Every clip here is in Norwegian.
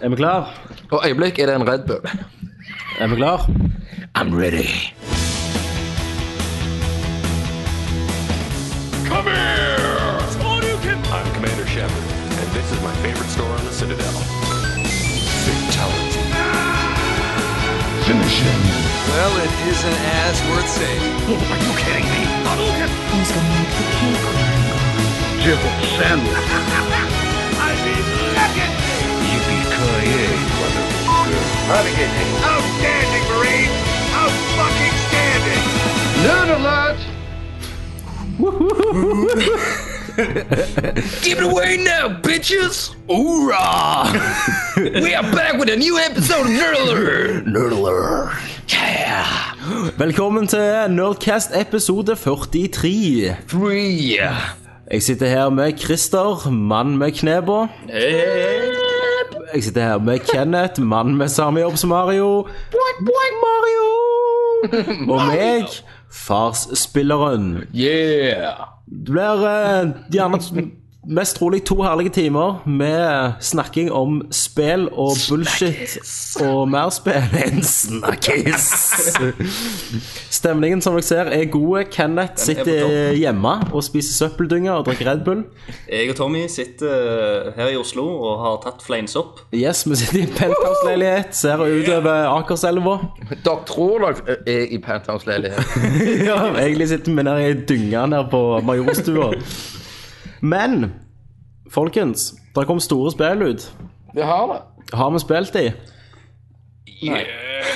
Er vi klar? Og øyeblikk er det en Red Bull. Er vi klar? I'm ready. Come here! I'm Commander Shepard, and this is my favorite store on the Citadel. Fatality. Well, it is an ass worth saving. Who's gonna make the cake? Outstanding, Marine! Out fucking standing! Give it away now, bitches! Hoorah! We are back with a new episode of Nerdler! Nerdler. Yeah! Velkommen til Nerdcast episode 43. Three! Jeg sitter her med Christer, mann med knebå. Jeg sitter her med Kenneth, mann med samme jobb som Mario. Mario! Og meg, farsspilleren. Yeah! Det blir eh, gjerne t- mest trolig to herlige timer med snakking om spill og bullshit og mer spill enn snakkis. Stemningen som dere ser er god. Kenneth sitter hjemme og spiser søppeldynger og drikker Red Bull. Jeg og Tommy sitter eh, her i Oslo og har tatt flames opp. Yes, vi sitter i en penthouse-leilighet, ser utover Akerselva. Dere tror dere er i penthouse-leilighet. Ja, egentlig sitter vi nede i dynga nede på Majorstua. Men, folkens, der kom store spill ut. Det har det. Har vi spilt de? Nei.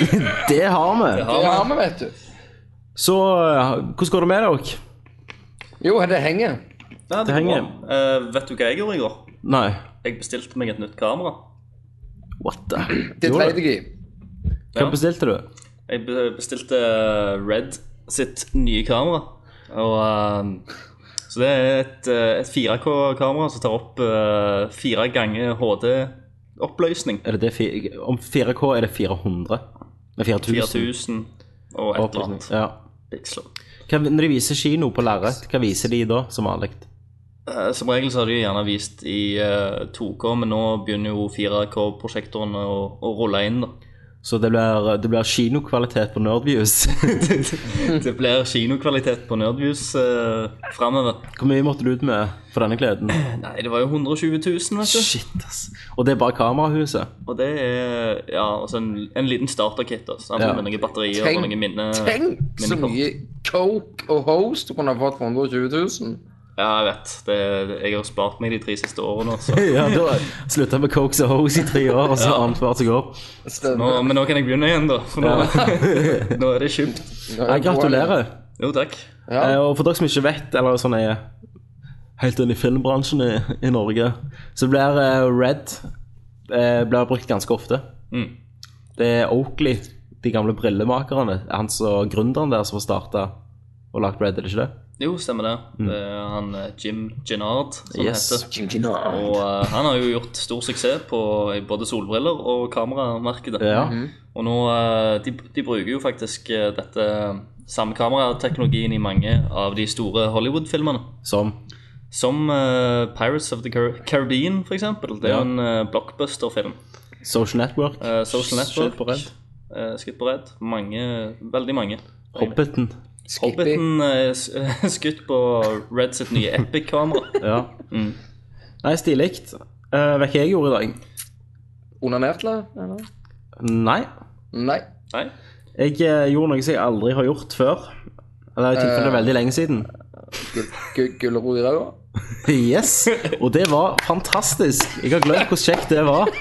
det har vi. Det har vi, vet du. Så eh, hvordan går det med dere? Jo, det henger. Ja, Det henger. går bra. Eh, vet du hva jeg gjorde i går? Nei. Jeg bestilte meg et nytt kamera. What the Det Gjorde dreide du? jeg i. Hva bestilte du? Jeg be- bestilte eh, Red sitt nye kamera. Og, eh, så det er et, eh, et 4K-kamera som tar opp eh, fire ganger HD-oppløsning. Er det det fi- om 4K er det 400? Nei, 4000. 4000 og et eller annet. Ja. Piksler. Hva, når de viser kino på lerret, hva viser de da, som vanlig? Eh, Som regel så har de gjerne vist i eh, 2K, men nå begynner jo 4K-prosjektorene å, å rulle inn. da. Så det blir, det blir kinokvalitet på Nerdviews. Det blir kinokvalitet på Nerdviews uh, framover. Hvor mye måtte du ut med for denne gleden? Nei, det var jo 120 000, vet du. Shit, ass. Og det er bare kamerahuset. Og det er ja, altså en, en liten starterkit. da, sant? Ja. Med noen batterier og Tenk, noen minne... tenk så minnekort. mye coke og host du kunne ha fått for 120 000. Ja, jeg vet. Det, jeg har spart meg de tre siste årene. altså. Så. Ja, da slutta jeg med Cokes og Hose i tre år, og så annethvert som går. Nå, Stemmer. men nå kan jeg begynne igjen, da. For nå, nå er det kjipt. Jeg gratulerer. Jo, takk. Ja. Eh, Og for dere som ikke vet, eller sånn er helt inn i filmbransjen i, i Norge, så blir eh, Red eh, blir brukt ganske ofte. Mm. Det er Oakley, de gamle brillemakerne, han som gründeren der som starta og lagt Red, er det ikke det? Jo, stemmer det. Det er han eh, Jim Gennard som det Mm. Yes. heter. Og eh, han har jo gjort stor suksess på både solbriller og kameramarkedet. Ja. Og nå, eh, de, de bruker jo faktisk eh, dette samme kamerateknologien i mange av de store Hollywood-filmene. Som Som eh, Pirates of the Car Caribbean, for eksempel. Det er Ja. jo en eh, blockbuster-film. Social Network. Eh, Social Network. Skjøt på Red. Eh, Skutt på redd. Mange, veldig mange. Hobbiten. Skippy. Hobbiten eh, s- skutt på Red sitt nye Epic-kamera. Ja. Mm. Nei, stilig. Eh, vet du hva jeg gjorde i dag? Onanerte, eller? Nei. Nei. Nei? Jeg eh, gjorde noe som jeg aldri har gjort før. Eller i tilfelle Eh. veldig lenge siden. Gul- gu- Gulrot i ræva? Yes, og det var fantastisk. Jeg har glemt hvor kjekt det var.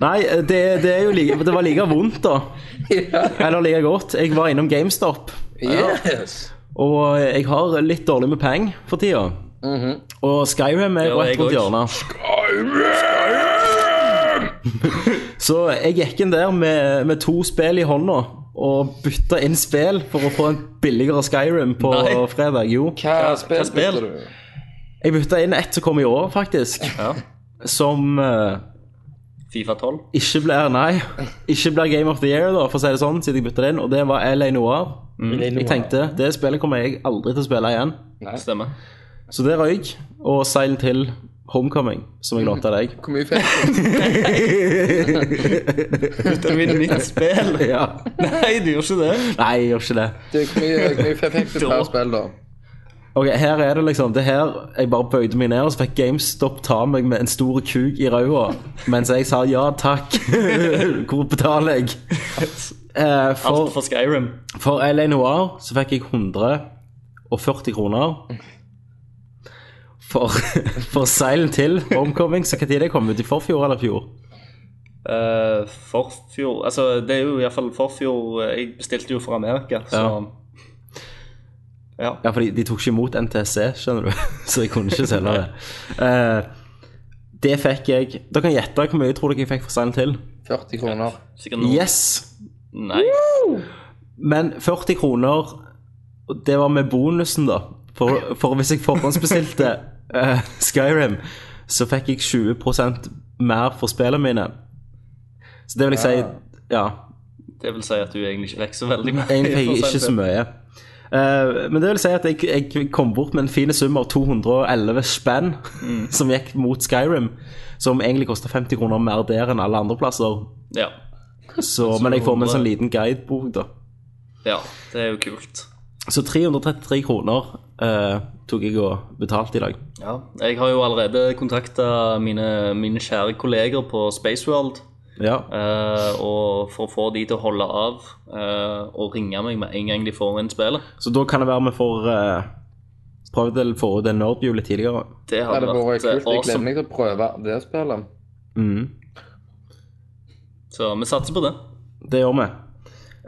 Nei, det, det, er jo like, det var like vondt, da. Eller like godt. Jeg var innom GameStop, Yes! og jeg har litt dårlig med penger for tida. Og Skyrim er var rett jeg rundt også. hjørnet. Så jeg gikk inn der med, med to spill i hånda og bytta inn spill for å få en billigere Skyrim på Nei. fredag. Jo. Hva spill spill? spilte du? Jeg bytta inn ett som kom i år, faktisk. Ja. Som eh, Fifa 12. ikke blir Nei, ikke blir Game of the Year, da, for å si det sånn, siden jeg bytta det inn. Og det var LA Noir. Jeg tenkte det spillet kommer jeg aldri til å spille igjen. Stemmer. Så det røyk. Og Silent Hill Homecoming, som jeg lånte av deg. Hvor mye fikk du? Det er mitt nytt spill. Ja. Nei, du gjorde ikke det. Nei, jeg gjør ikke det. Du, Hvor mye, hvor mye fikk du per spill, da? Ok, her er det liksom Det her, jeg bare bøyde meg ned Og så fikk GameStop ta meg med en stor kuk i røya Mens jeg sa ja takk Hvor betaler jeg? Eh, Alt for, for Skyrim. for LA Noir så fikk jeg 140 kroner For, for Silent Hill Homecoming Så hva tid det kom ut i forfjor eller fjor? Eh, forfjor Altså, det er jo iallfall forfjor eh, Jeg bestilte jo fra Amerika, så Ja. Ja, fordi de tok ikke imot NTSC, skjønner du. Så jeg kunne ikke selge det. Eh, det fikk jeg Dere kan gjette hvor mye jeg tror dere jeg fikk for Silent Hill. 40 kroner. Sikkert noe Yes! Nei. Men 40 kroner, og det var med bonusen, da. For, for hvis jeg forhåndsbestilte eh, Skyrim, så fikk jeg 20 mer for spillene mine. Så det vil jeg si Ja. Det vil si at du egentlig ikke fikk så veldig mye. Egentlig fikk jeg for å si ikke så det. sånn. mye. Eh, men det vil si at jeg, jeg kom bort med en fin sum av 211 spenn som gikk mot Skyrim, som egentlig kosta 50 kroner mer der enn alle andre plasser. Ja. Så, men jeg får med en sånn 200. liten guidebok, da. ja, det er jo kult. Så 333 kroner eh, tok jeg og betalte i dag. Ja. Jeg har jo allerede kontakta mine, mine kjære kolleger på Spaceworld Ja. eh, og for å få de til å holde av eh, og ringe meg med en gang de får inn spillet. Så da kan det være vi får eh, prøvd å få ut en nerdhjul tidligere. Det Det hadde hadde vært vært eh, kult. Jeg gleder awesome. meg til å prøve det spillet. Mm. Så vi satser på det. Det gjør vi.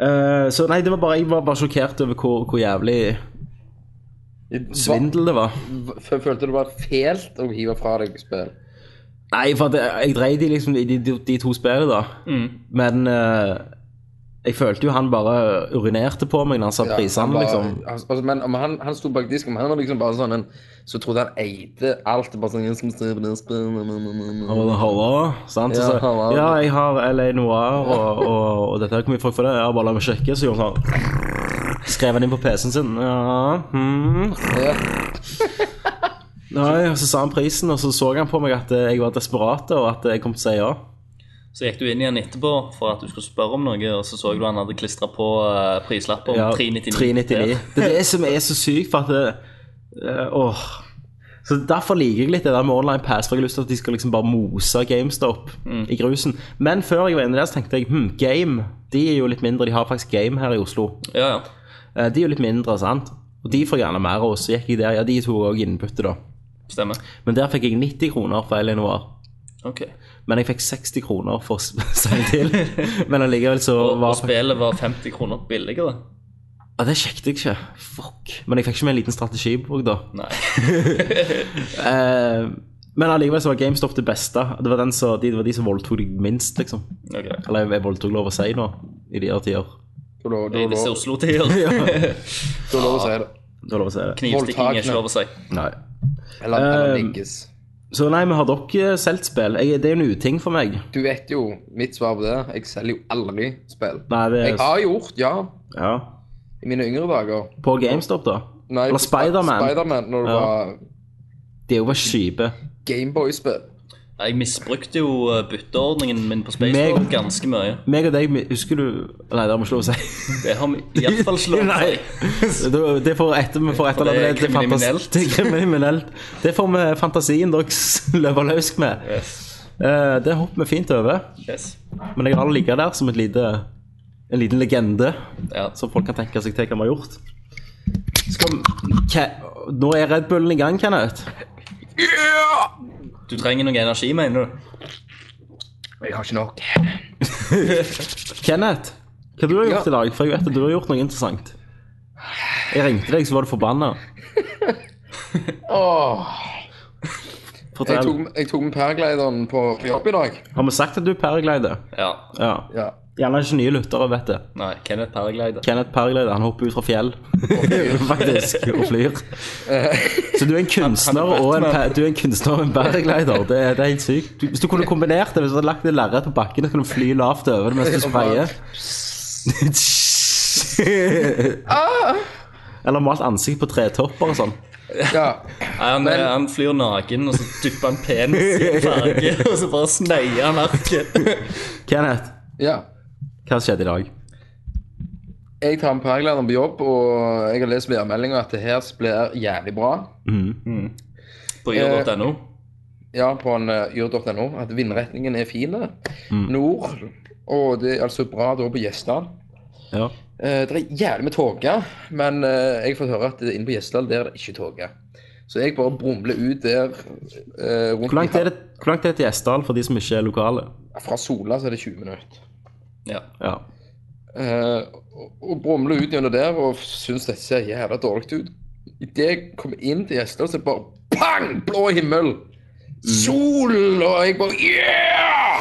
Eh, så nei, det var bare, jeg var bare sjokkert over hvor, hvor jævlig I- svindel det var. hva- f- Følte du det var fælt å hive fra deg spill? Nei, for at jeg, jeg dreide i liksom i de, de, de to spillene, da. Mm. Men eh, jeg følte jo han bare urinerte på meg når han sa han prisene, var- liksom. altså, altså, men om han, han sto bak disken, men han var liksom bare sånn en Så trodde han eide alt. Bare sånn jeg skal se på det Han spillet. var sånn, Hallo, sant? Ja, Ja, så, hallo. ja, jeg har LA Noir og, og, og dette. her, Hvor mye folk for det? Ja, bare la meg sjekke. Så gjorde han sånn Skrev han inn på PC-en sin. Ja, hmm. Ja. Nei, og Så sa han prisen, og så så han på meg at eh, jeg var desperat, og at jeg kom til å si ja. Så gikk du inn igjen etterpå for at du skulle spørre om noe, og så så du han hadde klistra på eh, prislapper om Ja, 399. 399. Der. Det er det som er så sykt, for at det, eh, Åh. Så Derfor liker jeg litt det der med online pass, for jeg har lyst til at de skal liksom bare mose GameStop Mm. i grusen. Men før jeg var inne der, så tenkte jeg hm, Game de er jo litt mindre. De har faktisk Game her i Oslo. Ja, ja. Eh, De er jo litt mindre, sant? Og de får gjerne mer av oss. Så gikk jeg der, ja, de tok òg innbytte, da. Stemmer. Men der fikk jeg 90 kroner for Elinor. Ok. Men jeg fikk 60 kroner for Silent Hill. Men allikevel så Og, og var spillet var 50 kroner billigere. Ja, det sjekket jeg ikke. Fuck. Men jeg fikk ikke med en liten strategibok, da. Nei. Eh, men allikevel så var GameStop det beste. Det var, den som- de, det var de som voldtok deg minst, liksom. Ok. Eller jeg- jeg voldtok lov å si nå, i de her tider. Du har lov du I har disse lov- Oslo-tider. du har lov å si det. Det var lov å si det. Knivstikking er ikke lov å si. Nei. Eller, eller Eh, ligges. Så nei, men har dere solgt spill? Jeg, det er jo en uting for meg. Du vet jo mitt svar på det. Jeg selger jo aldri spill. Nei, Jeg det er har gjort, ja. Ja. I mine yngre dager. På GameStop, da? Nei, Eller på Sp- Spiderman. Spiderman, når det Ja. var De er jo bare kjipe. Gameboy-spill. Jeg misbrukte jo eh, bytteordningen min på Meg- Spaceball ganske mye. Meg og deg, husker du Nei, det har vi ikke lov å si. Det har vi iallfall slått Nei. seg. Da- Det får etter, vi får For etterlate det er det til fantas- kriminelt. Det er kriminelt. Det får vi fantasien deres løpe løs med. Yes. Eh, det hopper vi fint over. yes. Men jeg har det ligget der som et lite, en liten legende Ja. som folk kan tenke seg til hva vi har gjort. Skal vi Ke- Nå er Red Bullen i gang, Kenneth. Du trenger noe energi, mener du? Jeg har ikke nok. Kenneth, hva du har gjort i dag? For jeg vet at du har gjort noe interessant. Jeg ringte deg, så var du forbanna. Åh, jeg, tok, Fortell. jeg tok med paraglideren på på jobb i dag. Har vi sagt at du paraglider? Ja. Ja. Ja. Gjerne ikke nye lyttere vet det. Nei, Kenneth Paraglider. Kenneth Paraglider han hopper ut fra fjell, faktisk, og flyr. Så du er en kunstner Eh. han er og en, Batman. pa- du er en kunstner og en paraglider. Det, er- det er helt sykt. Du, hvis du kunne kombinert det, hvis du hadde lagt et lerret på bakken, så kunne du fly lavt over det mens du sprayer. Ah. Eller malt ansikt på tretopper og sånn. Ja. Han, han flyr naken, og så dypper han penis i en farge, og så bare sneier han arket. Kenneth, ja. hva skjedde i dag? Jeg tar med Paraglideren på jobb, og jeg har lest værmeldinga at det her blir jævlig bra. Mhm. På yr.no. Ja, på en eh, yr.no. At vindretningen er fin. Mm. Nord. Og det er altså bra da på Gjesdal. Ja. Eh, det er jævlig med tåke, men eh, jeg får høre at det er inne på Gjesdal der er det ikke tåke. Så jeg bare brumler ut der eh, rundt Hvor langt i er det, hvor langt er det til Gjesdal for de som ikke er lokale? hav- Fra Sola så er det 20 minutter. Ja. Ja. Eh, og- og brumler ut gjennom der og syns dette ser jævla dårlig ut. Idet jeg kommer inn til Gjesdal, så er det bare pang! Blå himmel! Sol! Og jeg bare Yeah!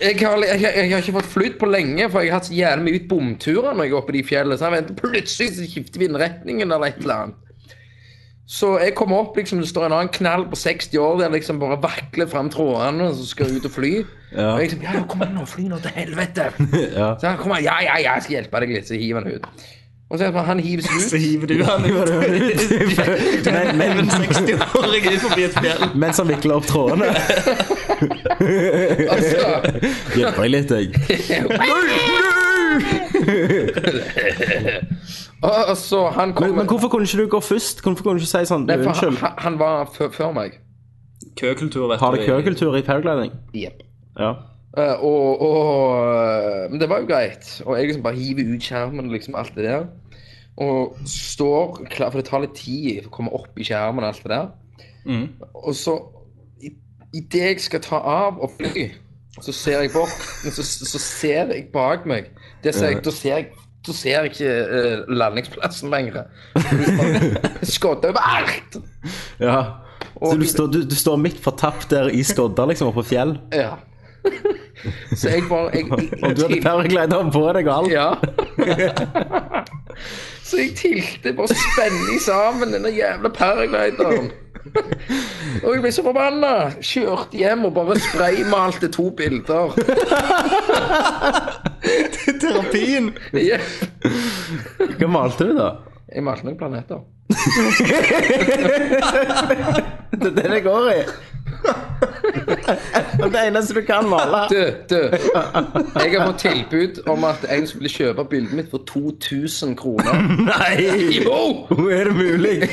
jeg, har, jeg, har- jeg har ikke fått flytt på lenge, for jeg har hatt så jævlig mye ut bomturer når jeg er oppe i de fjellene. Så jeg venter plutselig så skifter vindretningen eller et eller annet. Så jeg kommer opp, liksom, det står en annen knall på 60 år der liksom bare vakler fram trådene og så skal ut og fly. Og jeg liksom Ja, ja, kom an nå, fly nå til helvete! Ja. Så han kommer ja, ja, ja, jeg skal hjelpe deg litt, så hiver han ut. Og så er det bare, han hiver seg ut. Så hiver du han ut. Men- men- En 60-åring ut forbi et fjell. Mens han vikler opp trådene. Altså, Hjelper deg litt, jeg. og og så han Men, kommer men hvorfor kunne ikke du gå først? Hvorfor kunne du ikke si sånn Nei, for han, Unnskyld, han- han var før, før meg. Køkultur, vet du. har det køkultur i paragliding? Jep. Ja. Eh, og, og Men det var jo greit. Og jeg liksom bare hiver ut skjermen og liksom alt det der. Og står klar, for det tar litt tid å komme opp i skjermen og alt det der. Mm. Og så i- Idet jeg skal ta av og fly, så ser jeg bort, men så, så ser jeg bak meg. Det ser Eh. jeg, da ser jeg da ser jeg ikke eh, landingsplassen lenger. Skodda overalt! ja. Så Og- du står, du, du står midt fortapt der i skodda, liksom, oppe på fjell? Ja. Så jeg bare jeg, Og du hadde paraglideren på deg og alt? Ja. så jeg tilte bare spenning sammen denne jævla paraglideren. Og jeg ble så forbanna. Kjørte hjem og bare spraymalte to bilder. Terapien. Jeg Hva malte du, da? jeg malte noen planeter. Det er det det går i. Det er det eneste du kan male. Du, du. Jeg har fått tilbud om at en skulle kjøpe bildet mitt for 2000 kroner. Nei! Jo! Hvor er det mulig?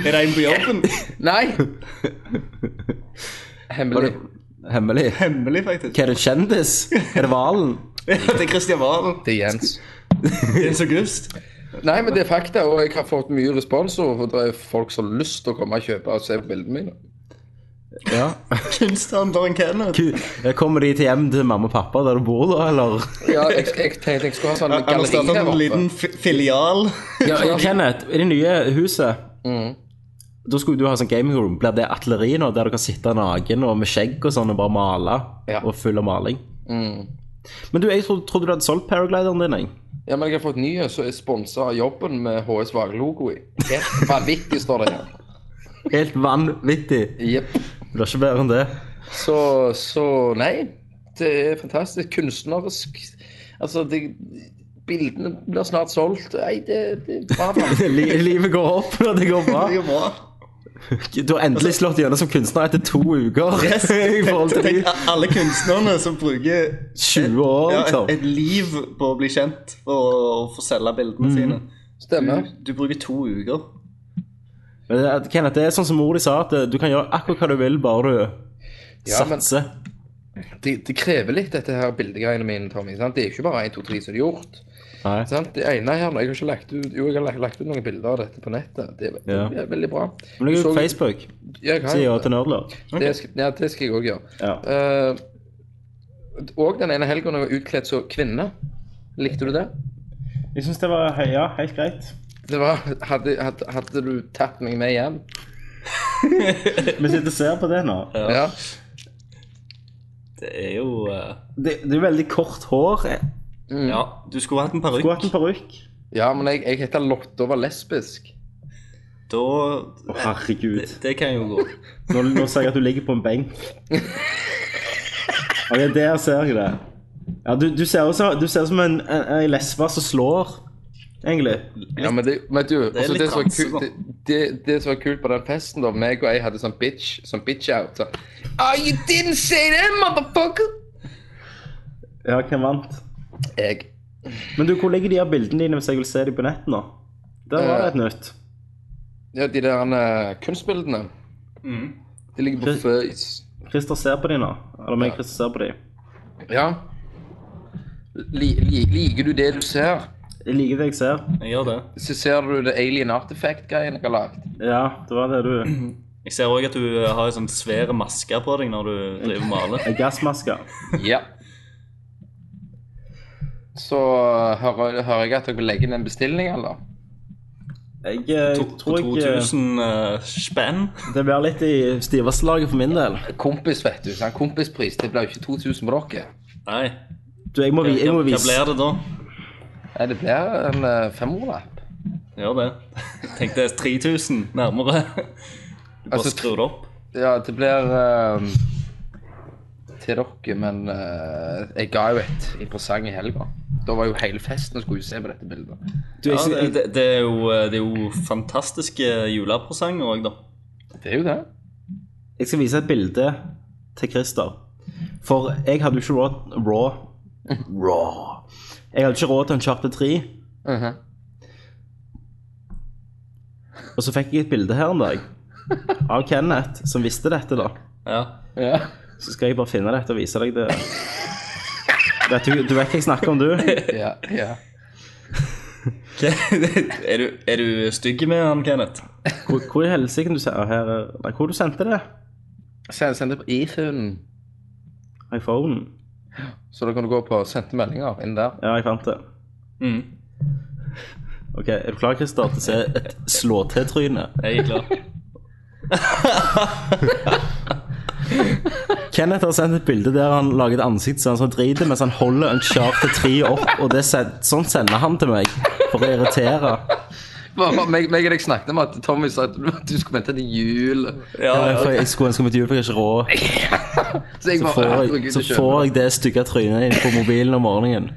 Er det en på jobben? Nei! Hemmelig. Hemmelig. Hemmelig, faktisk. Hva er det, kjendis? Er det hvalen? Det er Kristian Valen. Det er Jens. Jens August. Nei, men det er fakta, og jeg har fått mye respons. Og det er folk som har lyst til å komme og kjøpe og se bildene mine. Ja. Kunsthandleren Kenneth. Kommer de til hjem til mamma og pappa der du bor, da, eller? Ja, jeg, jeg tenkte jeg skulle ha sånn Han har galleri startet her en oppe. liten fi- filial. Ja, ja. Kenneth, i det nye huset Mm. Da skulle du ha sånn gaming room. Blir det atleri nå, der du kan sitte naken og med skjegg og sånn og bare male? Ja. Og full av maling? Mm. Men du, jeg trodde, trodde du hadde solgt paraglideren din, jeg. Ja, men jeg har fått nye som er sponsa av jobben med HS Vage-logo i. Helt vanvittig, står det her. Helt vanvittig. Jepp. Det blir ikke bedre enn det. Så, så nei. Det er fantastisk. Kunstnerisk. Altså, det, bildene blir snart solgt. Nei, det, det er bra. bra. Li livet går opp når det går bra. Det er jo bra. Du har endelig slått gjennom som kunstner etter to uker Yes. i forhold til de Tenk alle kunstnerne som bruker 20 år, ja, et, liksom. et liv på å bli kjent for å få selge Mm. bildene sine. Stemmer. Mm. Du bruker to uker. Men det er- Kenneth, det er sånn som mor di sa, at eh, du kan gjøre akkurat hva du vil, bare du Ja, men- satser. Det, det krever litt, dette her bildegreiene mine, Tommy. sant? Det er ikke bare 1, 2, 3 som er gjort. Nei. Sant? Det ene her, jeg har ikke lagt ut, Jo, jeg har lagt, lagt ut noen bilder av dette på nettet. Det er, ve- Ja. det er veldig bra. Men legg Du ut så- Facebook. Jeg har Si ja gjort til Nerdler. det. Det skal, ja, det skal jeg òg gjøre. Ja. Eh, og den ene helgen når jeg var utkledd som kvinne. Likte du det? Jeg syns det var ja, helt greit. det var, hadde, hadde, hadde du tatt meg med hjem? Vi sitter og ser på det nå. Ja. Det er jo eh, Det, det er veldig kort hår. Ja, du skulle hatt en Skulle hatt parykk. en parykk. Ja, men jeg, jeg heter Lotte og var lesbisk. Da Å, herregud. Det kan jo gå. Nå, nå ser jeg at du ligger på en benk. Ok, der ser jeg det. Ja, du, du ser ut som, du ser ut som en, en, en lesbe som slår. egentlig. Ja, men det, men du, også litt det, som var transe, kult, da. det, det, det som var kult på den festen, da meg og jeg hadde sånn bitch sånn bitch out. Sånn. Oh, you didn't say that, motherfucker! Ja, hvem vant? Jeg. Men du, hvor ligger de her bildene dine hvis jeg vil se dem på nett nå? Der var det et nytt. Ja, de der eh, kunstbildene. De ligger på Det- Face. Christer ser på dem nå. Eller meg, Christer ser på dem. Ja. Li, li, liker du det du ser? Jeg liker det jeg ser. Jeg gjør det. Så ser du det Alien Artifact-greien jeg har lagd. Ja, det var det du Jeg ser òg at du eh, har en sånn svær maske på deg når du driver og maler. En gassmaske. Ja. Så eh, hører, hører jeg at dere legger inn en bestilling, eller? Jeg, eh, To, tror på jeg eh, 2000 eh, spenn. det blir litt i stiveste laget for min del. Kompis, vet du. Sånn kompispris. Det blir jo ikke 2000 på dere. Nei. Du, jeg må, vi- jeg Hva, må hva vise blir det da? Nei, det blir en eh, femhundrelapp. Gjør det. Tenkte jeg 3000 nærmere. Du bare Altså, skrur det opp. Ja, det blir eh, til dere, men eh, jeg ga jo et i presang i helga. Da var jo hele festen og skulle jo se på dette bildet. du, Ja, jeg, det, jeg, det, det, er jo, eh, det er jo fantastiske julepresanger òg, da. Det er jo det. jeg skal vise et bilde til Christer. For jeg hadde jo ikke råd Raw. Raw. Jeg hadde ikke råd til en charter 3. Mhm. Og så fikk jeg et bilde her en dag av Kenneth, som visste dette, da. Ja. Ja. Så skal jeg bare finne dette og vise deg det. Vet du, du vet hva jeg snakker om, du? ja, ja. er, du, er du stygg med han, Kenneth? Hvor, hvor i helsike kan du se her, er- Nei, hvor du sendte det? Send, send det på iPhone, iPhonen? så da kan du gå på sendte meldinger inn der. Ja, jeg fant det. Mm. Ok, Er du klar, Christer, til å se et slå-til-tryne? Jeg er klar. Kenneth har sendt et bilde der han lager et ansikt sånn som han driter, mens han holder en charter 3 opp, og det sen sånn sender han til meg for å irritere. Bare, meg, meg og deg snakket om at Tommy sa at du, at du skulle vente til jul. Ja, Ja, ja. for jeg skulle ønske meg til jul, for jeg har ikke råd. Så jeg Så får jeg, så får jeg det stygge trynet inn på mobilen om morgenen.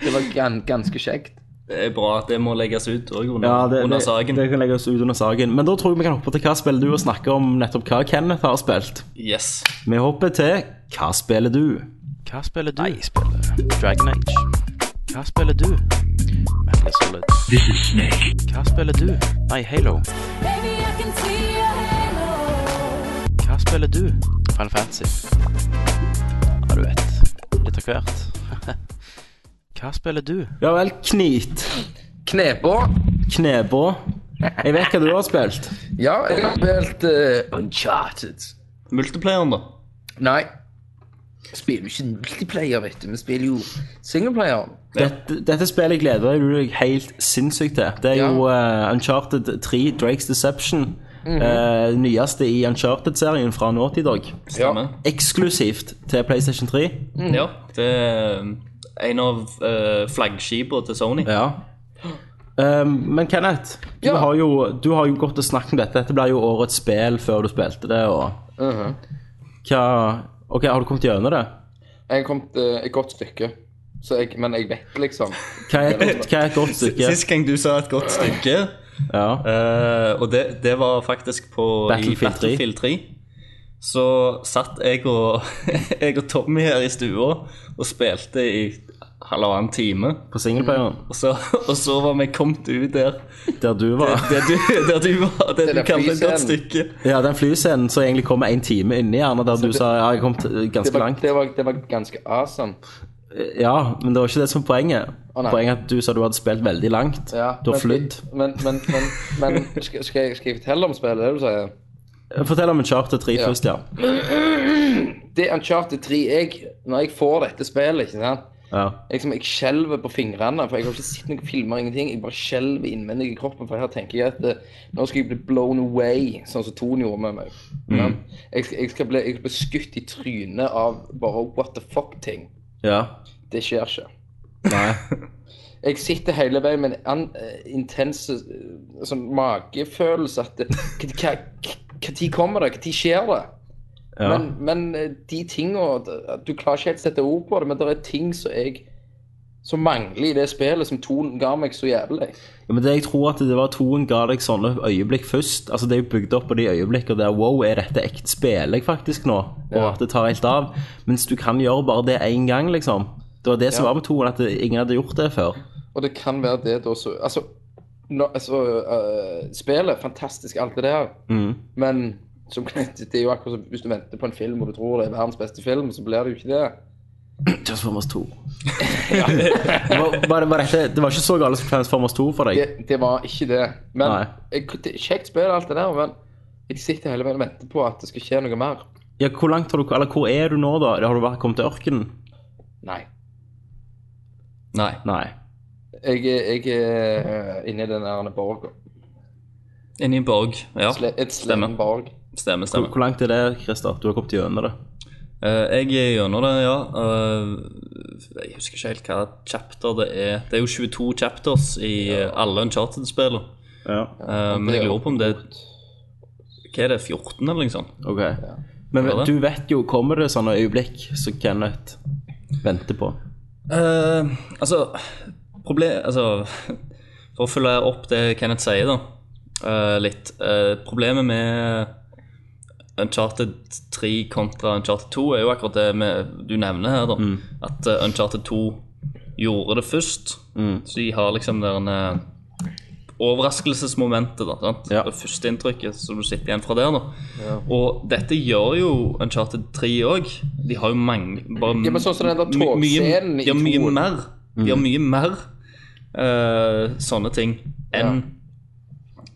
Det var gan, ganske kjekt. Det er bra at det må legges ut òg under, Ja, det, under det, saken. det kan legge oss ut under saken. Men da tror jeg vi kan hoppe til hva spiller du, og snakke om nettopp hva Kenneth har spilt. Yes. Vi hopper til hva spiller du? Hva spiller du? jeg spiller Dragon Age. Hva spiller du? Metal Solid. This is Snake. Hva spiller du? Nei, Halo. Baby, I can see your halo. Hva spiller du? Final Fantasy. Ja, du vet. Litt av hvert. hva spiller du? Ja vel, Knit. Knepå. Knebå. Jeg vet hva du har spilt. Ja, jeg har spilt eh, Uncharted. Multiplayeren, da. Nei. Spiller jo ikke multiplayer, vet du. Vi spiller jo singleplayer. Dette, dette spillet gleder du deg helt sinnssykt til. Det er Ja. jo eh, Uncharted 3, Drakes Deception. Mhm. eh, nyeste i Uncharted-serien fra Naughty Dog. Stemmer. Eksklusivt til PlayStation 3. Mhm. Ja. Det er en av uh, flaggskipene til Sony. Ja. Um, men Kenneth, du, Ja. har jo, du har jo gått og snakket om dette. Dette ble jo årets spill før du spilte det. Og... Uh-huh. Hva... Ok, Har du kommet gjennom det? Jeg kom til et godt stykke. Så jeg, men jeg vet liksom Hva er et godt, hva er et godt stykke? Sist gang du sa et godt stykke, Ja. eh, og det, det var faktisk på Battlefield i Battlefield 3, så satt jeg og, jeg og Tommy her i stua og spilte i halvannen time. På singleplayeren, Og så, og så var vi kommet ut der, der du var. der du, der du var, det du der kalte et godt flyscenen. stykke. Ja, den flyscenen som egentlig kommer en time inni gjerne, der du sa ja, jeg kom t- det ganske var, langt. det, var, det var ganske awesome. Ja, men det var ikke det som var poenget. Å, nei. poenget er at du sa du hadde spilt veldig langt. Ja, du har men- flydd. Men, men, men, men skal, skal, jeg, skal jeg fortelle om spillet, det du sier? Fortell om en charter 3 Ja. først, ja. Det er Uncharted 3 jeg, Når jeg får dette spillet, ikke sant ja. Jeg, liksom, jeg skjelver på fingrene, for jeg har ikke sett noen filmer, ingenting. Jeg bare skjelver innvendig i kroppen, for her tenker jeg at eh, nå skal jeg bli blown away, sånn som Tony gjorde med meg. Men Jeg, skal- jeg, skal bli, jeg skal bli skutt i trynet av bare what the fuck-ting. ja. Det skjer ikke. Nei. Jeg sitter hele veien med en an- eh, intense eh, sånn magefølelse at eh, Når kommer det? Når skjer det? Ja. Men, men eh, de tinga Du klarer ikke helt å sette ord på det, men det er ting som jeg som mangler i det spillet som Ton ga meg så jævlig. Ja, men det jeg tror at det var toen ga deg sånne øyeblikk først. Altså Det er jo bygd opp på de øyeblikkene der wow, er dette ekte spill jeg faktisk nå? Og Ja. at det tar helt av. Mens du kan gjøre bare det én gang, liksom. Det var det som Ja. var med toen, at det- ingen hadde gjort det før. Og det kan være det da så Altså, nå- altså øh, spillet, fantastisk alt det der, Mm. men som, det er jo akkurat som hvis du venter på en film og du tror det er verdens beste film, så blir det jo ikke det. Transformers 2. var, var, var dette, det var ikke så galt som Transformers 2 for deg? Det, det var ikke det. Men Nei. jeg, det er kjekt spill, alt det der, men jeg sitter hele veien og venter på at det skal skje noe mer. Ja, hvor langt har du, eller hvor er du nå, da? Har du vært- kommet til ørkenen? Nei. Nei. Nei. Jeg, er- jeg er øh, inne i den der borgen. Inni en borg. Ja, Sle, et stemmer. slemborg. stemmer. Hvor, stemmer. hvor langt er det, Christer? Du har kommet gjennom det? Eh, jeg er gjennom det, ja. Eh, jeg husker ikke helt hva chapter det er. Det er jo 22 chapters i eh, alle Uncharted-spillene. Ja. Eh, men jeg lurer på om det Hva er det, 14 eller noe sånt? Ok. Men Ja, det. du vet jo, kommer det sånne øyeblikk som Kenneth venter på? Eh, altså, proble- altså For å følge opp det Kenneth sier, da, eh, litt. eh, problemet med Uncharted 3 kontra Uncharted 2 er jo akkurat det med, du nevner her, da. At eh, Uncharted 2 gjorde det først. Mm. Så de har liksom den eh, overraskelsesmomentet, da. Sant? Ja. Det første inntrykket som du sitter igjen fra der, da. Og dette gjør jo Uncharted 3 òg. De har jo mange bare Ja, men sånn som den der my- togscenen mye- i De har mye toen. mer. De har mye mer eh, sånne ting enn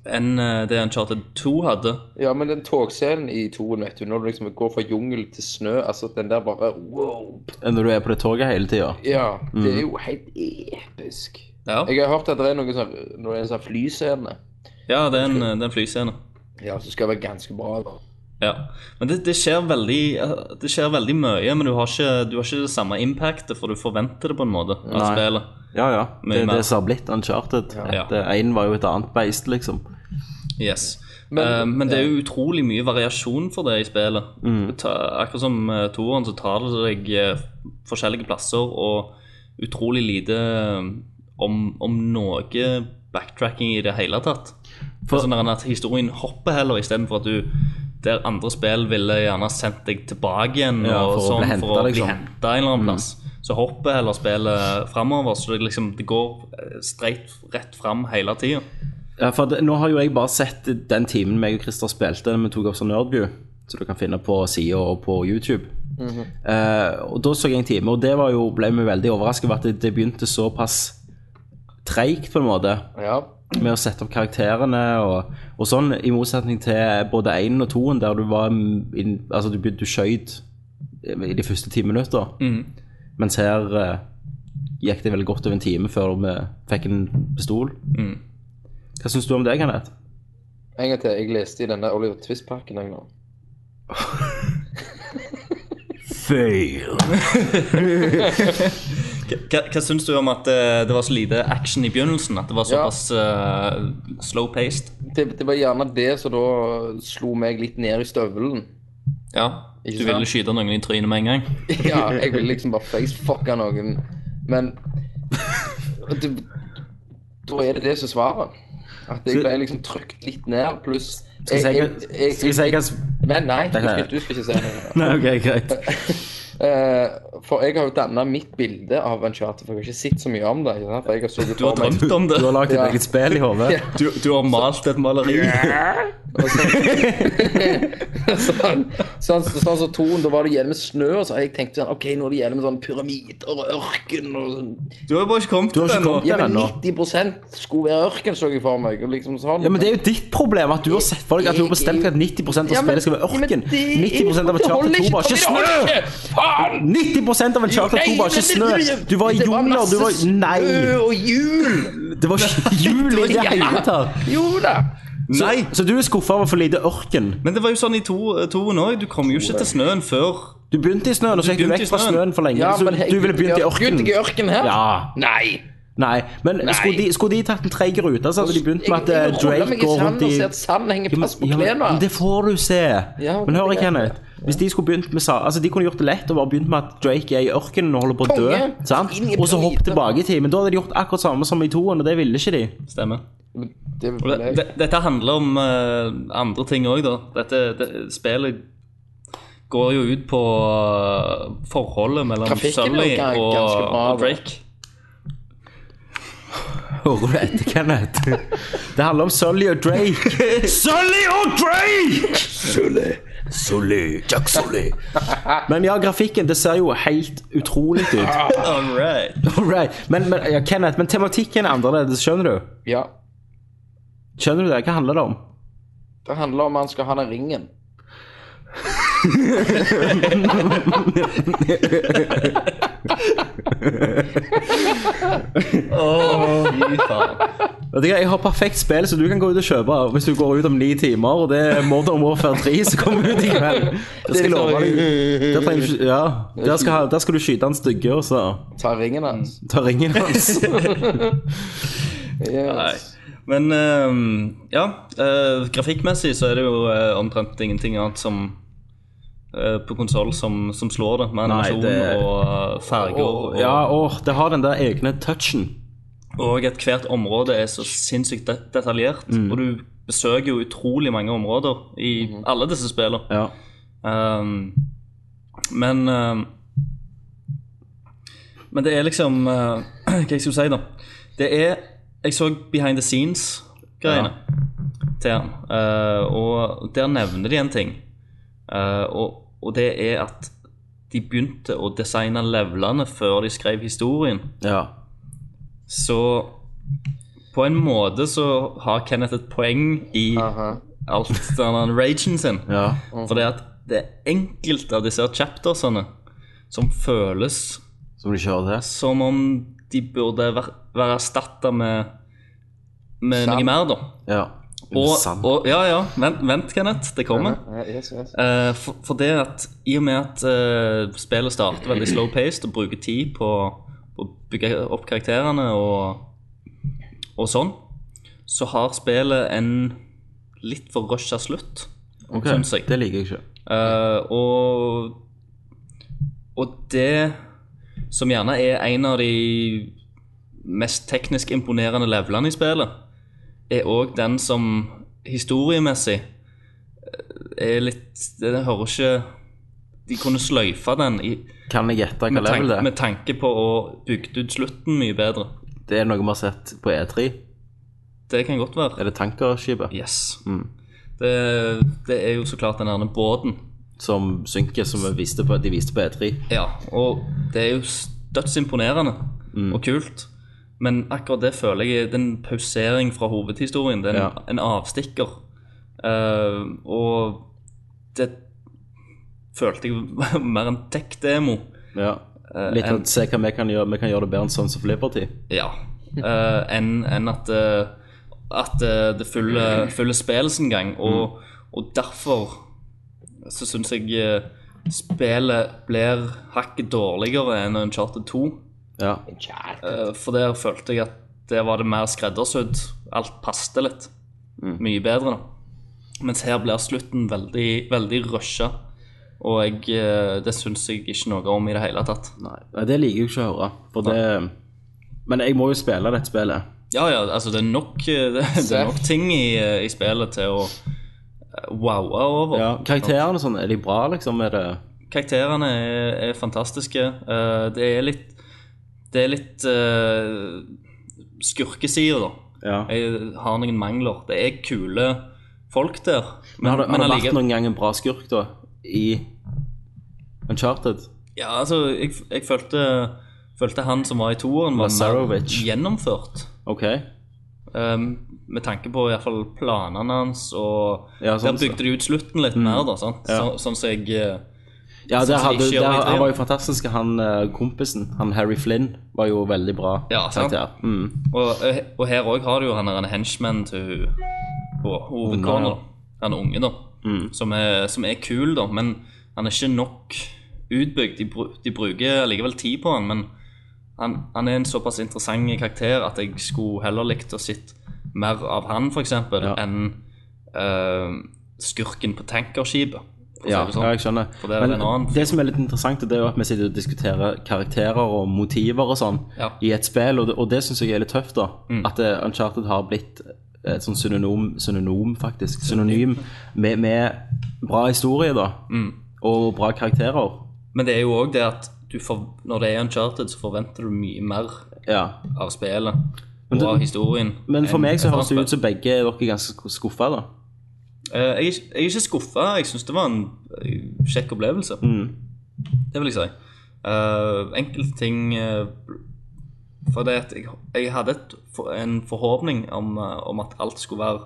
enn, eh, det Uncharted 2 hadde. Ja, men den togscenen i toen, vet du, når du liksom går fra jungel til snø, altså den der bare wow. Når du er på det toget hele tida? Ja, det er Mm. jo helt episk. Ja, Jeg har hørt at det er noen sånn, når det er en sånn flyscene, ja det er en, det er en flyscene. ja, så skal det være ganske bra. da. Ja. Men det, det, skjer veldig, det skjer veldig mye, men du har, ikke, du har ikke det samme impactet, for du forventer det på en måte. av Nei. spillet. Ja, ja. Mye Det er mer. det som har blitt uncharted. Ja. Én var jo et annet beist, liksom. Yes. Men- Men, men det er jo utrolig mye variasjon for det i spillet. Mm. Det tar- akkurat som uh, toeren, så tar det deg eh, forskjellige plasser og utrolig lite eh, om, om noe backtracking i det hele tatt. For, sånn der at Historien hopper heller, istedenfor at du der andre spill ville gjerne sendt deg tilbake igjen Ja, og for å sånn, bli hentet, for å bli liksom. henta en eller annen plass. Så hopper heller spillet framover, så det, liksom, det går eh, straight rett fram hele tida. Ja, for det, nå har jo jeg bare sett den timen meg og Christer spilte da vi tok opp som Nerdview, så du kan finne på sida og på YouTube. Eh, og da så jeg en time, og det var jo, ble vi veldig overrasket over at det, det begynte såpass treigt, på en måte, Ja, med å sette opp karakterene og, og sånn, i motsetning til både én og toen, der du var inn- Altså, du, begynte- du skøyt i de første ti minutter, mens her eh, gikk det veldig godt over en time før vi fikk en pistol. Mm. Hva syns du om det, Kenneth? en gang til, jeg leste i denne Oliver Twist-pakken en gang. Fail. Hva, hva syns du om at eh, det var så lite action i begynnelsen? At det var Ja. såpass eh, slow-paced? Det, det var gjerne det som da slo meg litt ned i støvelen. Ja. Ikke Du ville sant? skyte noen i trynet med en gang? Ja, jeg ville liksom bare facefucka noen. Men det, Da er det det som er svaret. At jeg ble liksom trykt litt ned, pluss Skal jeg si hva- skal jeg si hva Men nei, du Det kan skal, jeg. du skal ikke si noe. Nei, ok, greit. Eh, for jeg har jo danna mitt bilde av Uncharted, for jeg har ikke sett så mye om det. ikke sant? For jeg har sittet Du har for meg- drømt om det. Du har lagd et Ja. eget spill i hodet. Ja. Du, du har malt et maleri. Og så- sånn, sånn, sånn som toen, da var det gjerne med snø, og så jeg tenkte sånn, ok, nå er det gjerne med sånn pyramider og ørken og sånn. Du har jo bare ikke kommet Du har til ikke det ennå. kommet- Ja, men ennå. 90 skulle være ørken, så jeg for meg. og liksom sånn. Ja, men Det er jo ditt problem at du har sett for deg at du har bestemt at 90 av Ja, men- spillet skal være ja, ørken. men det er- 90 det av holder Charter 2 var Tommy, ikke det holder snø! ikke! Faen! 90 av Charter 2 var ikke snø! Du var i Det jungler, masse du var Nei! snø og hjul! Det var ikke jul i det hele tatt. Jo da. Så, så du er skuffa over for lite ørken. Men det var jo sånn i to- toen òg. Du kom jo ikke til snøen før Du begynte i snøen, og så gikk du vekk begynte i fra snøen. snøen for lenge. Ja, så men hei, du ville begynt i ørken. Begynte jeg i ørken her? Ja. Nei. Nei, men Skulle, de, skulle de tatt en treig rute, så hadde de begynt med at eh, Jeg- jeg ruller Drake meg i går sand rundt i og ser at sand henger Ja, men- fast på ja, men- klærne. men Det får du se. Ja, men det er hør, greit. Kenneth. Hvis de skulle begynt med sa- Altså de kunne gjort det lett og bare begynt med at Drake er i ørkenen og holder på å dø, Konge! sant? Inn i og så hopp planeten. tilbake i tid. Men da hadde de gjort akkurat samme som i toen, og det ville ikke de. Stemmer. Men det Og ble det, det, dette handler om eh, andre ting òg, da. Dette det, spillet går jo ut på eh, forholdet mellom Trafikken er jo Sully ga- og, ganske bra, og da. Drake. Hører du etter, Kenneth? Det handler om Sully og Drake. Sully og Drake! Men ja, grafikken, det ser jo helt utrolig ut. All right. Alright. Men, men ja, Kenneth, men tematikken er annerledes, skjønner du? Ja. Skjønner du det? Hva handler det om? Det handler om han skal ha den ringen. Å, fy faen. Vet du hva, Jeg har perfekt spill som du kan gå ut og kjøpe hvis du går ut om ni timer. Og det er Modern Warfare 3 som kommer ut i kveld. Det skal jeg love deg. Der, trenger du, ikke- ja, der, skal, der skal du skyte han stygge, og så Ta ringen hans. ta ringen hans. Mm. Nei. Yes. Men ehm, ja, eh, grafikkmessig så er det jo eh, omtrent ingenting annet som eh, på konsoll som, som slår det, med Nei, animasjon det- og eh, farger. Og, Ja, og det har den der egne touchen. og at hvert område er så sinnssykt det detaljert. Mm. Og du besøker jo utrolig mange områder i Mhm. alle disse spillene. Ja. Ehm, men ehm, Men det er liksom eh, Hva jeg skulle si, da. Det er Jeg så behind the scenes-greiene til han. eh, og der nevner de en ting. Eh, og, og det er at de begynte å designe levelene før de skrev historien. ja. Så på en måte så har Kenneth et poeng i Aha. alt den ragen sin. ja. Mm. For det at det er enkelte av disse her chaptersene som føles Som de kjører til. som om de burde væ- være erstatta med, med Sant. noe mer, da. Ja. Og, Sand. og ja, ja, vent, vent Kenneth, det kommer. Ja, Yes, yes. Eh, for, for det at i og med at eh, spillet starter veldig slow-paced og bruker tid på på å bygge opp karakterene og, og sånn, så har spillet en litt for rusha slutt, Ok, syns jeg. Det liker jeg ikke. Eh, og Og det som gjerne er en av de mest teknisk imponerende levelene i spillet, er òg den som historiemessig eh, er litt Det hører ikke De kunne sløyfa den i, Kan jeg gjette hva med, level tanke, det med er? tanke på å bygge ut slutten mye bedre. Det er noe vi har sett på E3. Det kan godt være. Er det tankerskipet Yes. Mm. Det, det er jo så klart den derne båten som synker, som vi viste på, de viste på E E3? Ja, og det er jo dødsimponerende Mm. og kult. Men akkurat det føler jeg er en pausering fra hovedhistorien. Det er en, Ja. en avstikker. Eh, og det følte jeg var mer en tech-demo. Ja. Litt Eh, sånn- en- å se hva vi kan gjøre. Vi kan gjøre det bedre enn Sons of Liberty. Ja. eh, Enn enn at, eh, at eh, det følger følger spillet sin Mm. gang. Og, og derfor så syns jeg eh, spillet blir hakket dårligere enn Uncharted 2. Ja. Eh, For der følte jeg at der var det mer skreddersydd. Alt passte litt. Mm. Mye bedre, da. Mens her blir slutten veldig, veldig rusha. Og jeg, eh, det syns jeg ikke noe om i det hele tatt. Nei, nei, det liker jeg ikke å høre. For det, men jeg må jo spille dette spillet. Ja, ja, altså det er nok, eh, det, det er nok ting i, eh, i spillet til å eh, wowe over. Ja, karakterene og sånn, er de bra, liksom? Er det Karakterene er, er fantastiske. Eh, Det er litt Det er litt uh, skurkesider, da. ja. jeg har noen mangler. Det er kule folk der. Men har det, har det allike- vært noen gang en bra skurk, da? I Uncharted? Ja, altså, jeg, jeg følte, følte han som var i toeren, var mer Lazarovic. gjennomført. OK. Um, med tanke på i hvert fall planene hans, og Ja, sånn Mm. der bygde de ut slutten litt mer, da. Sant? Ja. Så, sånn som jeg eh, Ja, der Sånn som de hadde, ikke gjør der, i tre, han var ja. jo fantastisk, han eh, kompisen. Han Harry Flynn var jo veldig bra Ja, sant. karakter. Mm. Og, eh, og her òg har du jo han der en henchman til hun- hun- hovedkona. da. Han unge, da. Mm. Som, er, som er kul, da, men han er ikke nok utbygd. De, bru- de bruker likevel tid på han, men han, han er en såpass interessant karakter at jeg skulle heller likt å sitte mer av han, f.eks., eksempel Ja. enn eh, skurken på tankerskipet. for å Ja, si det ja, jeg sånn. skjønner. For det er Men en annen det som er litt interessant, det er jo at vi sitter og diskuterer karakterer og motiver og sånn Ja. i et spill, og det, og det syns jeg er litt tøft, da. Mm. At eh, Uncharted har blitt et sånn synonym, synonym faktisk, synonym med, med bra historie, da. Og bra karakterer. Mm. Men det er jo òg det at du for, når det er uncharted, så forventer du mye mer Ja. av spillet Men og du- av historien. Men for enn meg så et høres det annet ut som begge er dere ganske skuffa, da. Eh, Jeg, er ikke- jeg er ikke skuffa. Jeg syns det var en eh, kjekk opplevelse. Det vil jeg si. Uh, enkelte ting eh, For det at jeg, jeg hadde et, for- en forhåpning om, eh, om at alt skulle være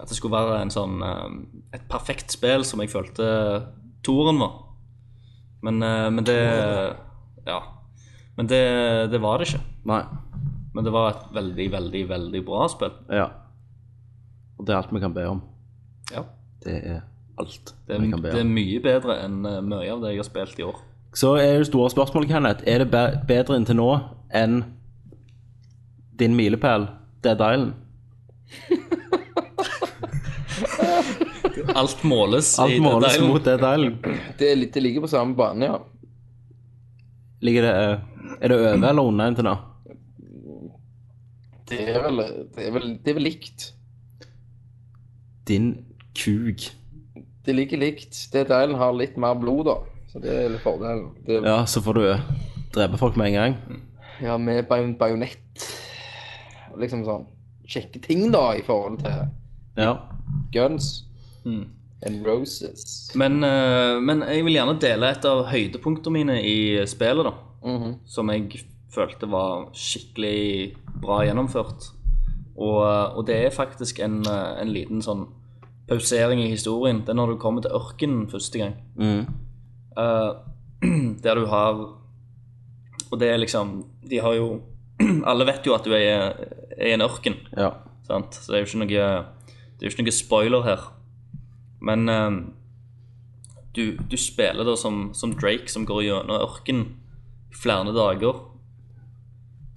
At det skulle være en sånn eh, et perfekt spill som jeg følte toeren var. Men, eh, men det Ja. Men det, det var det ikke. Nei. Men det var et veldig, veldig, veldig bra spill. Ja. Og det er alt vi kan be om. Ja. Det er alt Det er, vi kan be om. det er mye bedre enn eh, mye av det jeg har spilt i år. Så er det store spørsmålet, Kenneth. Er det be- bedre inntil nå enn din milepæl, Dead Island? Alt måles i Alt det måles der. mot Dead Island. Det, er litt- det ligger på samme bane, ja. Ligger det, eh, er det over eller under inntil nå? Det er vel, det er vel, det er vel likt. Din kuk. Det ligger likt. Det deilen har litt mer blod, da. Så det er litt fordelen. Det, ja. Ja, så får du eh, drepe folk med en gang. med bajon- bajonett og liksom sånn kjekke ting, da, i forhold til Ja. guns Mm. and roses. Men, eh, men jeg vil gjerne dele et av høydepunktene mine i spillet, da. Mhm. Som jeg følte var skikkelig bra gjennomført. Og, eh, og det er faktisk en, eh, en liten sånn pausering i historien. Det er når du kommer til ørkenen første gang. Mm. Eh, der du har Og det er liksom De har jo Alle vet jo at du er, er i en ørken, ja. sant? så det er jo ikke noe Det er jo ikke noe spoiler her. Men eh, du, du spiller da som, som Drake som går gjennom ørken i flere dager.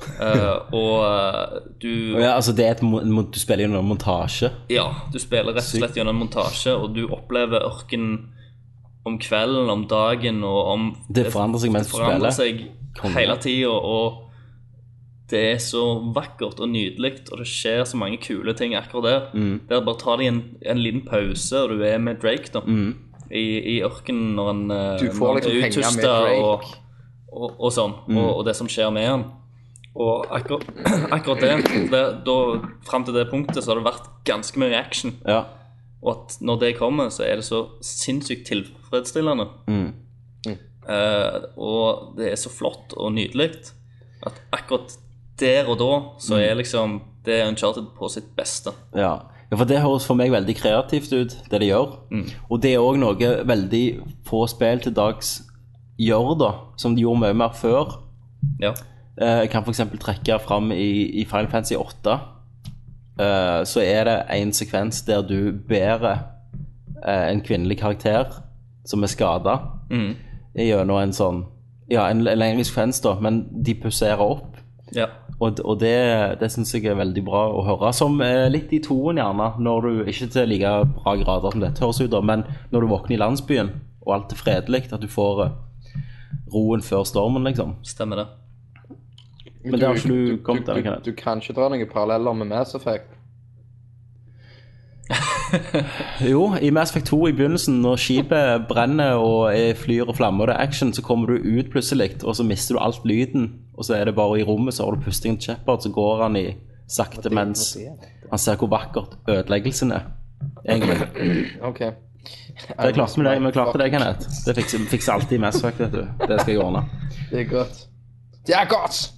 Eh, og eh, du Og ja altså, det er et, mo- mo- du spiller jo noen montasje. ja, du spiller rett og slett gjennom en montasje, og du opplever ørken om kvelden, om dagen og om Det forandrer seg mens du forandrer spiller. seg Konge. hele tida, og det er så vakkert og nydelig, og det skjer så mange kule ting akkurat der. Mm. Der bare tar de en, en liten pause, og du er med Drake, da. Mm. I, i ørkenen når han eh, Du får når han liksom er henge med uttøsta Drake. Mm. og, og, og sånn, og, og det som skjer med han. Og akkurat, akkurat det, det da, Fram til det punktet så har det vært ganske mye action. Ja. Og at når det kommer, så er det så sinnssykt tilfredsstillende. Mm. Eh, og det er så flott og nydelig at akkurat der og da så Mm. er liksom det er Uncharted på sitt beste. Ja. ja, for det høres for meg veldig kreativt ut, det de gjør. Mm. Og det er òg noe veldig få spill til dags gjør, da, som de gjorde mye mer før. Ja. Eh, Jeg kan f.eks. trekke fram i, i Final Fantasy 8. eh, så er det en sekvens der du bærer eh, en kvinnelig karakter som er skada, Mm. gjennom en sånn Ja, en l- lengre sekvens, da, men de pulserer opp. ja. Og, og det, det syns jeg er veldig bra å høre. Som eh, litt i toen, gjerne. Når du, ikke til like bra grader som dette høres ut, da, men når du våkner i landsbyen, og alt er fredelig, at du får eh, roen før stormen, liksom. Stemmer det. Men det har ikke du du, kommet til, du, Kenneth. du kan ikke dra noen paralleller med Mass Effect. Jo, i Mass Effect 2 i begynnelsen, når skipet brenner og er flyr og flammer og det er action, så kommer du ut plutselig, og så mister du alt lyden. Og så er det bare i rommet, så har du pustingen til Shepard, så går han i sakte mens han ser hvor vakkert ødeleggelsen er. Egentlig. OK. Det klarte vi, det. vi klarte det, Kenneth. Det fikser, fikser alltid Mass Effect, vet du. Det skal jeg ordne. Det er godt. Det er godt!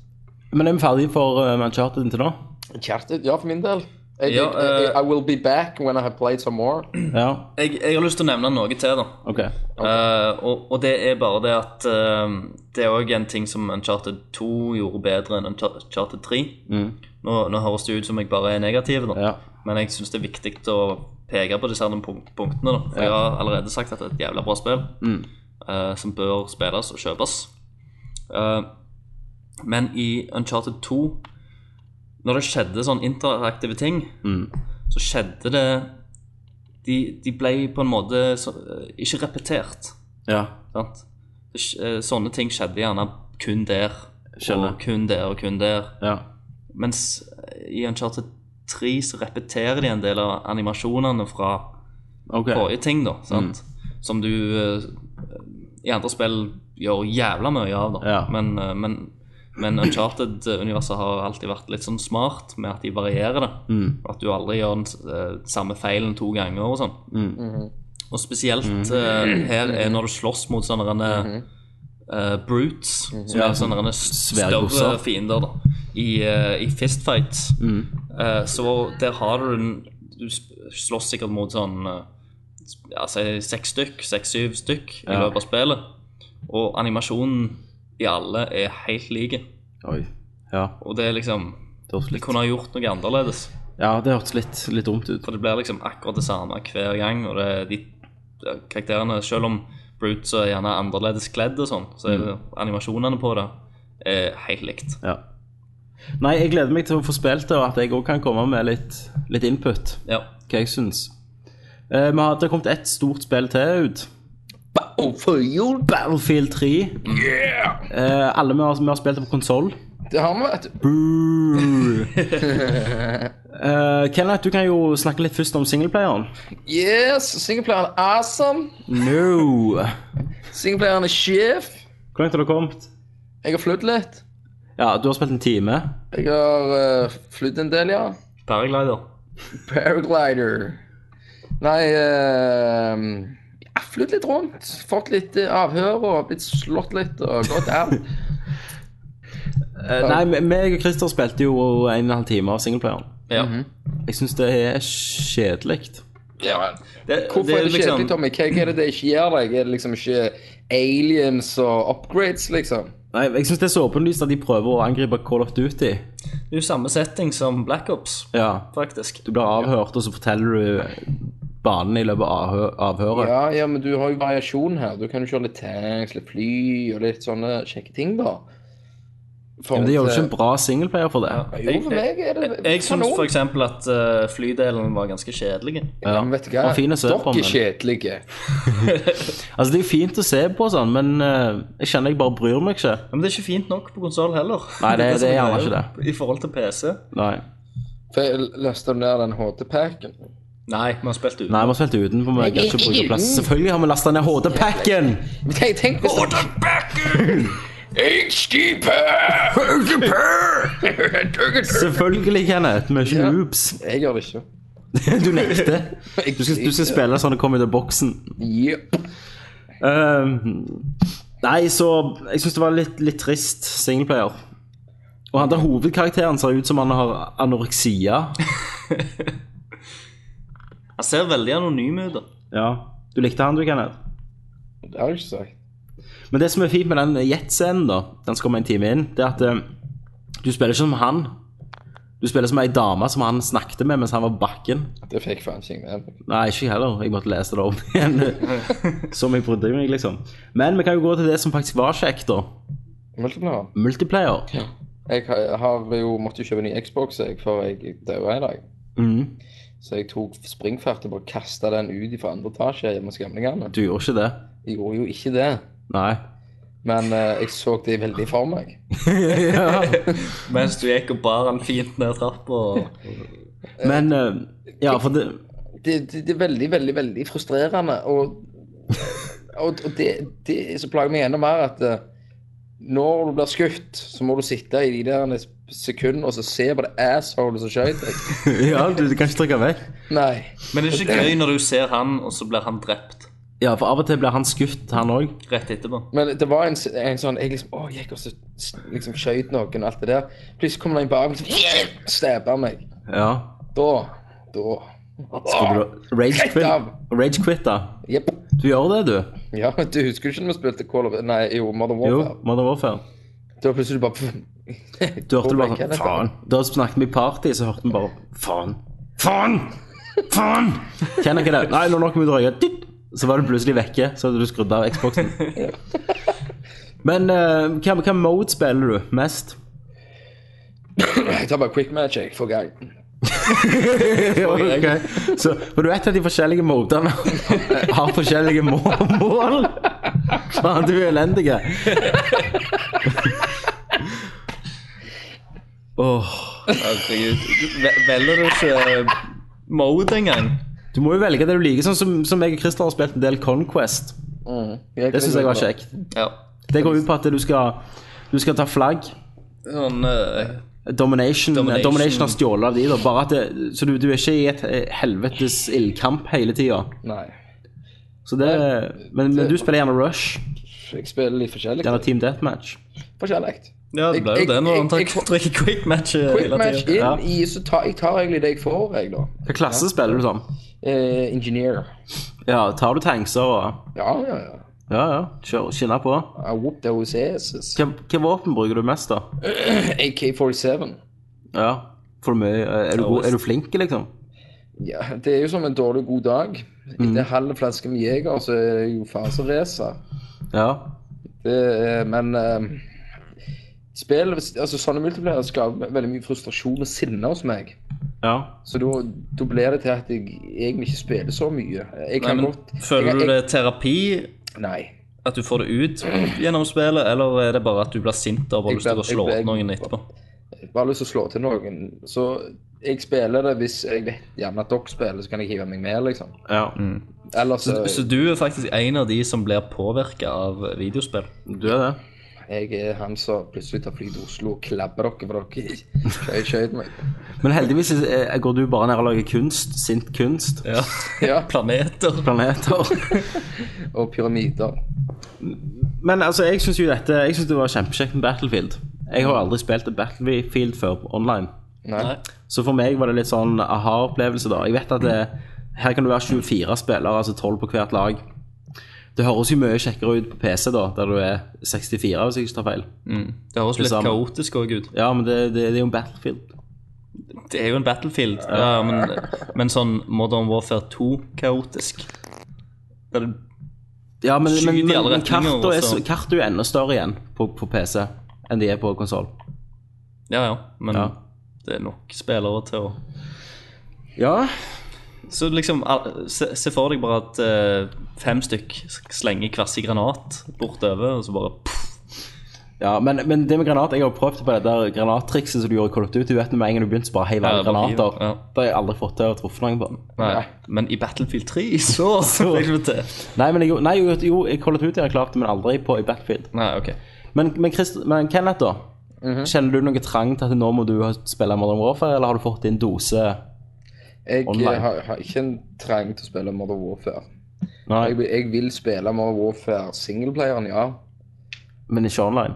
Men er vi ferdige for uh, Uncharted til nå? Uncharted, ja, for min del. Jeg, Ja, jeg, jeg, eh, I will be back when I have played some more. Ja, Jeg, jeg har lyst til å nevne noe til, da. ok. Eh, og, og det er bare det at eh, det er òg en ting som Uncharted 2 gjorde bedre enn Unchar- Uncharted 3. Nå, nå høres det ut som jeg bare er negativ, da. Mm, Ja. men jeg syns det er viktig å peke på disse her punk punktene. Da. For Jeg har allerede sagt at det er et jævla bra spill Mm. eh, som bør spilles og kjøpes. Eh, men i Uncharted 2, mm, når det skjedde sånn interaktive ting, så skjedde det de, de ble på en måte så, eh, ikke repetert. Ja, Sant? Det sk- eh, Sånne ting skjedde gjerne kun der, Skjønner. og kun der, og kun der. ja. Mens eh, i Uncharted 3 så repeterer de en del av animasjonene fra Ok. forrige ting, Mm. da. Sant? Som du eh, i andre spill gjør jævla mye av, da. Ja. Men, eh, men, men Uncharted-universet har alltid vært litt sånn smart med at de varierer det. Mm, At du aldri gjør den s- eh, samme feilen to ganger og sånn. mm, Og spesielt Mhm. eh, her er når du slåss mot sånne eh, brutes, som Ja, er sånn sånne svære større gosser. fiender, da, i, eh, i fistfights. mm. Eh, så der har du den Du sp- slåss sikkert mot sånn eh, ja, si seks stykk, seks-syv stykk i Ja. løpet av spillet. Og animasjonen i alle er helt like. Oi. Ja, Og det er liksom det hørtes De litt, kunne ha gjort noe annerledes. ja, det hørtes litt, litt dumt ut. For det blir liksom akkurat det samme hver gang. Og det er de ja, karakterene Selv om Brutes er gjerne annerledes kledd og sånn, så er Mm. det animasjonene på det er helt likt. Ja. Nei, jeg gleder meg til å få spilt det, og at jeg òg kan komme med litt, litt input. Ja. Hva jeg syns. Eh, vi har, det har kommet ett stort spill til ut. oh, Battlefield 3. Eh, alle vi har, vi har spilt det på konsoll. Det har vi, vet du. Eh, Kenneth, du kan jo snakke litt først om singleplayeren. Yes, singleplayeren er awesome. No. Singleplayeren er sjef. Hvor langt har du kommet? Jeg har flydd litt. Ja, du har spilt en time. Jeg har uh, flydd en del, ja. Paraglider. Paraglider. Nei eh, Jeg har flydd litt rundt. Fått litt eh, avhør og blitt slått litt og gått av. Eh, nei, me- meg og Christer spilte jo en og en halv time av singleplayeren. Ja. Mhm. Jeg syns det er kjedelig. Ja, det, Hvorfor er det, liksom- kjedelig, Tommy? Hva er det det ikke gjør deg? Er det liksom ikke aliens og upgrades, liksom? Nei, Jeg syns det er så åpenlyst at de prøver å angripe Call of Duty. Det er jo samme setting som Black Ops, Ja, faktisk. Du blir avhørt, og så forteller du banen i løpet av avhø- avhøret. Ja, ja, men du har jo variasjon her. Du kan jo kjøre litt tanks, litt fly og litt sånne kjekke ting, da. For Men det gjør jo at, ikke en bra singleplayer for det. eh, Jo, for meg er det Jeg, jeg syns kanon. f.eks. at eh, flydelen var ganske kjedelig. Ja, men vet du hva? Og fine Dere servere, men- er kjedelige. Altså, det er jo fint å se på og sånn, men eh, jeg kjenner jeg bare bryr meg ikke. Ja, Men det er ikke fint nok på konsoll heller. Nei, det- som det er gjerne greia ikke I forhold til PC. Nei, For jeg løste ned den HD-packen. Nei, vi har spilt uten. Nei vi har spilt utenfor, men jeg kan ikke bruke plass. Selvfølgelig har vi lasta ned HD-packen! Tenk, tenk hvis det... Selvfølgelig, Kenneth. Vi er ikke noobs. Jeg gjør det ikke. Du nekter. Du skal, du skal spille sånn det kommer ut av boksen. Yep. Eh, nei, så Jeg syns det var litt, litt trist singleplayer. Og han der hovedkarakteren ser ut som han har anoreksia. Han ser veldig anonym ut. da. Ja, Du likte han, du, Kenneth? Det har jeg ikke sagt. Men det som er fint med den jet-scenen, da, den som kommer en time inn, det er at eh, du spiller ikke som han. Du spiller som ei dame som han snakket med mens han var på bakken. Det fikk faen ikke jeg med. meg. Nei, ikke jeg heller. Jeg måtte lese det om igjen. som jeg brydde meg, liksom. Men vi kan jo gå til det som faktisk var kjekt, da. Multiplayer. Multiplayer. Jeg har- har jo måtte jo kjøpe ny Xbox jeg, før jeg daua i dag. Mhm. Så jeg tok springfart og bare kasta den ut fra andre etasje hjemme hos gamlingene. Du gjorde ikke det? Jeg gjorde jo ikke det, Nei. men eh, jeg så det veldig for meg. Mens du gikk og bar han fint ned trappa. og- Men eh, Ja, for det Det, det, det er veldig, veldig, veldig frustrerende. Og, og, og det, det som plager meg enda mer, at eh, når du blir skutt, så må du sitte i de der sekundene og så se på det assholet som skjøt deg. Ja, du, du kan ikke trykke vekk. Nei. Men det er ikke gøy når du ser han, og så blir han drept Ja, for av og til blir han skutt, han òg. rett etterpå. Men det var en, s- en sånn Jeg liksom Å, jeg gikk og så s- liksom skjøt noen og alt det der. Plutselig kommer det en bak meg og stabber meg. Ja. Da. Da. Skulle du rage Rett av. quit, rage quit, da? Jepp. Du gjør det, du. Ja, men du husker ikke når vi spilte Call of Nei, jo, Modern Jo, Warfare. Modern Warfare. Det var plutselig bare Du Hvor hørte bare ble sånn Kenneth av? Faen. Da snakket vi i party, så hørte vi bare Faen. Faen! Faen! Kjenner ikke det. Nei, nå er det nok med drøye. Dytt! Så var du plutselig vekke, så hadde du skrudd av Xboxen. Men uh, hva, hva mode spiller du mest? Jeg tar bare quick match, jeg, for gang. Ok. Så, men du vet at de forskjellige modene har forskjellige må mål? Faen, du er elendig. Åh, Herregud. Ve- Velger du ikke eh, mode engang? Du må jo velge det du liker, sånn som, som jeg og Christer har spilt en del Conquest. Det syns jeg var kjekt. Ja. Det går ut på at du skal, du skal ta flagg. Sånn eh, Domination, Domination. domination. har stjålet av de, da. Bare at det, så du, du er ikke i et eh, helvetes ildkamp hele tida. Nei. Så det Men, men du spiller gjerne Rush. Jeg spiller litt forskjellig. Gjerne Team Deathmatch. Forskjellig. Ja, det ble jo Jeg- det når jeg- han jeg- tar- drikker quick match eh, Quick hele match tiden. inn Ja. i så tar, Jeg tar egentlig det jeg får, jeg, da. Hva klasse spiller du som? Eh, engineer. Ja, tar du tankser og Ja, ja, ja. Ja, ja. Kjør, skinner på. I whooped OCS. Hva, hva våpen bruker du mest, da? AK-47. Ja. For mye eh, Er du, god, er du flink, liksom? Ja, det er jo som en dårlig god dag. Mm. Etter halv flaske med Jeger, så er det jo faseracer. Ja. Det er- Men eh, spill, altså sånne multiplayer skaper veldig mye frustrasjon og sinne hos meg. Ja. Så da da blir det til at jeg egentlig ikke spiller så mye. Jeg Nei, kan men godt Føler jeg, du jeg, det er terapi? Nei. At du får det ut gjennom spillet, eller er det bare at du blir sint og bare Jeg lyst til ble- å slå jeg ble- opp noen etterpå? Jeg har bare lyst til å slå til noen. Så jeg spiller det hvis jeg vet gjerne at dere spiller, så kan jeg hive meg med, liksom. ja. Ellers så, Så du er faktisk en av de som blir påvirka av videospill? Du er det. jeg er han som plutselig tar fly til Oslo og klabber dere for dere skjøt skjøt meg. Men heldigvis eh, går du bare ned og lager kunst. Sint kunst. Ja. Ja, Planeter. Planeter. og pyramider. Men altså, jeg syns jo dette Jeg synes det var kjempekjekt med Battlefield. Jeg har aldri spilt et Battlefield før online. Nei. Så for meg var det litt sånn aha-opplevelse, da. Jeg vet at det, her kan du være 24 spillere, altså 12 på hvert lag. Det høres jo mye kjekkere ut på PC, da, der du er 64, hvis jeg ikke tar feil. Det høres Mm. Det litt samme. kaotisk òg ut. Ja, men det, det, det er jo en Battlefield. Det er jo en battlefield, ja, men, men sånn Modern Warfare 2-kaotisk. Der du Ja, men, men, Skyt i men, alle men retninger, kartet er, og så- så- kartet er jo enda større igjen på, på PC enn de er på konsoll. Ja, ja, men Ja. det er nok spillere til å Ja, Så liksom, al- se, se for deg bare at eh, fem stykk s- slenger hver sin granat bortover, og så bare pff, ja men, men det med granat Jeg har prøvd på det der granattrikset som du gjorde i Call of Duty. Du vet når med en gang du begynte, så bare heiv alle Ja, bare hiv, granater. ja. Det har jeg aldri fått til å truffe noen på. Nei. Men i Battlefield 3 så fikk vi det til. Nei, men jeg, nei, jo, jo, i Call of Duty har jeg klart det, men aldri på i Battlefield. Nei, OK. Men, men, Chris, men Kenneth, da? Kjenner du noe trang til at nå må du ha- spille Modern Warfare, eller har du fått din dose? Jeg Online. eh, har, har ikke en trang til å spille Modern Warfare. Jeg, Nei, vil- jeg vil spille Modern Warfare singleplayeren, ja. men ikke online.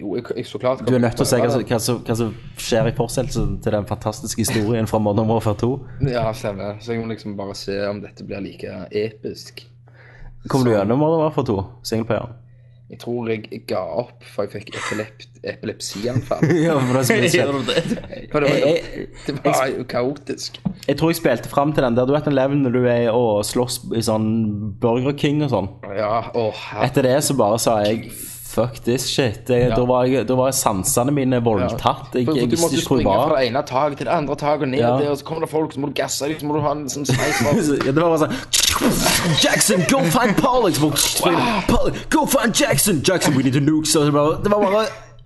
Jo, jeg, jeg så klart Du er nødt til å se hva, som- hva, som- hva som skjer i fortsettelsen til den fantastiske historien fra Modern Warfare 2. Ja, stemmer. Så jeg må liksom bare se om dette blir like episk. Kommer du gjennom Modern Warfare 2, singleplayeren? Jeg tror jeg jeg ga opp, for jeg fikk epilep epilepsianfall. Ja, men det er så mye Gjør kjent. du det? For det var, Jeg- jo- det var jo kaotisk. Jeg tror jeg spilte fram til den der. Du vet den level når du er og slåss i sånn Burger King og sånn. Ja, å herre. Etter det så bare sa jeg fuck this shit. Jeg, da, var jeg, da var sansene mine voldtatt. Jeg, For, for jeg du visste måtte ikke hvor jeg springe fra var. det ene taket til det andre taket og ned Ja. der, og så kommer det folk, så må du gasse dem, så må du ha en sånn sniper. Ja, det var bare sånn Jackson, go find Pollock! Så bare springer, Pollock, Go find Jackson! Jackson, we need to nuke! Så det, bare, det var bare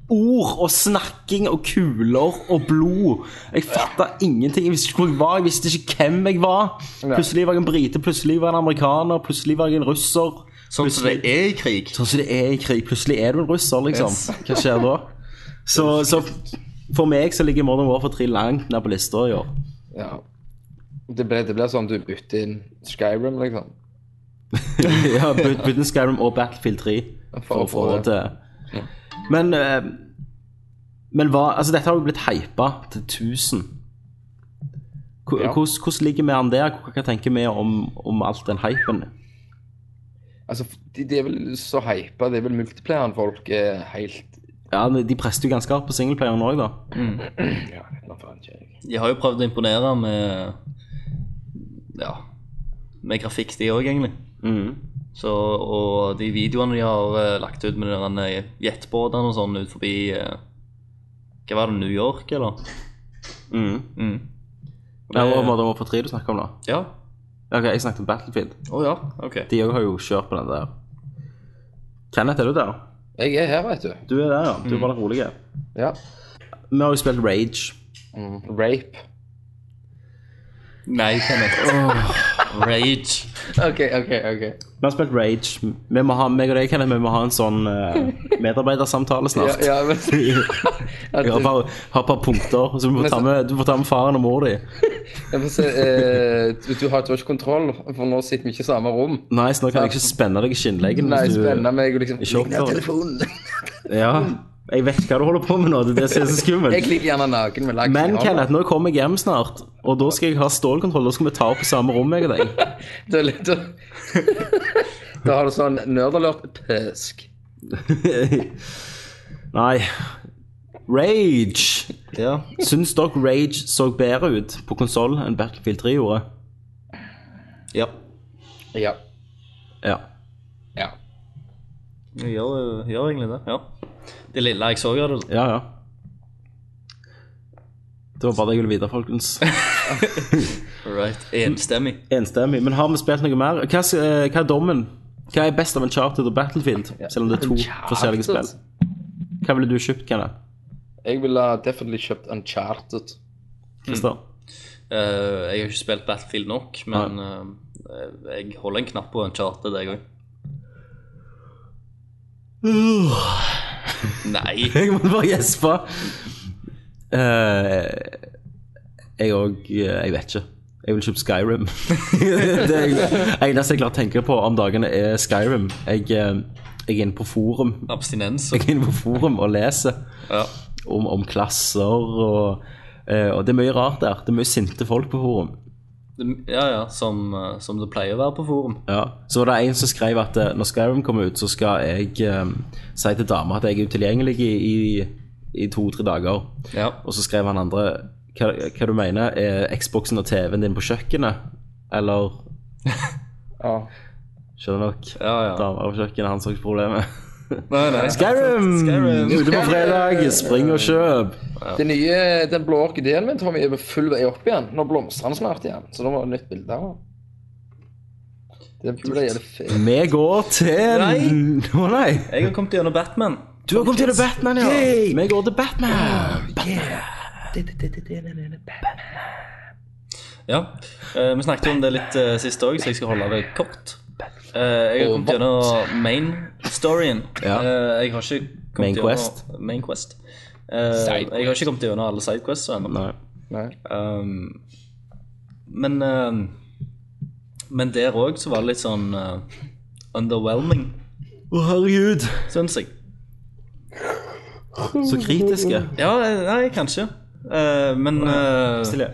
ord og snakking og kuler og blod. Jeg fatta ingenting. Jeg visste ikke hvor jeg var, jeg visste ikke hvem jeg var. Plutselig var jeg en brite, plutselig var jeg en amerikaner, plutselig var jeg en russer. Sånn som det er i krig. Sånn som det er i krig. Plutselig er du en russer, liksom. Hva skjer da? Så, så for meg så ligger Modern Warfare 3 langt ned på lista i år. Ja. Det ble, det ble sånn du bytter inn Skyrim, liksom. Ja, Bud- Budden Skyrim og Battlefield 3 for å få det til. Men, eh, men hva, altså dette har jo blitt hypa til 1000. Hvor- Ja. Hvordan hvordan ligger vi an der? Hva tenker vi om, om alt den hypen? Altså, det de er vel så hypa, det er vel multiplayeren folk er helt Ja, De prester jo ganske hardt på singleplayeren òg, da. Ja, nå faen ikke jeg. De har jo prøvd å imponere med Ja Med grafikk, de òg, egentlig. Mm. Så, og de videoene de har eh, lagt ut med de der, eh, jetbåtene og sånn ut forbi eh, Hva var det, New York, eller? Mhm. Mm. Ja, og var det Warfare 3 du snakket om da? Ja. Ok, jeg snakket om Battlefield. Å ja, OK. De òg har jo kjørt på den der. Kenneth, er du der? Jeg er her, vet du. Du er der, ja. Du var den rolige. Ja. Vi har jo spilt Rage. Rape. Nei, Kenneth. Rage. OK, OK. ok. Vi har spilt Rage. Vi må ha, meg og deg, Kenneth, vi må ha en sånn eh, medarbeidersamtale Ja, snart. ja, men, Jeg har bare, har et par punkter, så du må ta med, du må ta med faren og mor di. jeg får se, eh, du, du har du har ikke kontroll, for nå sitter vi ikke i samme rom. Nice, nå kan jeg ikke spenne deg i skinnleggen. Nei, hvis du- spennende meg og liksom Ikke Ligg ned oppdager. telefonen. Ja, jeg vet hva du holder på med nå, det er det som er så Jeg skummelt. ligger gjerne naken med lakken. i Men hånda. Kenneth, nå kommer jeg hjem snart, og da skal jeg ha stålkontroll. Da skal vi ta opp på samme rom, jeg og deg. Det er litt å... Da har du sånn nerdalert-pesk. Nei. Rage. Ja. Syns dere Rage så bedre ut på konsoll enn Battlefield 3 gjorde? Ja. Ja. Ja. ja. Jeg gjør, eh, gjør egentlig det. Ja. Det lille jeg så av det. Ja, ja. Det var bare det jeg ville vite, folkens. Right. Enstemmig. Enstemmig. Men har vi spilt noe mer? Hva, s- eh, hva er dommen? Hva er best av en charted og Battlefield? Selv om det er to forskjellige spill. Hva ville du kjøpt, Kenneth? Jeg ville definitely kjøpt Uncharted. Christer? Eh, jeg har ikke spilt Battlefield nok, men eh, jeg holder en knapp på en charter, jeg òg. Nei. Uh, Jeg måtte bare gjespe. Eh, jeg òg Jeg vet ikke. Jeg vil kjøpe Skyrim. det er jeg- eneste jeg klarer å tenke på om dagene, er Skyrim. Jeg, eh, jeg er inne på forum Abstinens. Jeg er inne på forum og leser Ja. om, om klasser og eh, Og det er mye rart der. Det er mye sinte folk på forum. Det- ja, ja, som, eh, som det pleier å være på forum. Ja. Så var det en som skrev at eh, når Skyrim kommer ut, så skal jeg eh, si til dama at jeg er utilgjengelig i, i, i to-tre dager. Ja. Og så skrev han andre Hva, hva du mener, er Xboxen og TV-en din på kjøkkenet? Eller Ja. Skjønner dere? Ja, ja. Damer på kjøkkenet, han så ikke problemet. Nei, nei. Skyrim! Skyrim! Ute på fredag, spring og kjøp! Den nye, den blå orkideen min Tommy, er på full vei opp igjen. Nå blomstrer den snart igjen, så da må det nytt bilde av den. Det blir jævlig fint. Vi går til Nei. Å nei! Jeg har kommet gjennom Batman. Du har kommet til The Batman, ja! Vi går til Batman! Ja. eh, vi snakket om det litt eh, sist òg, så jeg skal holde det kort. Eh, jeg har kommet gjennom main storyen. Ja. Eh, jeg har ikke kommet Main gjennom- quest. Main quest. Eh, jeg har ikke kommet gjennom alle sidequests ennå. Nei. Nei. Um, men um, Men der òg så var det litt sånn uh, underwhelming, Å herregud, syns jeg. så kritiske. Ja, eh, nei, kanskje. Eh, men eh, Stille.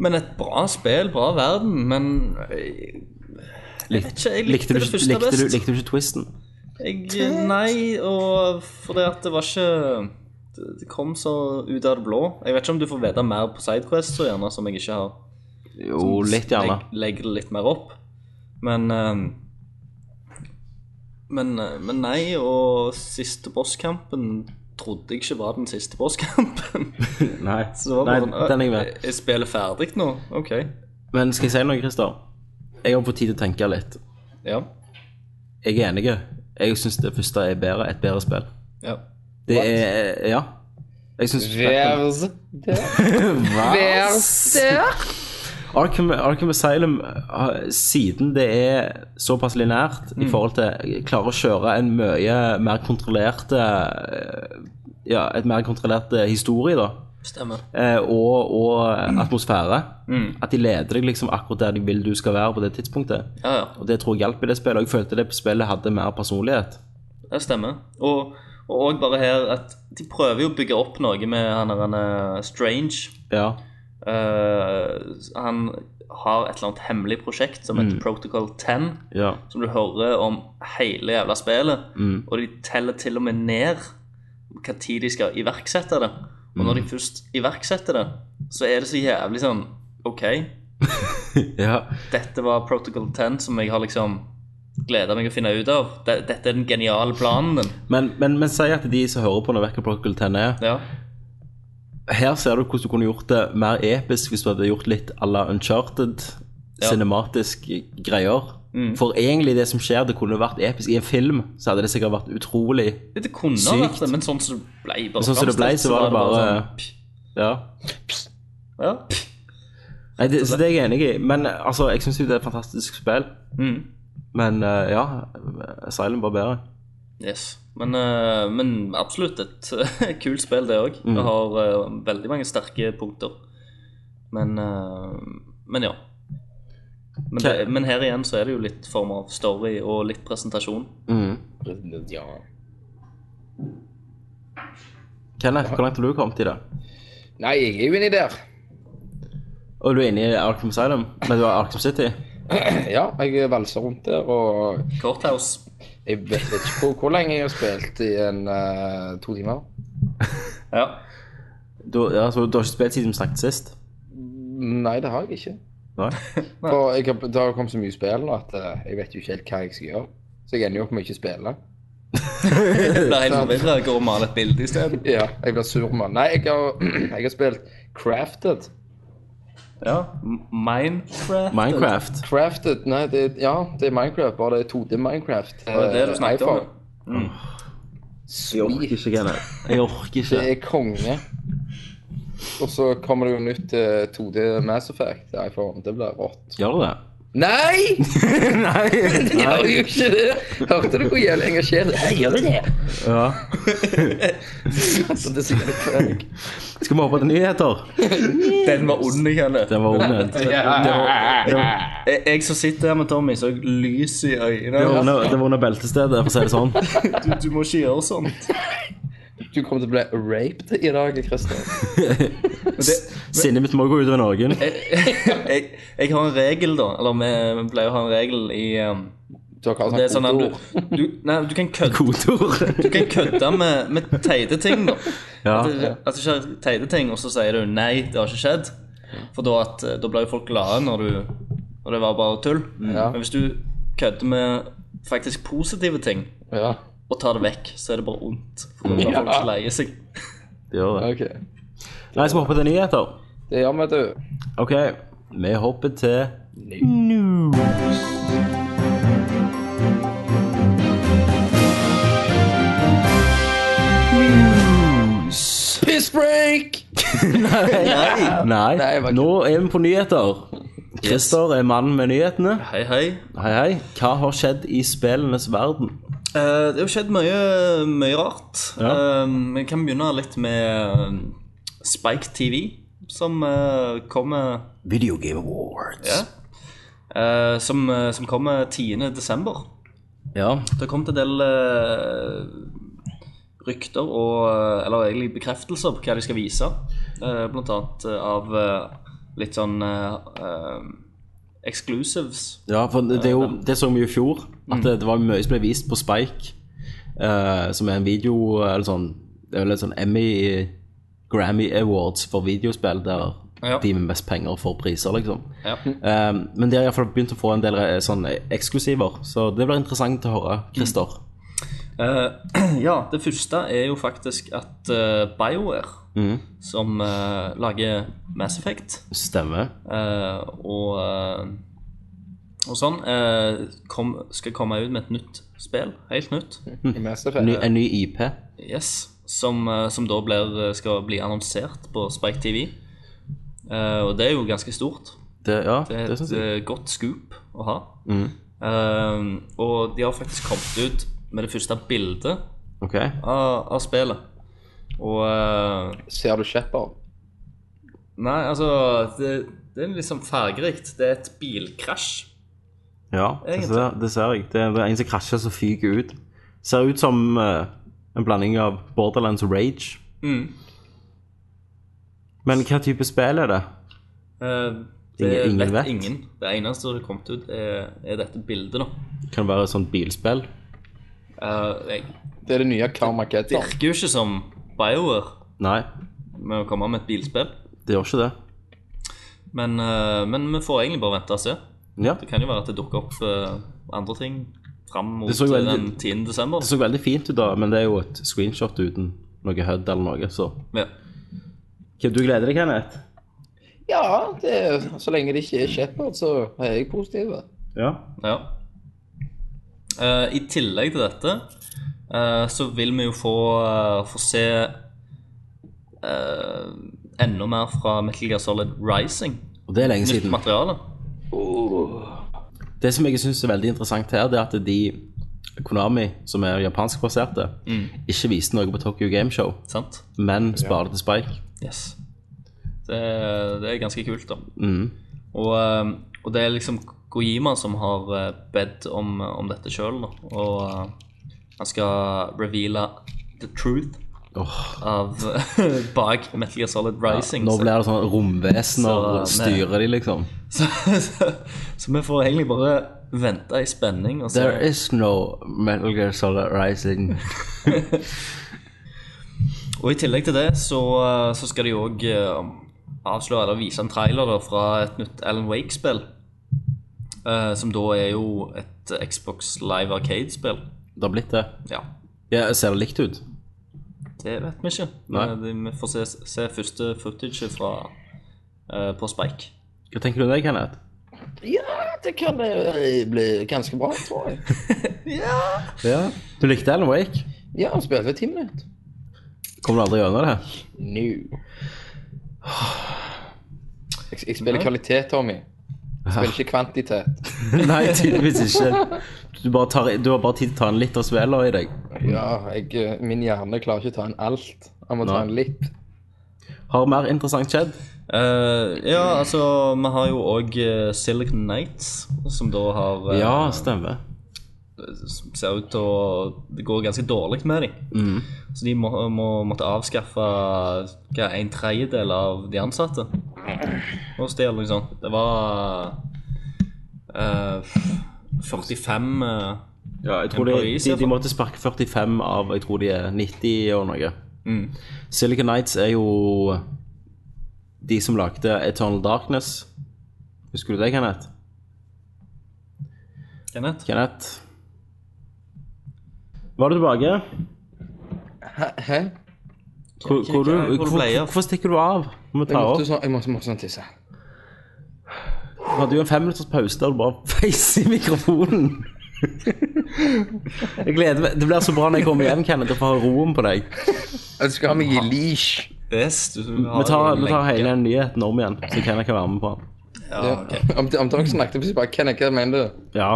Men et bra spill, bra verden, men eh, Jeg vet ikke, jeg likte Likte du, det ikke- første likte, du, best. likte du ikke twisten? Jeg, nei, og fordi at det var ikke det- Det kom så ut av det blå. Jeg vet ikke om du får vite mer på Sidequest, så gjerne, som jeg ikke har Sånn, Jo, litt gjerne. Legg- legger det litt mer opp. Men eh, men, eh, men nei, og siste bosskampen trodde jeg ikke var den siste bosskampen. Nei, Så det var Nei bare sånn, den er jeg med. «Å, Er spillet ferdig nå? OK. eh, Men skal jeg si noe, Christer? Jeg har fått tid til å tenke litt. Ja. Jeg er enig. Jeg syns det første er bedre, et bedre spill. ja. Det er Ja. Jeg syns Vers. Ah, Vers. Arkham, Arkham Asylum, eh, siden det er såpass lineært i forhold til Klarer å kjøre en mye mer kontrollerte eh, Ja, et mer kontrollert eh, historie, da. Stemmer. eh, Og, og atmosfære. Mm. At de leder deg liksom akkurat der de vil du skal være på det tidspunktet. Ja, ja. Og Det tror jeg hjalp i det spillet. Og jeg følte det spillet hadde mer personlighet. Det stemmer. Og og også bare her at de prøver jo å bygge opp noe med han der han er Strange. Ja. Eh, han har et eller annet hemmelig prosjekt som heter Protocol 10, ja. som du hører om hele jævla spillet. Mm. Og de teller til og med ned hva tid de skal iverksette det. Og når de først iverksetter det, så er det så jævlig sånn OK, ja. dette var Protocol 10 som jeg har liksom gleda meg å finne ut av. De- Dette er den geniale planen din. Men, men, men si at de som hører på når Verker Protocol 10 er, Ja. her ser du hvordan du kunne gjort det mer episk hvis du hadde gjort litt à la Uncharted. Ja. Cinematisk greier. Mm. For egentlig det som skjer, det kunne vært episk. I en film så hadde det sikkert vært utrolig Det kunne ha Sykt. vært det, men sånn som det ble bare Sånn som det ble, framstilt, så var det bare- sånn, pff, Ja. sånn, ja, pff, Nei, det, så det er jeg enig i. Men altså, jeg syns jo det er et fantastisk spill. Mm. Men eh, ja, Asylum var bedre. yes. men, eh, men absolutt et kult spill, det òg. Mm. Det har eh, veldig mange sterke punkter. Men, eh, men ja. Men, det, Hva- men her igjen så er det jo litt form av story og litt presentasjon. Mm. Ja. Kenneth, hvor langt har du kommet i det? Nei, jeg er jo inni der. Og du er inne i Arkham Asylum? Men du er Arkham City? Ja, jeg valser rundt der, og Courthouse. jeg vet ikke hvor, hvor lenge jeg har spilt i en eh, to timer. Ja. Du, ja, så du har ikke spilt siden vi snakket sist? Nei, det har jeg ikke. Nei? For jeg, har- det har kommet så mye spill nå at eh, jeg vet jo ikke helt hva jeg skal gjøre. Så jeg ender jo opp med å ikke spille. Jeg blir helt forvirra og går og maler et bilde i stedet. Ja, jeg blir sur mann. Nei, jeg har, jeg har spilt Crafted. Ja. M- Minecraft. Minecraft? Crafted, nei, det, er- ja, det er Minecraft, bare det er 2D Minecraft. Det var det du eh, snakket om. iPhone. ja. Jeg orker ikke, Kenneth. Jeg orker ikke. Det er konge. Og så kommer det jo nytt eh, 2D Mass Effect iPhone. Det blir rått. Gjør du det? Nei! Nei. Det gjør jo ikke det! Hørte du hvor jævlig engasjert jeg gjør det? Ja. Altså, det sier det før. Skal vi hoppe til nyheter? Den var ond, Kenneth. Den var omvendt. Det var- det var- Jeg, jeg som sitter her med Tommy, så har jeg lys i øynene. det var under- det var under beltestedet, for å si det sånn. Du, du må ikke gjøre sånt. Du kommer til å bli raped i dag, Christian. Sinnet mitt må gå utover noen. Jeg, jeg har en regel, da. Eller vi vi pleier å ha en regel i um, Du har kalt Det han er sånn at kodeord. du, du Nei, du kan kødde, Kodeord. du kan kødde med, med teite ting, da. Ja. At det, at det skjer teite ting, og så sier du nei, det har ikke skjedd. For da, at, eh, da blir jo folk glade når, du, når det var bare tull. Mm. Ja. Men hvis du kødder med faktisk positive ting Ja, og tar det vekk, så er det bare ondt. For da blir folk så leie seg. Det gjør det. OK. Nei, skal vi hoppe til nyheter? Det gjør vi, du. OK, vi hopper til Piss break! Nei, Nei, jeg bare nå er vi på nyheter. Christer er mannen med nyhetene. Hei, hei. Hei, hei. Hva har skjedd i spillenes verden? Eh, det har jo skjedd mye, mye rart. Ja. Eh, Vi kan begynne litt med eh, Spike TV, som eh, kommer Video Game Awards. ja, Eh, som, eh, som kommer 10. desember. Ja. Det har kommet en del eh, rykter og eh, Eller egentlig bekreftelser på hva de skal vise. Eh, blant annet eh, av eh, litt sånn eh, eh, exclusives. Ja, Mm. for det, det, er jo, det så vi jo i fjor, at det, det var mye som ble vist på Spike, eh, som er en video, eller sånn, det er vel en sånn Emmy, Grammy Awards for videospill, der Ja. de med mest penger får priser, liksom. Ja. Eh, men de har i hvert fall begynt å få en del eh, sånn eksklusiver, så det blir interessant å høre, Christer. Eh, ja, det første er jo faktisk at eh, BioWare, Mm. som eh, lager Mass Effect Stemmer. eh, og, eh, og sånn, eh, kom, skal komme ut med et nytt spill. Helt nytt. I Mass Effect. Ny, en ny IP. Yes, som, eh, som da blir, skal bli annonsert på Spike TV. Eh, og det er jo ganske stort. Det, ja, Det er det synes et jeg. Mm. eh, godt scoop å ha. Eh, og de har faktisk kommet ut med det første bildet Ok. av, av spillet. Og eh, Ser du Shepard? Nei, altså det, det er liksom fargerikt. Det er et bilkrasj. Ja, det Egentlig. ser, det ser jeg. Det er det er en som krasjer som fyker ut. Ser ut som eh, en blanding av Borderlands og Rage. Mm. Men hva type spill er det? Eh, det Ingen- ingen vet vet. ingen. Det eneste som har kommet ut, er, er dette bildet nå. Kan det være et sånt bilspill? Eh, jeg Det er det nye Karmageddon. virker jo ikke som BioWare. Nei, med å komme med et bilspill. det gjør ikke det. Men, eh, men vi får egentlig bare vente og se. Ja. Det kan jo være at det dukker opp eh, andre ting fram mot Det så jo veldig- den 10. desember. Det så veldig fint ut, da, men det er jo et screenshot uten noe HUD eller noe, så Ja. Hva du gleder deg, Kenneth? Ja, det, er- så lenge det ikke er Shepherd, så er jeg positiv. da. Ja. Ja. Eh, I tillegg til dette eh, så vil vi jo få, eh, få se eh, enda mer fra Metal Gear Solid Rising. Og det er lenge Nytt siden. materiale. Det som jeg synes er veldig interessant her, det er at de Konami, som er japanskbaserte, ikke viste noe på Tokyo Game Show, Sant? men sparer det til Spike. Yes. Det, det er ganske kult, da. Mm. Og, eh, og det er liksom Kojima som har eh, bedt om, om dette sjøl, da. Og eh, han skal reveale the truth Åh, av bak Metal Gear Solid Rising. nå så- blir det sånn romvesener Så, og styrer de, liksom. Så, så, så vi får egentlig bare vente i spenning. Og så, There is no Metal Gear Solid Rising. Og i tillegg til det så, eh, så skal de òg avsløre eller vise en trailer da, fra et nytt Alan Wake-spill. eh, som da er jo et Xbox Live Arcade-spill. Det har blitt det. Ja, Ja, ser det likt ut? det vet vi ikke. Nei. Men vi får se, se første footage fra, eh, på Spike. Hva tenker du om det, Kenneth? Ja, det kan eh, bli ganske bra, tror jeg. Ja. Du likte Alan Wake? Ja, spille for ti minutter. Kommer du aldri gjennom det? No. Jeg, jeg spiller kvalitet, Tommy. Jeg spiller ikke kvantitet. Nei, tydeligvis ikke. Du, bare tar, du har bare tid til å ta en liter sveler i deg. Ja, jeg, eh, min hjerne klarer ikke å ta inn alt. Jeg må ta Nei. inn litt. Har mer interessant skjedd? Eh, ja, altså Vi har jo òg Silicon Nights, som da har eh, Ja, stemmer. som ser ut til å Det går ganske dårlig med dem. Mm. Så de må, må måtte avskaffe hva, en tredjedel av de ansatte. Hos de, eller noe sånt. Det var eh, 45 eh, Ja, jeg tror de, Employees, de, i hvert de fall. måtte sparke 45 av Jeg tror de er 90 og noe. mm. Silicon Nights er jo de som lagde Eternal Darkness. Husker du det, Kenneth? Kenneth. Kenneth? Var du tilbake? Hæ? Hvor, hvor, du- hvor du hvor, ble av? hvorfor stikker du av? Må Jeg vi ta måtte opp? sånn, jeg måtte, måtte sånn tisse. hadde jo en femminutters pause der du bare feis i mikrofonen. Jeg gleder meg. Det blir så bra når jeg kommer igjen, Kenneth, og får ha roen på deg. Jeg skal ha meg i leash. Yes, du, Vi tar, vi tar hele den nyheten om igjen, så Kenneth kan være med på den. Ah, ja, ok. Om, om dere snakket plutselig bare Kenneth, hva mener du? Ja.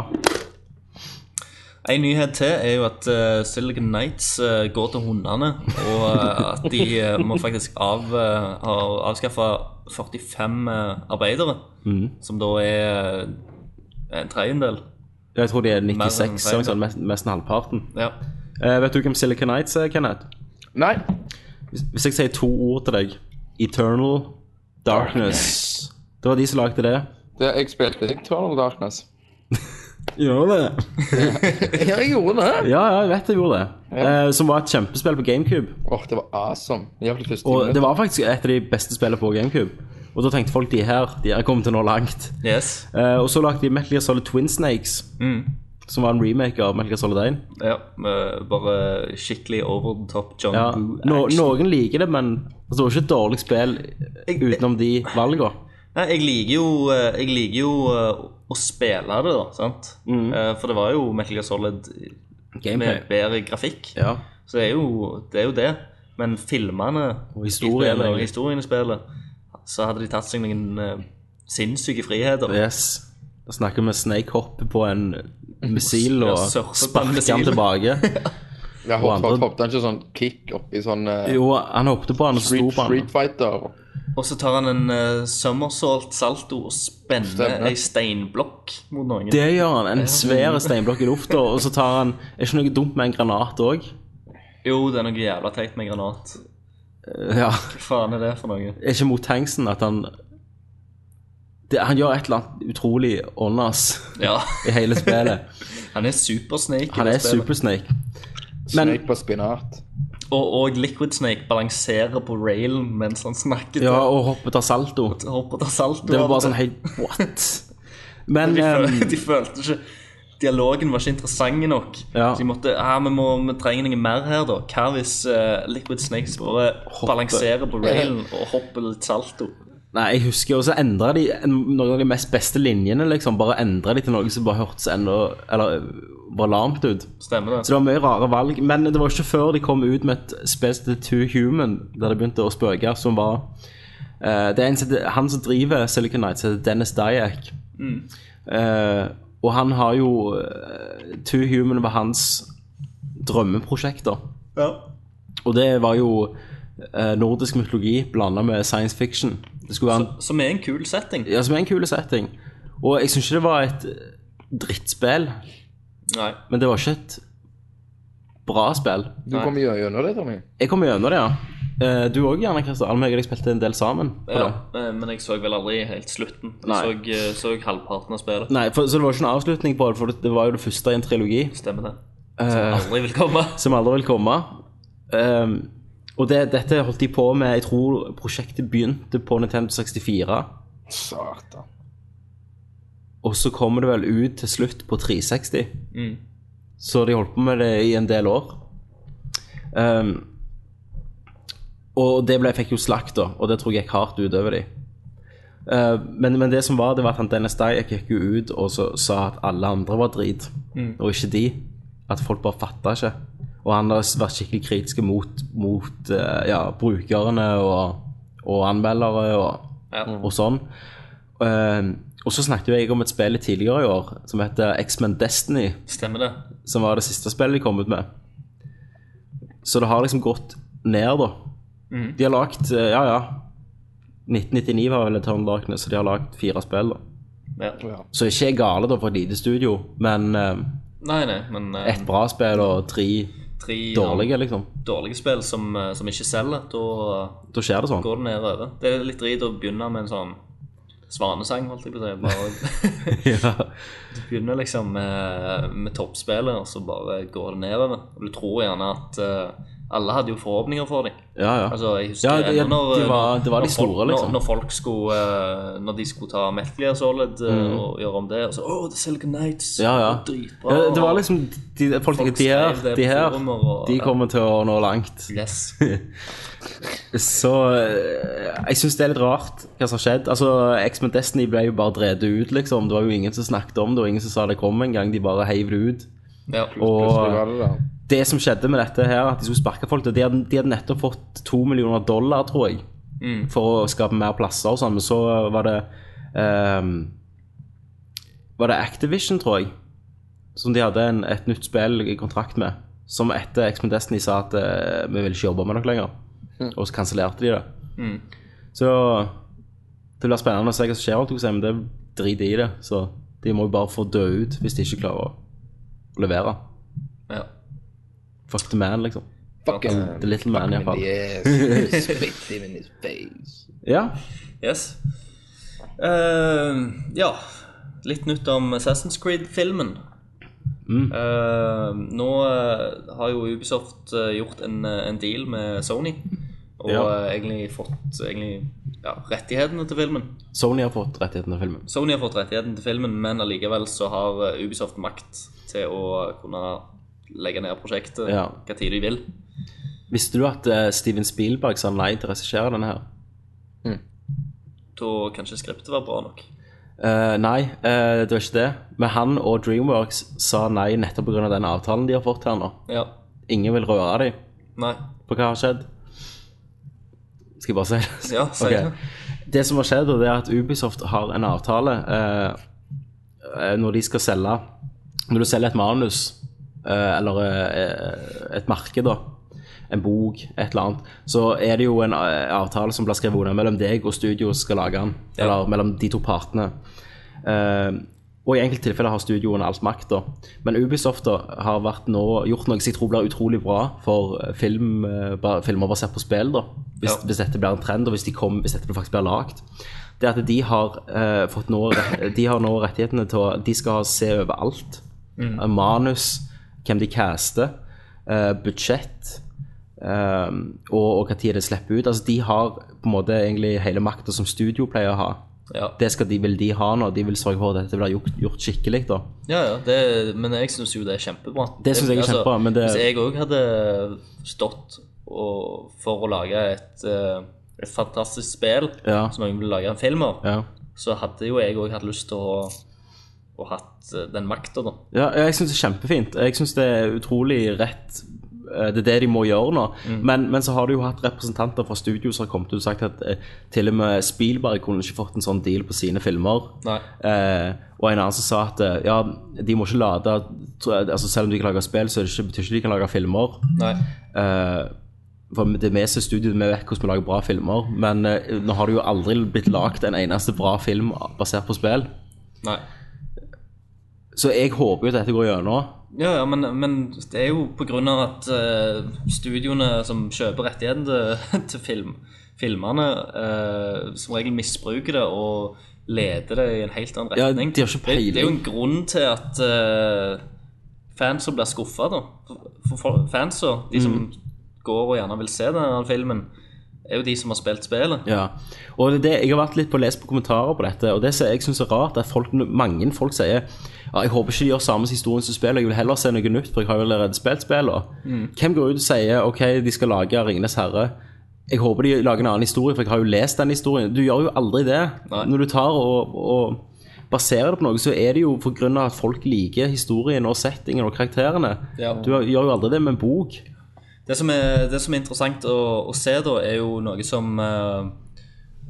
En nyhet til er jo at eh, Silicon Nights eh, går til hundene, og eh, at de eh, må faktisk av, eh, har avskaffa 45 arbeidere, som da er eh, en tredjedel. Jeg tror de er enn 96, feil, sånn, sånn, mest- nesten halvparten. Ja. Eh, vet du hvem Silicon Nights er, Kenneth? Nei. Hvis, hvis jeg sier to ord til deg Eternal Darkness. Det var de som lagde det. Det, jeg spilte Eternal Darkness. Gjør det? Ja, jeg gjorde det. Ja, ja, jeg vet jeg gjorde det. Eh, som var et kjempespill på GameCube. Åh, det var awesome. Iallfall første Og det minutt. var faktisk et av de beste spillene på GameCube. Og da tenkte folk de her, de her kommer til å nå langt. Yes. Eh, og så lagde de Metal Gear Solid Twin Snakes, som var en remake av Metal Gear Solid 1. Ja, eh, bare skikkelig over the top John Ja. Boo No, action. noen liker det, men altså, det var ikke et dårlig spill utenom de valgene. Nei, jeg liker jo, eh, jeg liker jo eh, å spille det, da, sant? Eh, For det var jo Metal Gear Solid Gameplay. med bedre grafikk. Ja. Så det er jo det. Er jo det. Men filmene Og historien, i spillet, og egentlig. historien i spillet, så hadde de tatt seg noen eh, sinnssyke friheter. Yes. Da snakker vi Snake Hopp på en missil og Ja, surfer på en sparker missil. han tilbake. Jeg hoppet, andre- hoppet han ikke sånn kick oppi sånn eh, Jo, han hoppet på han og så sto Street, på han. Street Fighter? Og så tar han en uh, somersault salto og spenner Stemmer. ei steinblokk mot noen. Det gjør han. En svær steinblokk i lufta, og så tar han Er ikke noe dumt med en granat òg? Jo, det er noe jævla teit med granat. Ja. Hva faen er det for noe? er ikke mot tanksen at han det, Han gjør et eller annet utrolig åndas Ja, i hele spillet. han er supersnake. i Han er det spillet. supersnake. Men- Snake på spinat? Og, og Liquid Snake balanserer på railen mens han snakker. Ja, og hoppet av salto. Hopper til salto. Det var sånn av og bare sånn helt til. What? Men De, eh, føl de følte ikke dialogen var ikke interessant nok. Ja. Så jeg måtte, ah, vi, må, vi trenger noe mer her, da. Hva hvis eh, Liquid Snakes bare balanserer på railen og hopper litt salto? Nei, jeg husker jo, så endra de en- noen av de mest beste linjene, liksom. Bare endra de til noe som bare hørtes enda Eller øh, bare lamt ut. Så Stemmer det? det var mye rare valg. Men det var ikke før de kom ut med et spill som heter Two Human, der det begynte å spøke, som var eh, Det er en, som heter- han som driver Silicon Nights, heter Dennis Dyack. Eh, og han har jo eh, Two Human var hans drømmeprosjekt, da. Ja. Og det var jo eh, nordisk mytologi blanda med science fiction. Det skulle være en Som er en kul setting. ja, som er en kul setting. Og jeg syns ikke det var et drittspill, Nei. men det var ikke et bra spill. Du kommer jo gjennom det, Tommy. Jeg kom gjennom det, ja. Eh, Du òg, gjerne, Christer. Alm og jeg spilte en del sammen. på Ja, det. eh, men jeg så vel aldri helt slutten. Nei. Jeg så, eh, så halvparten av spillet. Nei, for, så det var ikke en avslutning på det, for det det var jo det første i en trilogi Stemmer det. Eh. Som aldri vil komme. som aldri vil komme. Ehm, og det, dette holdt de på med Jeg tror prosjektet begynte på Nintendo 64. Satan. Og så kommer det vel ut til slutt på 360. Så de holdt på med det i en del år. Ehm, og det ble, fikk jo slakt, da, og det tror jeg gikk hardt utover de. Eh, men, men det som var, det var at han Dennis Dyack gikk jo ut og så, sa at alle andre var drit, og ikke de. At folk bare fatta ikke. Og han har vært skikkelig kritiske mot, mot eh, ja, brukerne og, og anmeldere og, og sånn. Eh, og så snakket jo jeg om et spill tidligere i år som heter X-Men Destiny Stemmer det. som var det siste spillet de kom ut med. Så det har liksom gått ned, da. Mhm. De har lagt eh, Ja, ja. 1999 var vel Eternal Darkness, så de har lagt fire spill. da. Ja. Så ikke jeg gale da for et lite studio, men eh, Nei, nei, men eh, ett bra spill og tre tre dårlige, liksom. dårlige spill som, eh, som ikke selger, da eh, Da skjer det sånn. går det nedover. Det er litt drit å begynne med en sånn svanesang, holdt jeg på å si. Bare ja. du begynner liksom med, med toppspillet, og så bare går det nedover. Og du tror gjerne at eh, alle hadde jo forhåpninger for dem. ja, ja. Altså, jeg husker Ja, det- ennå når, eh, det var- det var de når store, folk, liksom. Når, når folk skulle eh, Når de skulle ta Metal Gear Solid eh, og gjøre om det, og så Å, The Silicon Nights! Mm. Ja, ja. det er Dritbra. ja. Det var liksom de, Folk Folk tenkte de her, skrev det på de her, forumer og- de kommer til å nå langt. Yes. Så eh, jeg syns det er litt rart hva som har skjedd. Altså, X-Men Destiny ble jo bare drevet ut, liksom. Det var jo ingen som snakket om det, og ingen som sa det kom engang. De bare heiv det ut. Ja. Plutselig eh, Og var det der. det som skjedde med dette her, at de skulle sparke folk De hadde, de hadde nettopp fått to millioner dollar, tror jeg, Mm, for å skape mer plasser og sånn, men så var det ehm, Var det Activision, tror jeg, som de hadde en, et nytt spill i kontrakt med, som etter X-Men Destiny sa at eh, vi vil ikke jobbe med dere lenger, Hm. og så kansellerte de det. mm. Så det blir spennende å se hva som skjer, holdt jeg på å si, men det driter i det. Så de må jo bare få dø ut hvis de ikke klarer å levere. ja. Fuck the man, liksom. Fucking The little man, iallfall. Yes. Spit him in his face. Ja. Yes. Eh, ja, litt nytt om Assassin's Creed-filmen. Mm. Eh, nå eh, har jo Ubisoft eh, gjort en, eh, en deal med Sony. Og Ja. eh, egentlig fått egentlig, ja, rettighetene til filmen. Sony har fått rettigheten til filmen. Sony har fått rettigheten til filmen, men allikevel så har eh, Ubisoft makt til å kunne legge ned prosjektet Ja. hva tid de vil. Visste du at eh, Steven Spielberg sa nei til å regissere denne her? Da kanskje skriptet var bra nok. Eh, nei, eh, det var ikke det. Men han og Dreamworks sa nei nettopp pga. den avtalen de har fått her nå. Ja. Ingen vil røre dem. Nei. For hva har skjedd? Skal jeg bare si det? Ja, si Ok. det. Det som har skjedd, og det er at Ubisoft har en avtale eh, eh, når de skal selge Når du selger et manus, eh, eller eh, et merke, da, en bok, et eller annet, så er det jo en eh, avtale som blir skrevet under mellom deg og studio som skal lage den, Ja. eller mellom de to partene. Eh, og i enkelte tilfeller har studioene alt makt, da. Men Ubisoft da, har vært nå, gjort noe som jeg tror blir utrolig bra for film, eh, ba- filmer basert på spill, da. Hvis, Ja. hvis dette blir en trend, og hvis, de kom, hvis dette faktisk blir lagd. Det er at de har, eh, fått nå, re- de har nå rettighetene til å De skal ha se over alt. Eh, Manus, hvem de caster, eh, budsjett. eh, og, og hva tid det slipper ut. Altså, de har på en måte egentlig hele makta som studio pleier å ha Ja. Det skal de, vil de ha nå. De vil sørge for at dette blir gjort, gjort skikkelig. da. Ja, ja, det, men jeg syns jo det er kjempebra. Altså, Det synes jeg er kjempebra, men det- Hvis jeg òg hadde stått og, for å lage et, eh, et fantastisk spill Ja. som jeg ville lage en film av, Ja, så hadde jo jeg òg hatt lyst til å, å hatt eh, den makta, da. ja jeg syns det er kjempefint. Jeg syns det er utrolig rett. eh, Det er det de må gjøre nå. Men, men så har du jo hatt representanter fra studio som har kommet ut og sagt at eh, til og med Spielberg kunne ikke fått en sånn deal på sine filmer. Nei. Eh, og en annen som sa at eh, ja, de må ikke lade tro- altså Selv om de kan lage spill, så er det ikke, betyr ikke de kan lage filmer. Nei. Eh, for det meste studioet vi vet hvordan vi lager bra filmer, men eh, nå har det jo aldri blitt lagd en eneste bra film basert på spill. Nei. Så jeg håper jo at dette går gjennom. Ja, ja, men, men det er jo på grunn av at eh, studioene som kjøper rettigheten til, til film, filmene, eh, som regel misbruker det og leder det i en helt annen Ja, retning. de har ikke det, det er jo peiling. en grunn til at eh, fans som blir skuffa, da. For, for folk- fans, da, de som Mm. går og gjerne vil se denne filmen, er jo de som har spilt spillet. Ja. Og det, er det, jeg har vært litt på lest på kommentarer på dette, og det som jeg syns er rart, er at folk, mange folk sier ja, jeg håper ikke de gjør samme historien som spillet, jeg vil heller se noe nytt, for jeg har jo allerede spilt spillet. Mm. Hvem går ut og sier ok, de skal lage Ringenes herre? Jeg håper de lager en annen historie, for jeg har jo lest den historien. Du gjør jo aldri det. Nei. Når du tar og, og baserer det på noe, så er det jo på grunn av at folk liker historien og settingen og karakterene. Ja. Du gjør jo aldri det med en bok. Det som er, det som er interessant å, å se da, er jo noe som eh,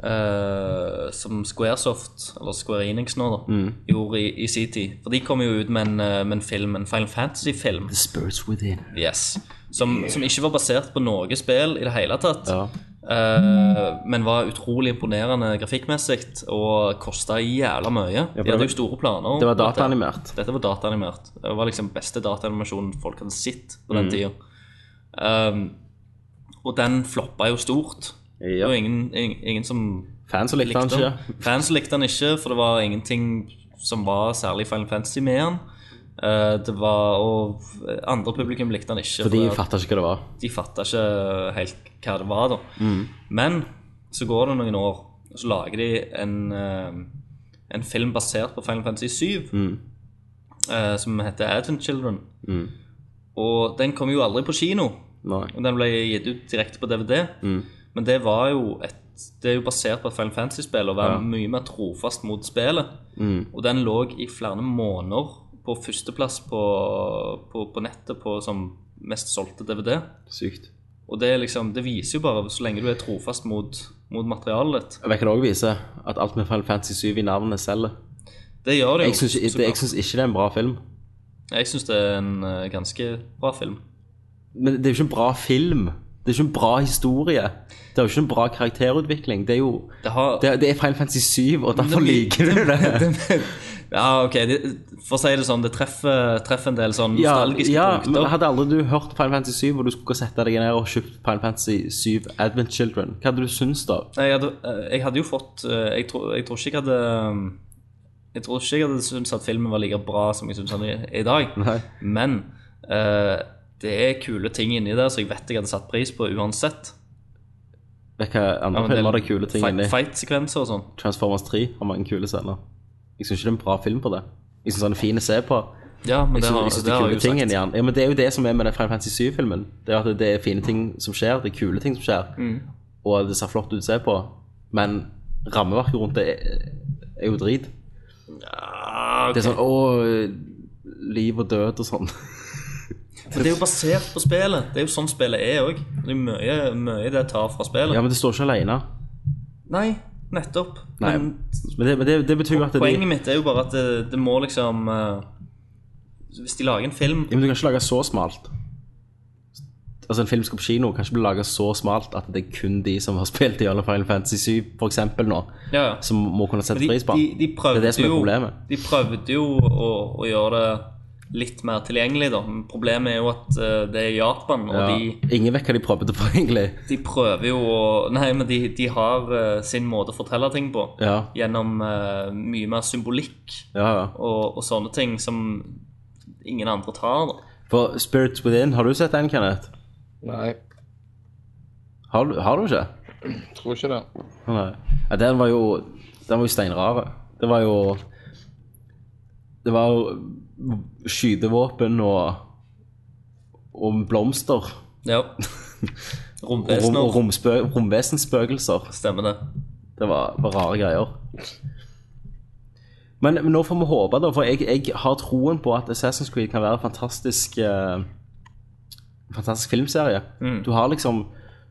eh, Som Squaresoft, eller Square Enix nå, da, Mm. gjorde i, i sin tid. For de kom jo ut med en, eh, med en film, en Final Fantasy-film, The spirits within. yes, som, som ikke var basert på noe spill i det hele tatt. Ja. eh, men var utrolig imponerende grafikkmessig og kosta jævla mye. for De det var- hadde jo store planer. Det var om dette. dataanimert. Dette var dataanimert. Det var liksom beste dataanimasjonen folk hadde sett på Mm. den tiden Um, og den floppa jo stort. Det Ja. var ingen, ingen, ingen som Fans som likte likte han ikke. den. Fans likte den ikke, for det var ingenting som var særlig Final Fantasy med den. Eh, det var, og andre publikum likte den ikke. For de at- fatta ikke hva det var. de fatta ikke helt hva det var, da. Men så går det noen år, og så lager de en, eh, en film basert på Final Fantasy 7, Mm, eh, som heter Advent Children. Og den kom jo aldri på kino. Nei. Mm, Og den ble gitt ut direkte på DVD. Men det var jo et det er jo basert på et Final Fantasy-spill og være Ja. mye mer trofast mot spillet. mm. Og den lå i flere måneder på førsteplass på, på, på nettet på som mest solgte DVD. Sykt. Og det, er liksom, det viser jo bare så lenge du er trofast mot, mot materialet ditt. Jeg kan også vise at alt med Final Fantasy 7 i navnet selger. Det gjør det jo. Jeg syns ikke, så det- jeg klart. syns ikke det er en bra film. jeg syns det er en eh, ganske bra film. Men det er jo ikke en bra film. Det er ikke en bra historie. Det er jo ikke en bra karakterutvikling. Det er jo Det har, Det, det er Final Fantasy 7, og derfor det- liker du det. ja, ok, det, For å si det sånn, det treffer, treffer en del sånn Ja, nostalgiske ja men punkter. Hadde aldri du hørt Final Fantasy 7, og du skulle sette deg ned og kjøpt Final Fantasy 7 Advent Children, hva hadde du syntes da? Nei, Jeg hadde, eh, jeg hadde jo fått eh, Jeg, tror- jeg tror ikke jeg hadde um, Jeg tror ikke jeg hadde syntes at filmen var like bra som jeg syns den er i dag. Nei. Men eh, det er kule ting inni der som jeg vet jeg hadde satt pris på uansett. Vet du hva andre Ja, men filmer det- det er kule ting fight- inni? Fight-sekvenser og sånn. Transformers 3 har mange kule scener. Jeg syns ikke det er en bra film på det. Jeg syns den er fin å se på. Ja, men det Jeg har, synes- jeg synes det det er har jeg kule jo ting sagt. inni den. Ja, men det er jo det som er med den Final Fantasy 7-filmen. Det er at det er fine ting som skjer, det er kule ting som skjer, og det ser flott ut å se på. Men rammeverket rundt det er, er jo drit. Ah, ok. Det er sånn å Liv og død og sånn. For det er jo basert på spillet. Det er jo sånn spillet er òg. Det er mye, mye det tar fra spillet. Ja, men det står ikke alene. Nei, nettopp. Nei, Men men det, men det, det betyr jo at de poenget ja, mitt er jo bare at det, det må liksom eh, Hvis de lager en film men Du kan ikke lage så smalt. Altså En film skal på kino, kan ikke bli laga så smalt at det er kun de som har spilt i alle Final Fantasy 7, for eksempel nå, ja, ja. som må kunne sette De, pris på de, den. de prøvde Det er det som er jo, problemet. De prøvde jo å, å gjøre det litt mer tilgjengelig, da. Men problemet er jo at eh, det er Japan, og Ja. de Ingen vet hva de prøvde på, egentlig. De prøver jo å Nei, men de, de har eh, sin måte å fortelle ting på. Ja, Gjennom eh, mye mer symbolikk ja, ja. og, og sånne ting som ingen andre tar. Da. For Spirits Within, har du sett den, Kenneth? Nei, Har du, har du ikke? tror ikke det. Nei. Ja, den var jo Den var jo steinrare. Det var jo Det var jo skytevåpen og Og blomster. Ja. Og, rom, og Romvesener. romspø, romvesenspøkelser. Stemmer det. Det var, var rare greier. Men, men nå får vi håpe, da, for jeg, jeg har troen på at Assassin's Creed kan være en fantastisk eh, Fantastisk filmserie. Mm. Du har liksom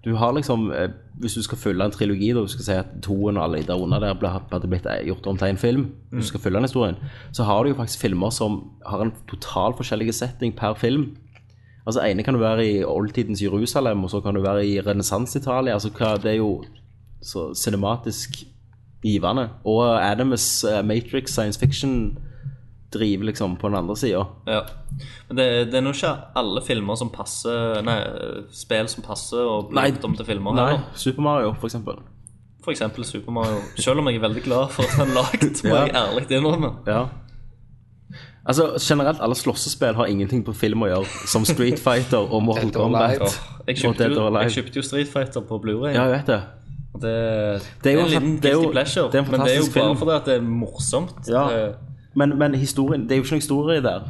du har liksom, eh, Hvis du skal følge en trilogi, da, du skal si at toen og alle der under der ble, hadde blitt eh, gjort om til en film, du skal følge den historien, så har du jo faktisk filmer som har en total forskjellig setting per film. Altså ene kan du være i oldtidens Jerusalem, og så kan du være i renessanse-Italia. Altså, hva- det er jo så cinematisk givende. Og Adamus eh, Matrix science fiction driver liksom på den andre sida. Ja. Men det, det er nå ikke alle filmer som passer Nei, spill som passer og blir Nei. gjort om til filmer. Nei, heller. Super Mario, for eksempel. For eksempel Super Mario. Selv om jeg er veldig glad for at den er lagd, må Ja. jeg ærlig innrømme. Ja. Altså, generelt, alle slåssespill har ingenting på film å gjøre, som Street Fighter og Mortal Dead or Alive. Kombat. Jeg Og kjøpte, Dead jo, or jeg Alive. kjøpte jo Street Fighter på Blu-ray Ja, jeg vet det. og Det, Det er jo en en liten fa- det er jo- guilty pleasure. det er en men det er jo fantastisk bare film. fordi at det er morsomt. Eh, Ja. Det- Men, men historien, det er jo ikke noen historie der.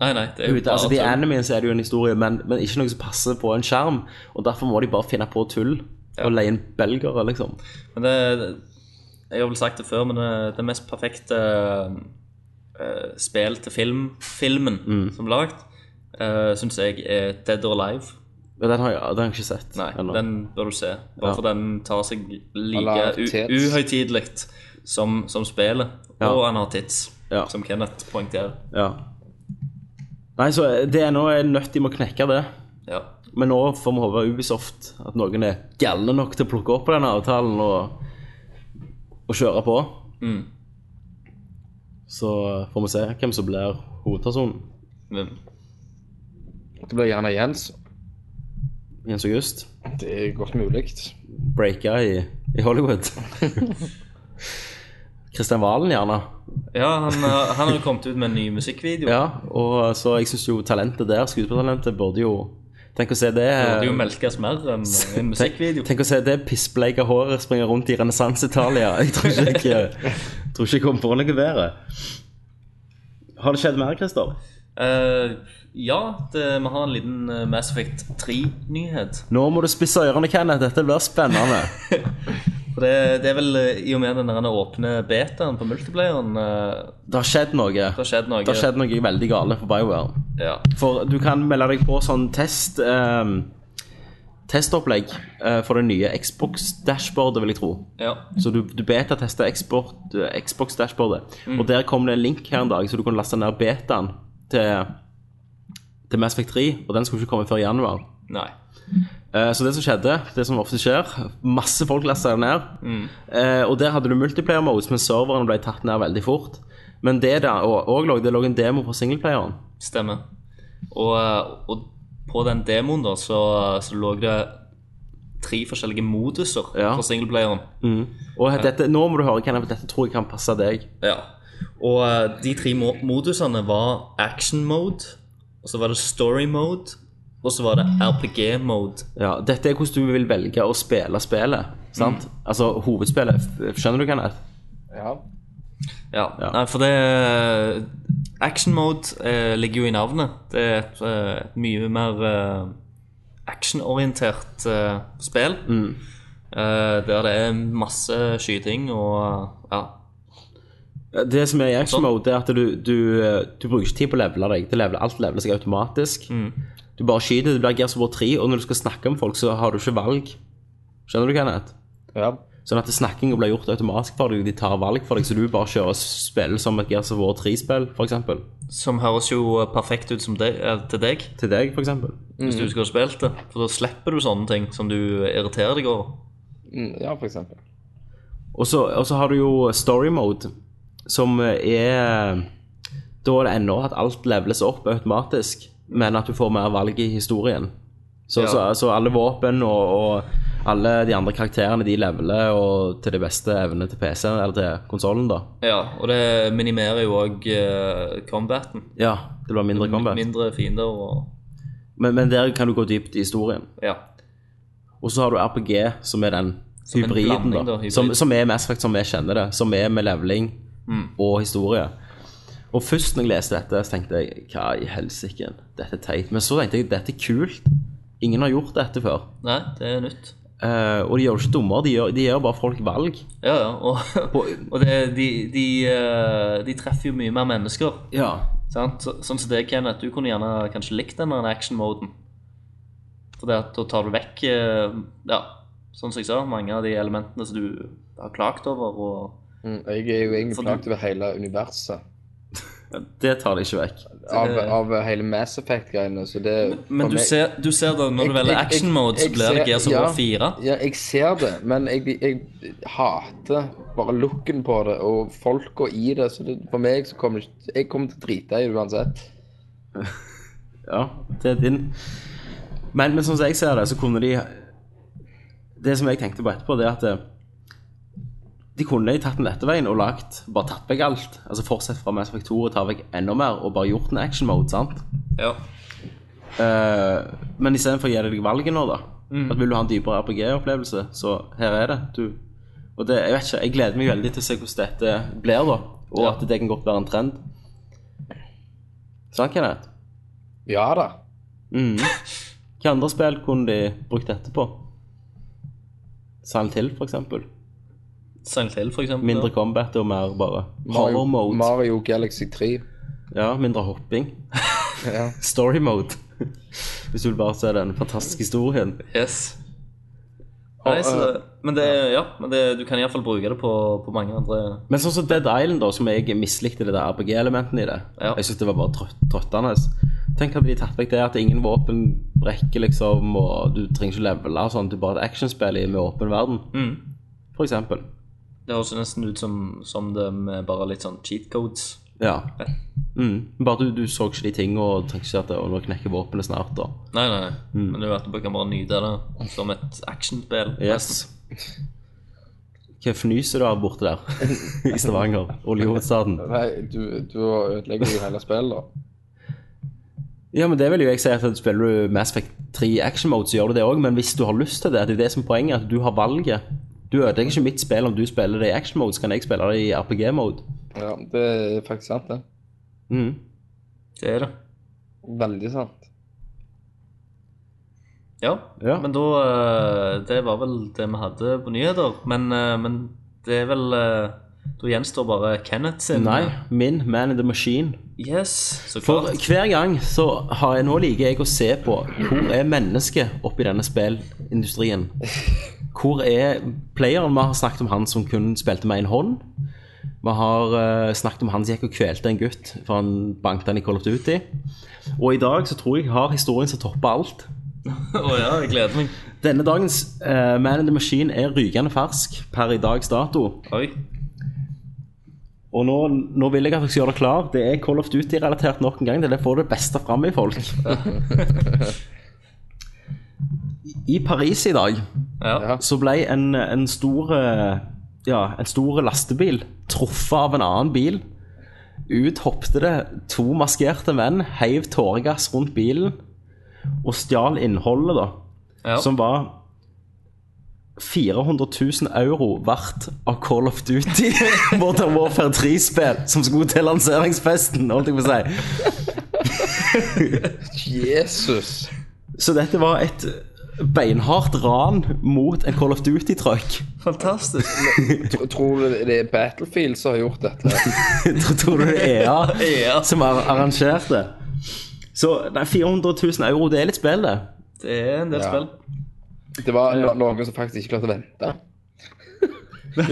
nei, nei, det er jo Ute, altså, de tull. animeene er det jo en historie, men, men ikke noe som passer på en skjerm. Og derfor må de bare finne på tull og leie inn belgere, liksom. Men det, jeg har vel sagt det før, men det, det mest perfekte eh, spill til film, filmen Mm. som er lagd, uh, syns jeg er Dead or Alive. Men den har jeg, den har jeg ikke sett. Nei, ennå. den bør du se. Bare Ja. for den tar seg like Eller tits. u- uhøytidelig som, som spillet. Ja. Og han har tits, Ja. som Kenneth poengterer. Ja. Nei, så det er nå er nødt de må knekke det. Ja. Men nå får vi håpe Ubisoft at noen er galne nok til å plukke opp på denne avtalen og, og kjøre på. Mm. Så får vi se hvem som blir hovedpersonen. Men, Det blir gjerne Jens. Jens August. Det er godt mulig. Breaka i, i Hollywood. Kristian Valen, gjerne. ja, han, har- han har jo kommet ut med en ny musikkvideo. Ja, og så jeg syns jo talentet der, skuespillertalentet, burde jo Tenk å se det Det burde jo melkes mer enn en musikkvideo. Tenk, tenk å se det pissbleika håret springe rundt i renessanse-Italia. Jeg tror ikke jeg, jeg tror ikke jeg kommer på noe bedre. Har det skjedd mer, Christer? Eh, ja, det, vi har en liten eh, Mass Effect 3-nyhet. Nå må du spisse ørene, Kenneth. Dette blir spennende. For det, det er vel eh, i og med den der åpne betaen på multiplayeren eh, Det har skjedd noe. Det har skjedd noe. Det har skjedd noe veldig gale for BioWare. Ja. For du kan melde deg på sånn test ehm, testopplegg eh, for det nye Xbox-dashbordet, vil jeg tro. ja. Så du, du betatester Xbox-dashbordet. Mm. Og der kom det en link her en dag, så du kunne laste ned betaen til, til Mass Effect 3. Og den skulle ikke komme før i januar. Nei. Eh, så det som skjedde, det som ofte skjer Masse folk lasta den ned. Mm. Eh, og der hadde du multiplayer modes, men serveren ble tatt ned veldig fort. Men det der og, og lå, det lå en demo på singleplayeren. Stemmer. Og, eh, og på den demoen da, så, så lå det tre forskjellige moduser Ja. for singleplayeren. Og dette, nå må du høre, Kenneth, dette tror jeg kan passe deg. Ja. Og eh, de tre mo modusene var action mode, og så var det story mode, og så var det RPG mode. Ja, dette er hvordan du vil velge å spille spillet. Sant? Altså hovedspillet. F- Skjønner du, Kenneth? Ja. Ja, Ja. Nei, for det Action mode eh, ligger jo i navnet. Det er et eh, et mye mer eh, actionorientert eh, spill. Mm. Eh, der det er masse skyting og ja, Det som er i action Sånn. mode, det er at du, du, eh, du bruker ikke tid på å levele deg. Det leveler, alt leveler seg automatisk. Du bare skyter, det blir Gears of War 3, og når du skal snakke med folk, så har du ikke valg. Skjønner du, Kenneth? ja. Sånn at snakkinga blir gjort automatisk for deg, de tar valg for deg, så du bare kjører og spiller som et Gears of War 3-spill, f.eks. som høres jo perfekt ut som deg, eh, til deg Til deg, f.eks. hvis du Mm. skulle ha spilt det. For da slipper du sånne ting som du irriterer deg over. Mm, ja, for eksempel. Og så og så har du jo story mode, som er Da er det ennå at alt leveles opp automatisk, men at du får mer valg i historien. Så, Ja. så, så alle våpen og, og alle de andre karakterene de leveler og til det beste evne til PC-en eller til konsollen, da. Ja, og det minimerer jo òg combaten. Ja, det blir mindre combat. Mindre fiender og Men, men der kan du gå dypt i historien. Ja. Og så har du RPG, som er den en hybriden, blanding, da. da, hybrid. Som, som er Mass Effect som vi kjenner det. Som er med leveling Mm. og historie. Og først når jeg leste dette, så tenkte jeg hva i helsike, dette er teit. Men så tenkte jeg dette er kult. Ingen har gjort dette før. Nei, det er nytt. Eh, og de gjør det ikke dummere, de gjør, de gjør bare folk valg. Ja, ja. Og, og det, de, de, eh, de treffer jo mye mer mennesker. Ja. Sant? Så, sånn som det, Kenneth, du kunne gjerne kanskje likt den der action-moden. For det at da tar du vekk eh, Ja, sånn som jeg sa, mange av de elementene som du har klagt over. Og Mm, Jeg er jo egentlig For du- plaget over hele universet. Det tar de ikke vekk. Av, av hele Mass Effect-greiene, så det men for du meg- ser, du ser da, når Jeg- du velger jeg- jeg- action-mode, så jeg blir det ser- Gears of ja. War 4. Ja, jeg ser det, men jeg, jeg hater bare looken på det og folka i det. Så det, for meg så kommer det ikke Jeg kommer til å drite i det uansett. Ja, det er din. Men, men sånn som jeg ser det, så kunne de Det som jeg tenkte på etterpå, det er at eh, de kunne jo tatt den lette veien og lagt Bare tatt vekk alt. Altså Fortsett fra Mass Effect 2 og ta vekk enda mer, og bare gjort en action mode, sant? Ja. Eh, men istedenfor å gi deg valget nå, da. At Vil du ha en dypere RPG-opplevelse, så her er det. Du. Og det, jeg vet ikke, jeg gleder meg veldig til å se hvordan dette blir, da. Og at det kan godt være en trend. Sant, Kenneth? Ja da. Mm. Hvilke andre spill kunne de brukt dette på? Silent Hill, for eksempel. Silent Hill, for eksempel. Mindre combat og mer bare Mario, horror mode. Mario Galaxy 3. Ja, mindre hopping. Ja. Story mode. Hvis du vil bare se den fantastiske historien. Yes. Nei, så, eh, men det, ja, men det, du kan iallfall bruke det på, på mange andre Men sånn som Dead Island, da, som jeg mislikte det der RPG-elementene i det. Ja. Jeg synes det var bare trøtt, trøttende. Tenk at de tatt vekk det at ingen våpen brekker, liksom, og du trenger ikke levele og sånn. Du bare har et actionspill i med åpen verden, Mm. for eksempel. Det høres jo nesten ut som, som det med bare litt sånn cheat codes. Ja. Mm. Bare du, du så ikke de tingene og tenkte ikke at det, og nå knekker våpenet snart. Da. Nei, nei, nei. Mm. Men det er jo at du kan bare nyte det som et actionspill. Yes. Hva fnyser du av borte der i Stavanger? Oljehovedstaden? Nei, du, du ødelegger jo hele spillet. Ja, men det vil jo jeg si at spiller du Mass Effect 3 i action mode, så gjør du det òg, men hvis du har lyst til det, det er jo det som er poenget, at du har valget. Du ødelegger ikke mitt spill om du spiller det i action mode, så kan jeg spille det i RPG mode. Ja, det er faktisk sant, det. Mm. Det er det. Veldig sant. Ja. Ja. Men da eh, Det var vel det vi hadde på nyheter. Men, eh, men det er vel eh, Da gjenstår bare Kenneth sin. Nei, min Man in the Machine. Yes, så For klart. hver gang så har jeg nå liker jeg å se på hvor er mennesket oppi denne spillindustrien. Hvor er playeren? Vi har snakket om han som kun spilte med én hånd. Vi har eh, snakket om han som gikk og kvelte en gutt, for han banket han i Call of Duty. Og i dag så tror jeg har historien som topper alt. Å ja, jeg gleder meg. Denne dagens eh, Man in the Machine er rykende fersk per i dags dato. Oi. Og nå, nå vil jeg at dere skal gjøre det klar. Det er Call of Duty-relatert nok en gang. Det er det får det beste fram i folk. I Paris i dag Ja. så ble en, en stor eh, Ja, en stor lastebil truffet av en annen bil. Ut hoppte det to maskerte menn, heiv tåregass rundt bilen og stjal innholdet, da ja. som var 400 000 euro verdt av Call of Duty Modern Warfare 3-spill som skulle til lanseringsfesten, holdt jeg på å si. Jesus! Så dette var et beinhardt ran mot en Call of Duty-trøkk. Fantastisk. Tro- Tror du det er Battlefield som har gjort dette? Tror du det er EA Ja, som har arrangert det? Så nei, 400 000 euro, det er litt spill, det. det er en del spill. Det var no noen som faktisk ikke klarte å vente.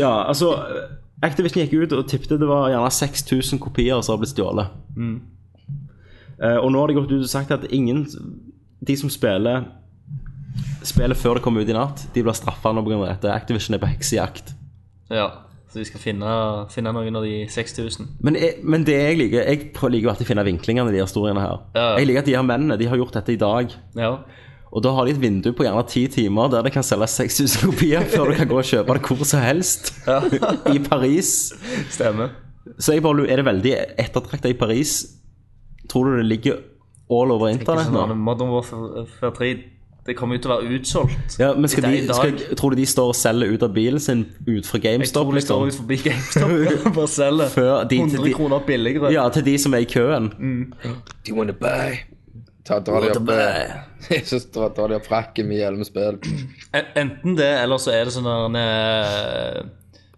Ja, altså Activision gikk ut og tippte det var gjerne 6000 kopier som har blitt stjålet. Eh, og nå har de gått ut og sagt at ingen De som spiller Spillet før det kommer ut i natt, de blir straffa nå pga. dette. Activision er på heksejakt. Ja. Så vi skal finne, finne noen av de 6000. Men, jeg, men det jeg liker Jeg prøver- liker jo alltid å finne vinklingene i de historiene her. Ja, ja. Jeg liker at de her mennene de har gjort dette i dag. Ja. Og da har de et vindu på gjerne ti timer der det kan selge 6000 kopier før du kan gå og kjøpe det hvor som helst. I Paris. Stemmer. Så jeg bare lurer, er det veldig ettertraktet i Paris? Tror du det ligger all over Ikke internett sånn nå? annen Modern Warfare 3 Det kommer jo til å være utsolgt. Ja, men skal Det er i de, dag. skal, tror du de står og selger ut av bilen sin ut fra Jeg tror GameStop? de Liksom? står ut forbi GameStop og bare selger Før de- 100 de- kroner billigere. Ja, til de som er i køen. Mm. Do you want to buy? Ta, dra de opp, eh, jeg synes dra, dra de opp frakken med hjelmespill. En- E, Enten det, eller så er det sånne eh,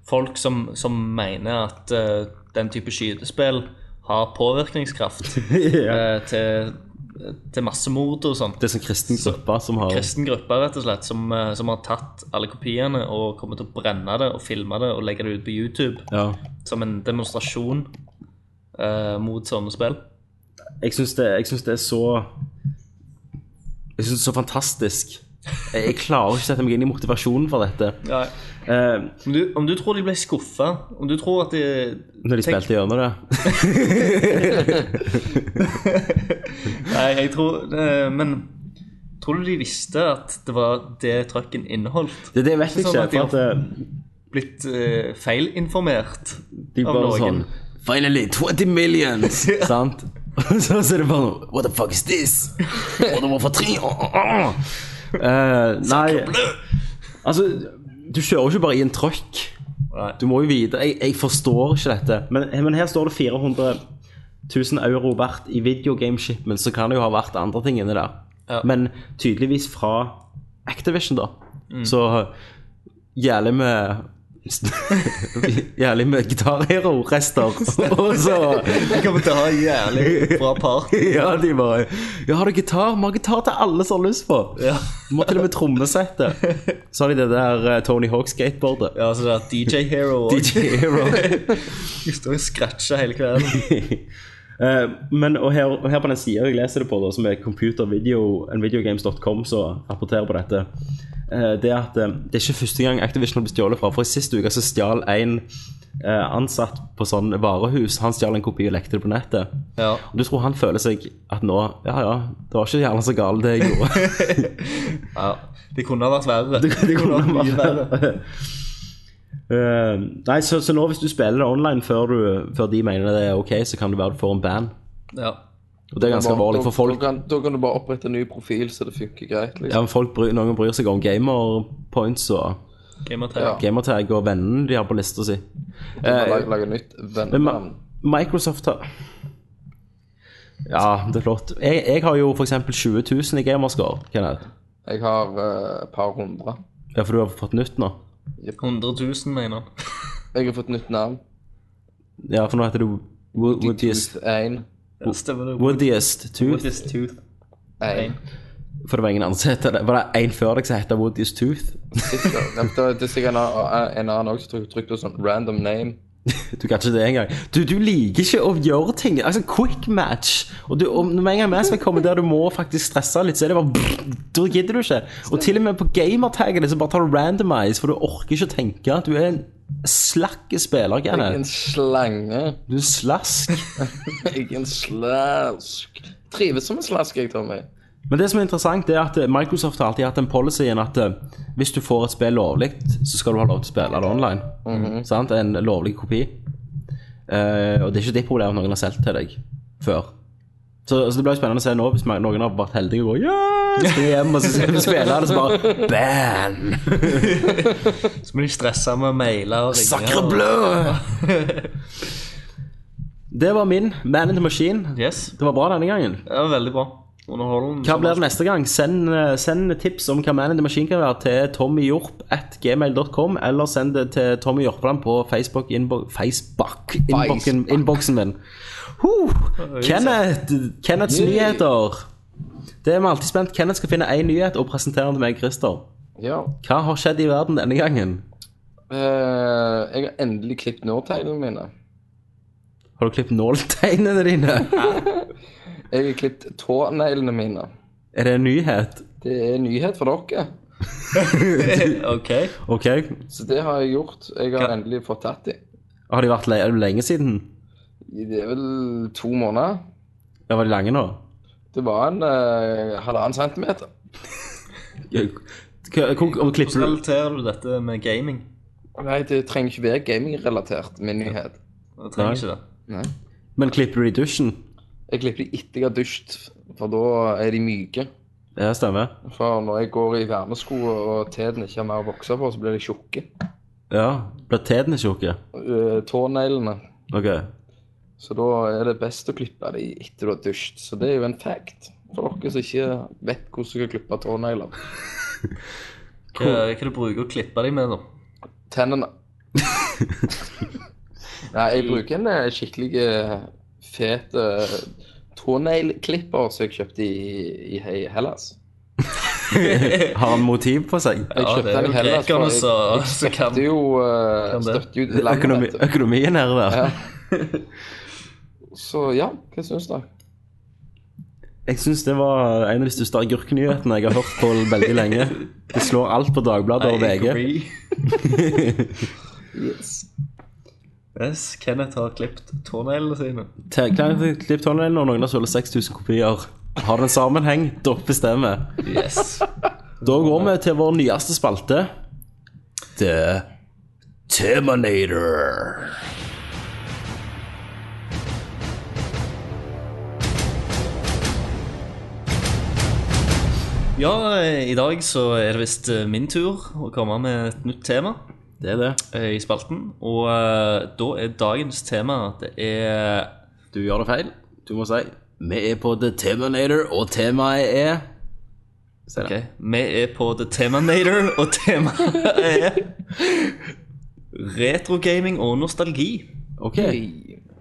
folk som, som mener at eh, den type skytespill har påvirkningskraft ja. eh, til, til massemord og sånt. Det er sånn kristen gruppe som har Kristen gruppe, rett og slett, som, eh, som har tatt alle kopiene og kommer til å brenne det og filme det og legge det ut på YouTube ja. som en demonstrasjon eh, mot sånne spill. Jeg syns det, jeg synes det er så Jeg syns det er så fantastisk. Jeg, jeg klarer ikke å sette meg inn i motivasjonen for dette. Eh, Om, du, om du tror de ble skuffa, om du tror at de når de Tenk- spilte gjennom det. Nei, jeg tror eh, Men tror du de visste at det var det trucken inneholdt? Det, det vet jeg Sånn ikke. at de har- for at, eh, blitt eh, feilinformert De av bare noen. sånn Finally, 20 millions! Sant? Og så er det bare noe What the fuck is this? Og det var for tre åh, åh, åh. Eh, Nei, altså Du kjører jo ikke bare i en trøkk. Nei. Du må jo vite Jeg, jeg forstår ikke dette. Men, men her står det 400 000 euro verdt i videogameshipment, så kan det jo ha vært andre ting inni der. Ja. Men tydeligvis fra Activision, da. Mm. Så jævlig med Jævlig med gitarhero-rester. Og så Vi kommer til å ha en jævlig bra party. Ja, de bare Ja, har du gitar? Vi har gitar til alle som har lyst på. Ja. Må til og med trommesettet. Så har de det der eh, Tony Hawk-skateboardet. Ja, så det er DJ Hero og DJ Hero. Vi står og scratcher hele kvelden. Eh, men, og her, og her på den sida jeg leser det på, da, som er computervideogames.com, som rapporterer på dette, eh, det er at eh, det er ikke første gang Activision har blitt stjålet fra. For i sist uke så stjal en eh, ansatt på sånn varehus Han stjal en kopi og lekte det på nettet. Ja. Og du tror han føler seg at nå Ja ja, det var ikke gjerne så galt det jeg gjorde. ja. Det kunne ha vært verre. Det, det kunne ha vært vært mye verre. Eh, nei, så, så nå hvis du spiller det online før, du, før de mener det er ok, så kan det være du får en ban. Ja. Og det er ganske alvorlig for folk. Da kan, da kan du bare opprette en ny profil, så det funker greit. Ja, Liksom. men folk bryr, Noen bryr seg om gamerpoints og Game of Thrones. gamertag og vennene de har på lista si. Eh, Du kan lage, lage nytt Men venn. Ma- Microsoft har Ja, det er flott. Jeg, jeg har jo f.eks. 20 000 i gamerscore. Kenneth. Jeg har eh, et par hundre. Ja, for du har fått nytt nå? 100 000, mener han. Jeg har fått nytt navn. Ja, for nå heter du Wo- Woodiest. Tooth 1. Ja, stemmer det. Woodiest Tooth. Woodiest Tooth. 1. For det var ingen andre som heter det. Var det en før deg som het Woodiest Tooth? Det er- det er sikkert en annen- en annen også som tryk- trykte på sånn random name. Du kan ikke det engang. Du, du liker ikke å gjøre ting. Altså, quick match. Og du, om, når en gang vi skal komme der du må faktisk stresse litt, så er det bare Da gidder du ikke. Og til og med på gamertagene så bare tar du randomize, for du orker ikke å tenke. Du er en slakk spiller, Jeg er en Kenneth. slange. Du er en slask. Jeg er en slask. Trives som en slask, jeg, Tommy. Men det som er interessant, det er at eh, Microsoft har alltid hatt den policyen at eh, hvis du får et spill lovlig, så skal du ha lov til å spille det online. Sant? En lovlig kopi. Eh, og det er ikke ditt problem at noen har solgt til deg før. Så, så det blir jo spennende å se nå, hvis man- noen har vært heldige og går yeah! Skal hjem og så skal vi spille det, så bare ban! Så blir de stressa med å maile og ringe. Sacre og- bleu! Det var min Man in the Machine. Yes. Det var bra denne gangen. Det var veldig bra. Underholdende. Hva blir det neste gang? Send, eh, send tips om hva Man in the Machine kan være til tommyhjorp.gmail.com, eller send det til Tommy Hjorpland på Facebook innbo- Facebook innboksen- innboksen min. Huh. Kenneth, Kenneths nyheter. Det er vi alltid spent. Kenneth skal finne én nyhet og presentere den til meg, Christer. Ja. Hva har skjedd i verden denne gangen? Eh, jeg har endelig klippet nåltegnene mine. Har du klippet nåltegnene dine? Jeg har klippet tåneglene mine. Er det en nyhet? Det er nyhet for dere. OK. OK. Så det har jeg gjort. Jeg har Ja. endelig fått tatt dem. Har de vært le er det lenge siden? Det er vel to måneder. Ja, var de lange nå? Det var en eh, halvannen centimeter. Ja, hva- hvor- Om klipper Hvordan du relaterer du dette med gaming? Nei, det trenger ikke være gamingrelatert, min nyhet. Jeg trenger Nei. ikke det. Men klipper du det i dusjen? Jeg klipper de etter jeg har dusjet, for da er de myke. Ja, stemmer. For når jeg går i vernesko og teten ikke har mer å vokse på, så blir de tjukke. Ja, Blir tetene tjukke? Eh, Tåneglene. OK. Så da er det best å klippe de etter du har dusjet. Så det er jo en fact for dere som ikke vet hvordan du skal klippe tånegler. Hva, hva du bruker å klippe deg med, da? Tennene. Nei, jeg bruker en eh, skikkelig eh, fet eh, tåneglklipper som jeg kjøpte i, i He- Hellas. Har han motiv på seg? Jeg Ja, kjøpte det er den i jo Hellas, grekerne jeg, som- jeg som kan- støtter jo, eh, kan det. støtter jo landet. Økonomi, vet du. økonomien her og der. Ja. Så ja, hva syns dere? Jeg syns det var en av de største agurknyhetene jeg har hørt på veldig lenge. Det slår alt på Dagbladet og I VG. agree. yes, Kenneth har klippet tåneglene sine. Te- Klein klipp tåneglen og noen har solgt 6000 kopier. Har det en sammenheng? Dere bestemmer. Yes. Da går vi til vår nyeste spalte. The Terminator. Ja, eh, i dag så er det visst eh, min tur å komme med et nytt tema Det er det. eh, i spalten. Og eh, da er dagens tema Det er Du gjør det feil. Du må si vi er på The Terminator, og temaet er Si det. Ok, vi er på The Teminator, og temaet er Retrogaming og nostalgi. OK.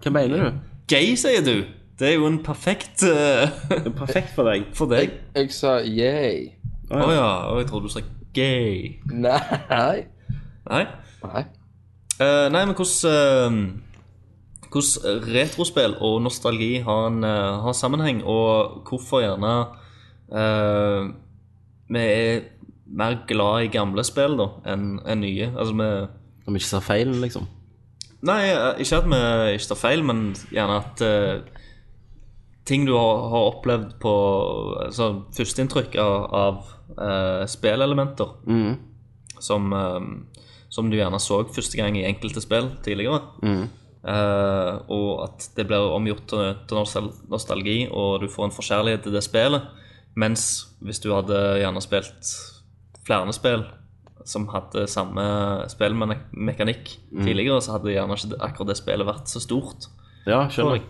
Hva mener du? Gay, sier du? Det er jo en perfekt eh, Perfekt for deg. for deg. Jeg sa yay. Å ja, og jeg trodde du sa gay. Nei. Nei? Nei. Eh, nei, men hvordan eh, Hvordan retrospill og nostalgi har, en, eh, har sammenheng, og hvorfor gjerne eh, vi er mer glad i gamle spill da, enn enn nye. Altså vi Om ikke sa feil, liksom. Nei, eh, ikke at vi ikke tar feil, men gjerne at eh, ting du har, har opplevd på altså, Førsteinntrykk av, av eh, spillelementer som, eh, som du gjerne så første gang i enkelte spill tidligere. Eh, og at det blir omgjort til, til nostal nostalgi, og du får en forkjærlighet til det spillet. Mens hvis du hadde gjerne spilt flere spill som hadde samme spillmekanikk tidligere, så hadde gjerne ikke det- akkurat det spillet vært så stort. Ja, skjønner jeg.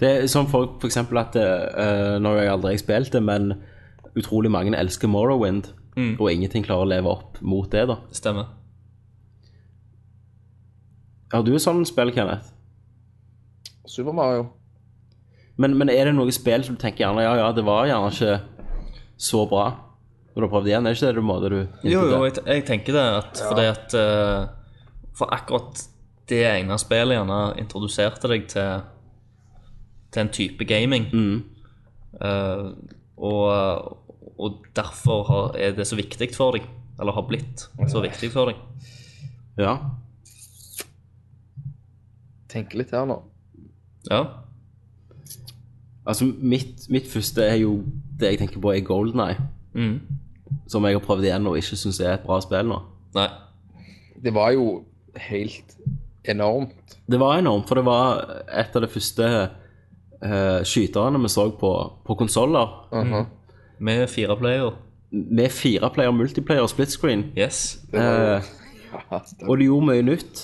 Det er sånn for, for eksempel at eh, Nå har jeg aldri spilt det, men utrolig mange elsker Morrowind, Mm. og ingenting klarer å leve opp mot det, da. Det stemmer. Har du et sånt spill, Kenneth? Super Mario. Men, men er det noe spill som du tenker gjerne Ja, ja, det var gjerne ikke så bra når du har prøvd igjen? Er det ikke det du måte du Jo, jo, jeg, jeg tenker det. At, Fordi at eh, For akkurat det ene spillet gjerne introduserte deg til Til en type gaming. Mm. Eh, og, og derfor har, er det så viktig for deg. Eller har blitt så viktig for deg. Ja. Tenker litt her nå. Ja. Altså, mitt, mitt første er jo det jeg tenker på, er Golden Eye. Mm. Som jeg har prøvd igjen og ikke syns er et bra spill nå. Nei. Det var jo helt enormt. Det var enormt, for det var et av de første eh, skyterne vi så på, på konsoller. Mhm. Med fire player. Med fireplayer, multiplayer og split screen. Yes. Eh, Ja, stemmer. og det gjorde mye nytt,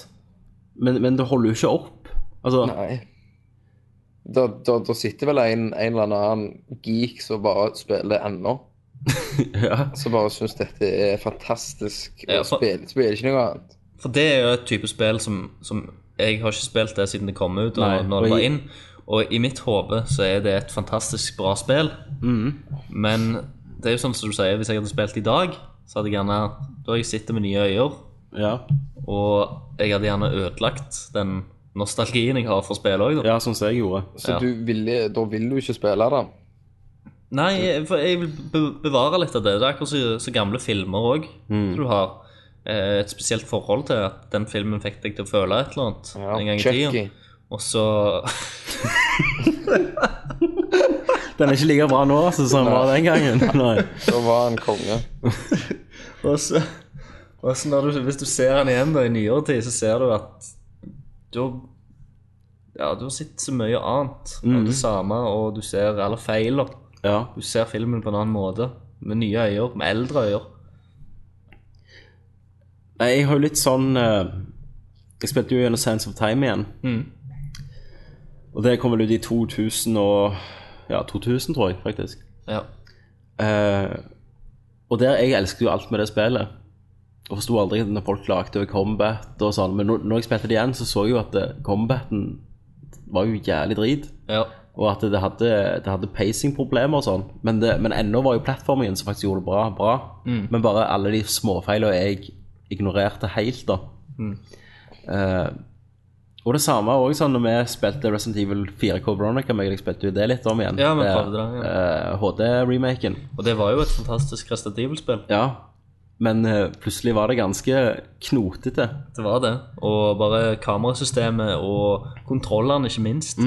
men, men det holder jo ikke opp. Altså, Nei. Da, da, da sitter vel en, en eller annen geek som bare spiller ennå. ja. Som bare syns dette er fantastisk. Ja, Og for- spiller, spiller ikke noe annet. For det er jo et type spill som, som Jeg har ikke spilt det siden det kom ut, og Nei, når det og var i- inn. Og i mitt hode så er det et fantastisk bra spill. Mm. Men det er jo sånn som du sier, hvis jeg hadde spilt i dag, så hadde jeg gjerne Da har jeg sittet med nye øyne, Ja. og jeg hadde gjerne ødelagt den nostalgien jeg har for spillet òg, da. ja, sånn som jeg gjorde. Så Ja. du ville, da vil du ikke spille det. Nei, jeg- for jeg vil be- bevare litt av det. Det er akkurat så, så gamle filmer òg som du har. eh, Et spesielt forhold til at den filmen fikk deg til å føle et eller annet en gang i tida. Chucky. Og så Den er ikke like bra nå altså, som den var den gangen. Nei. Da var han konge. Og så, og så når du, hvis du ser han igjen da, i nyere tid, så ser du at du, har- ja, du har sett så mye annet av det samme, og du ser alle feiler. Ja. Du ser filmen på en annen måte. Med nye øyne, med eldre øyne. Nei, jeg har jo litt sånn eh, Jeg spilte jo gjennom Sands of Time igjen. Og det kom vel ut i 2000 og Ja, 2000, tror jeg, faktisk. Ja. Eh, og der, jeg elsket jo alt med det spillet. Og forsto aldri når folk lagde combat og sånn. Men når, når jeg spilte det igjen, så så jeg jo at eh, combaten var jo jævlig drit. ja. Og at det hadde, det hadde pacing-problemer og sånn. Men, det- men ennå var jo plattformingen som faktisk gjorde det bra, bra. Mm. Men bare alle de småfeilene jeg ignorerte helt, da. Mm. Eh, og det samme òg sånn når vi spilte Resident Evil 4K Veronica. meg og deg spilte jo det litt om igjen. Ja, vi Eh, prøvde det, ja. eh, HD-remaken. Og det var jo et fantastisk Resident Evil-spill. Ja. Men eh, plutselig var det ganske knotete. Det var det. Og bare kamerasystemet og kontrollene, ikke minst.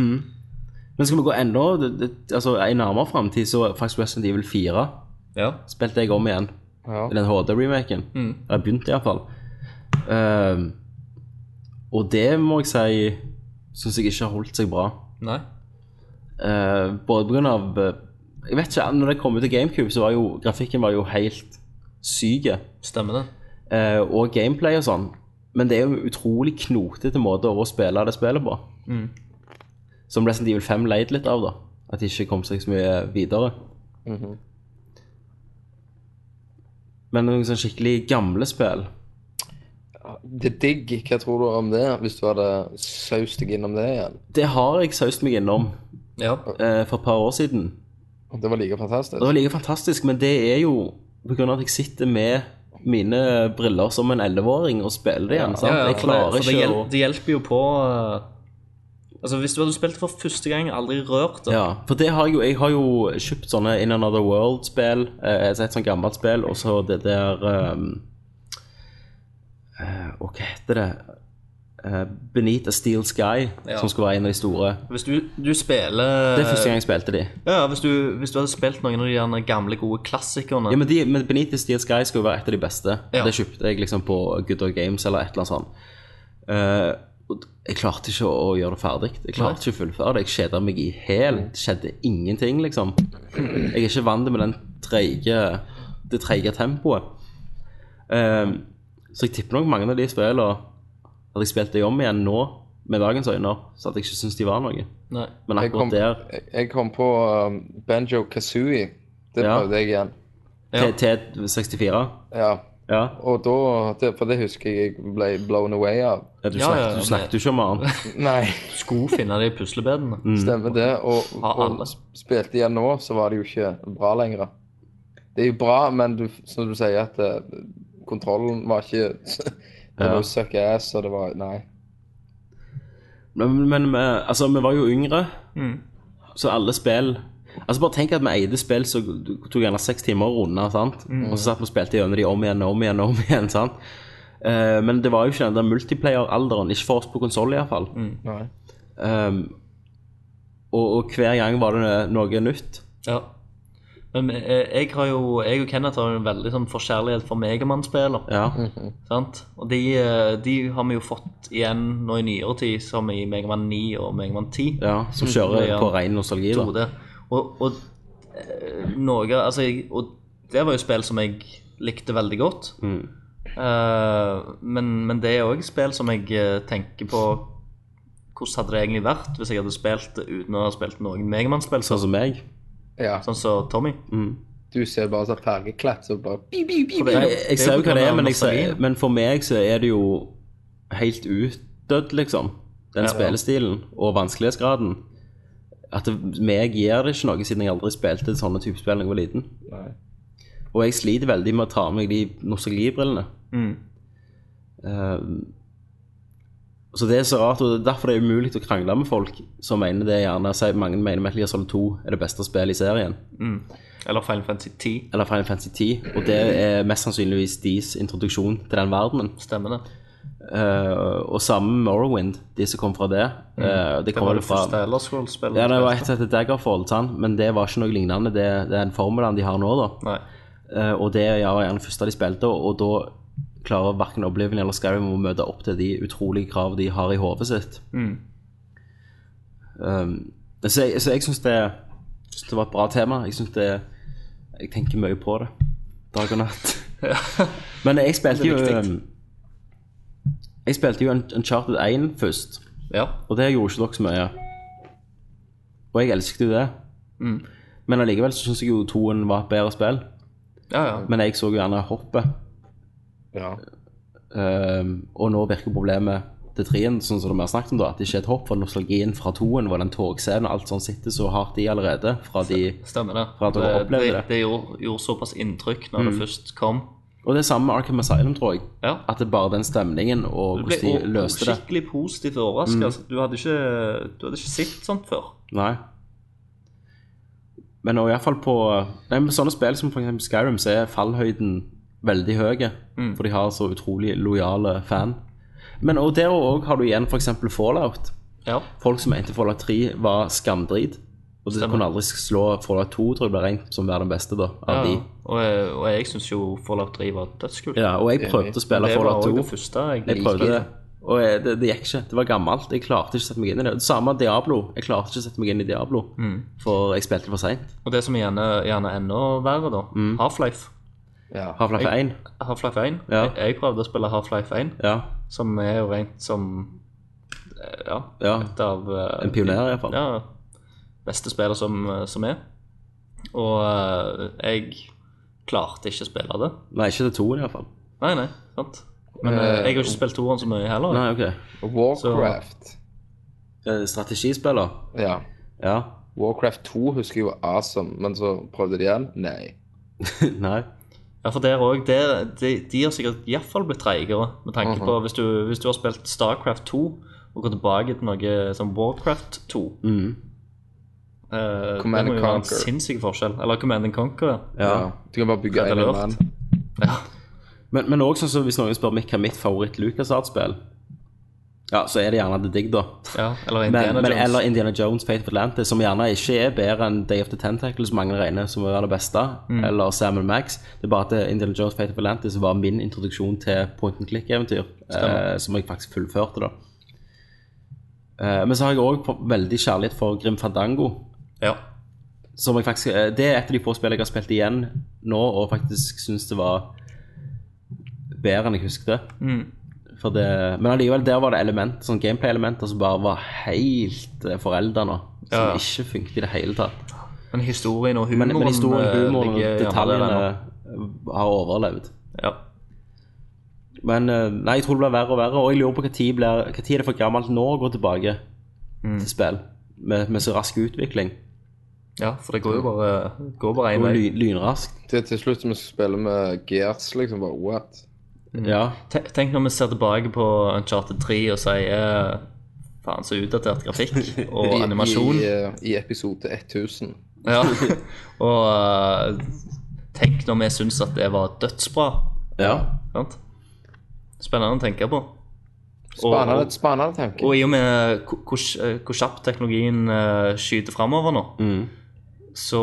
Men skal vi gå enda det, det, altså, en nærmere framtid, så faktisk Resident Evil 4 Ja. spilte jeg om igjen. Ja. Den HD-remaken. Mm. Eller begynte iallfall. Uh, og det må jeg si syns jeg ikke har holdt seg bra. Nei. Eh, både på grunn av eh, Jeg vet ikke, når det kom ut til GameCube, så var jo grafikken var jo helt syk. Stemmer det. eh, og gameplay og sånn. Men det er jo en utrolig knotete måte å spille det spillet på. Som Resident Evil 5 leid litt av, da. At de ikke kom seg så mye videre. Men noen sånn skikkelig gamle spill Det er digg. Hva tror du om det, hvis du hadde saust deg innom det igjen? Det har jeg saust meg innom Ja. eh, for et par år siden. Det var like fantastisk. Det var like fantastisk, men det er jo på grunn av at jeg sitter med mine briller som en 11-åring og spiller det igjen. sant? Ja, ja, jeg for det, klarer for det, ikke hjel, å det hjelper liksom. jo på eh, Altså Hvis du hadde spilt det for første gang, aldri rørt det Ja, for det har jeg jo, jeg har jo kjøpt sånne In Another World-spill, eh, altså et sånt gammelt spill, og så det der um, eh, og Hva heter det? Eh, Beneath a Steel Sky, Ja. som skulle være en av de store. Hvis du, du spiller Det er første gang jeg spilte de. Ja, hvis du, hvis du hadde spilt noen av de gjerne gamle, gode klassikerne Ja, men, de, men Beneath a Steel Sky skulle jo være et av de beste. Ja. Det kjøpte jeg liksom på Good Dog Games eller et eller annet sånt. Eh, og jeg klarte ikke å gjøre det ferdig. Jeg klarte ikke å fullføre det. Jeg kjeda meg i hæl. Mm. Det skjedde ingenting, liksom. Jeg er ikke vant med den treige, det treige tempoet. Eh, så jeg tipper nok mange av de spillene Hadde jeg spilt det om igjen nå, med dagens øyne, så hadde jeg ikke syntes de var noe. Nei. Men Jeg akkurat kom, der, jeg- jeg kom på um, Banjo Kazooie. Det Ja. prøvde jeg igjen. Ja. til 64 Ja. Ja, Og da det, For det husker jeg jeg ble blown away av. ja, du Ja, ja, snakket ja, du snakket jo ikke om annet. Nei, Du skulle finne de puslebedene. Mm. stemmer det. Og, Har og alle. spilte igjen nå, så var det jo ikke bra lenger. Det er jo bra, men du, som du sier, at eh, kontrollen var ikke Det Ja. var jo suck ass, og det var Nei. Men, men men, altså, vi var jo yngre, så alle spill Altså Bare tenk at vi eide spill som tok gjerne seks timer å runde. sant? Og så satt vi og spilte gjennom de om igjen og om igjen. og om igjen, sant? Eh, men det var jo ikke den der multiplayer-alderen, ikke for oss på konsoll iallfall. Nei. Um, og, og hver gang var det noe nytt. Ja. Men eh, jeg, har jo, jeg og Kenneth har jo en veldig sånn forkjærlighet for Megamann-spiller. Ja, Sant? Og de, eh, de har vi jo fått igjen nå i nyere tid, som i Megamann 9 og Megamann 10. ja Som kjører Ja. på ren nostalgi, tror da. det. Og, og eh, noe Altså, jeg, og det var jo spill som jeg likte veldig godt. Mm. Eh, men, men det er òg spill som jeg eh, tenker på Hvordan hadde det egentlig vært hvis jeg hadde spilt det uten å ha spilt noen Megamann-spill? Sånn som meg. Mm. Ja. Sånn som Tommy. Du ser bare sånn fergeklapp, så bare pip, pip, pip. For det er jo- Jeg, det jeg er ser jo jo hva det pga. er, men, jeg ser, nostalgien. men for meg så er det jo helt utdødd, liksom. Den spillestilen og vanskelighetsgraden. At det, meg gir det ikke noe, siden jeg aldri spilte sånne type spill da jeg var liten. Nei. Og jeg sliter veldig med å ta av meg de nostalgibrillene. Mm. Eh, så det er så rart, og det er derfor det er umulig å krangle med folk som mener det gjerne sier- Mange mener Metal Gear Solid 2 er det beste spillet i serien. Mm. Eller Final Fantasy 10. Eller Final Fantasy 10. Og det er mest sannsynligvis deres introduksjon til den verdenen. Stemmer det? Eh, og samme med Morrowind, de som kom fra det. Eh, det Mm. Det kom var vel det fra første Elder Scrolls-spillet. Ja, det var et som heter Daggerfall, sant? men det var ikke noe lignende. Det, det er den formelen de har nå, da. Nei. Eh, og det ja, var gjerne det første de spilte, og da klarer verken Oblivion eller Skyrim å møte opp til de utrolige krav de har i Mm. Eh, hodet sitt. Um, så jeg, så jeg syns det synes det var et bra tema. Jeg synes det Jeg tenker mye på det dag og natt. Men jeg spilte jo Jeg spilte jo Uncharted 1 først, Ja. og det gjorde ikke dere så mye. Og jeg elsket jo det. Mm. Men allikevel så syns jeg jo toen var et bedre spill. Ja, ja. Men jeg så jo gjerne hoppet. Ja. Ehm, og nå virker problemet til trien, sånn som vi har snakket om, da, at det ikke er et hopp. For nostalgien fra toen var den togscenen og alt sånt sitter så hardt i allerede. Fra de, Stemmer det. For at du det, opplevde det. det gjorde, gjorde såpass inntrykk når det først kom. og det er samme med Arkham Asylum, tror jeg. Ja. At det er bare den stemningen og Du ble hvordan de o- løste det. Mm. skikkelig positivt overraska. Du, hadde ikke- du hadde ikke sett sånt før. Nei. Men og i hvert fall på nei, men sånne spill som f.eks. Skyrim, så er fallhøyden veldig høy. Mm. For de har så utrolig lojale fan. Men og der òg har du igjen f.eks. Fallout. Ja. Folk som mente Fallout 3 var skamdrit. Og de Stemmer. kunne aldri slå Fallout 2, tror jeg ble regnet som å være den beste da, av ja. de. Eh, Og, og jeg syns jo Fallout 3 var dødskult. Ja, og jeg prøvde å spille det var Fallout også 2. det første jeg, Jeg prøvde det. Og jeg, det, det gikk ikke. Det var gammelt. Jeg klarte ikke å sette meg inn i det. Det samme Diablo. Jeg klarte ikke å sette meg inn i Diablo, for jeg spilte for seint. Mm. Og det som er gjerne, gjerne enda verre, da. Mm. Half-Life. ja. Half-Life 1. Half-Life 1. Ja. Jeg, jeg prøvde å spille Half-Life 1, Ja. som er jo rent som eh, Ja, ja. et av eh, En pioner, i hvert fall. Ja, beste spillet som, eh, som er. Og eh, jeg klarte ikke å spille det. Nei, ikke til toen, i hvert fall. Nei, nei, sant. Men eh, jeg har ikke spilt toeren så mye heller. Nei, OK. Warcraft. Eh, Strategispiller. Ja. Ja. Warcraft 2 husker jeg var awesome, men så prøvde de igjen. Nei. Nei. Ja, for der òg de, de har sikkert iallfall blitt treigere, med tanke på Mhm. hvis du, hvis du har spilt Starcraft 2 og går tilbake til noe som Warcraft 2 Mm. eh, Det Command må jo være en Conquer. sinnssyk forskjell. Eller Command and Conquer, ja. Ja. Du kan bare bygge Fred en Alert. mann. Men, men også sånn som hvis noen spør meg hva mitt favoritt-Lucasart-spill Ja, så er det gjerne The Dig, da. ja. Eller Men, Indiana men, Jones. eller Indiana Jones, Fate of Atlantis, som gjerne ikke er bedre enn Day of the Tentacle, som mange regner som å være det beste, Mm. eller Sam Max. Det er bare at Indiana Jones, Fate of Atlantis var min introduksjon til point and click-eventyr, eh, Stemmer. som jeg faktisk fullførte, da. Eh, men så har jeg òg veldig kjærlighet for Grim Fandango. Ja. Som jeg faktisk, eh, det er et av de få spillene jeg har spilt igjen nå, og faktisk syns det var bedre enn jeg husket det. Mm. For det, men allikevel, der var det element, sånn gameplay-elementer som bare var helt eh, foreldet nå. Som Ja, ja. ikke funket i det hele tatt. Men historien og humoren Men, men historien, eh, humoren og ligger gjerne detaljene der nå. eh, har overlevd. Ja. Men eh, nei, jeg tror det blir verre og verre, og jeg lurer på hva tid, blir, hva tid er det for gammelt nå å gå tilbake Mm. til spill med, med så rask utvikling. ja, for det går jo bare Går bare én Og vei. ly, lynraskt. Til, til slutt må vi spille med Gears, liksom. Bare what? Mm. Ja. Te- Tenk når vi ser tilbake på Uncharted 3 og sier "Eh, Faen, så utdatert grafikk og I- animasjon. I, eh, i episode 1000. Ja. Og eh, tenk når vi syns at det var dødsbra. ja. Sant? Spennende å tenke på. Spennende, spennende tanke. Og i og med hvor- hvor hvor kjapt teknologien eh, skyter framover nå, Mm. så,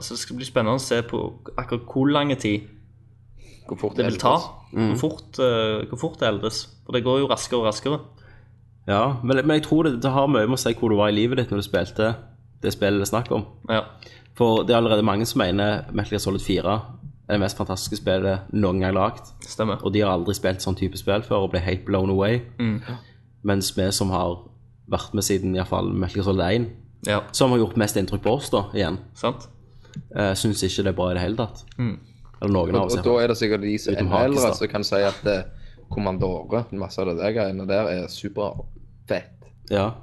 så det skal bli spennende å se på akkurat hvor lang tid Hvor fort det vil ta. eldes. Mm. Hvor fort, eh, hvor fort det eldes. For det går jo raskere og raskere. ja. Men, men jeg tror det, det har mye med å si hvor du var i livet ditt når du spilte det spillet det er snakk om. Ja. For det er allerede mange som mener Metal Gear Solid 4 er det mest fantastiske spillet noen gang lagd. Stemmer. Og de har aldri spilt sånn type spill før og ble helt blown away. Mm. Mens vi som har vært med siden i hvert fall Metal Gear Solid 1, Ja, som har gjort mest inntrykk på oss, da, igjen, sant? uh, syns ikke det er bra i det hele tatt. Mm. Eller noen Og, av oss. og i da hvert fall. er det sikkert de som Utenom er eldre Hakestad. som kan si at eh, Kommandore, masse av det der greiene der, er superfett. Ja.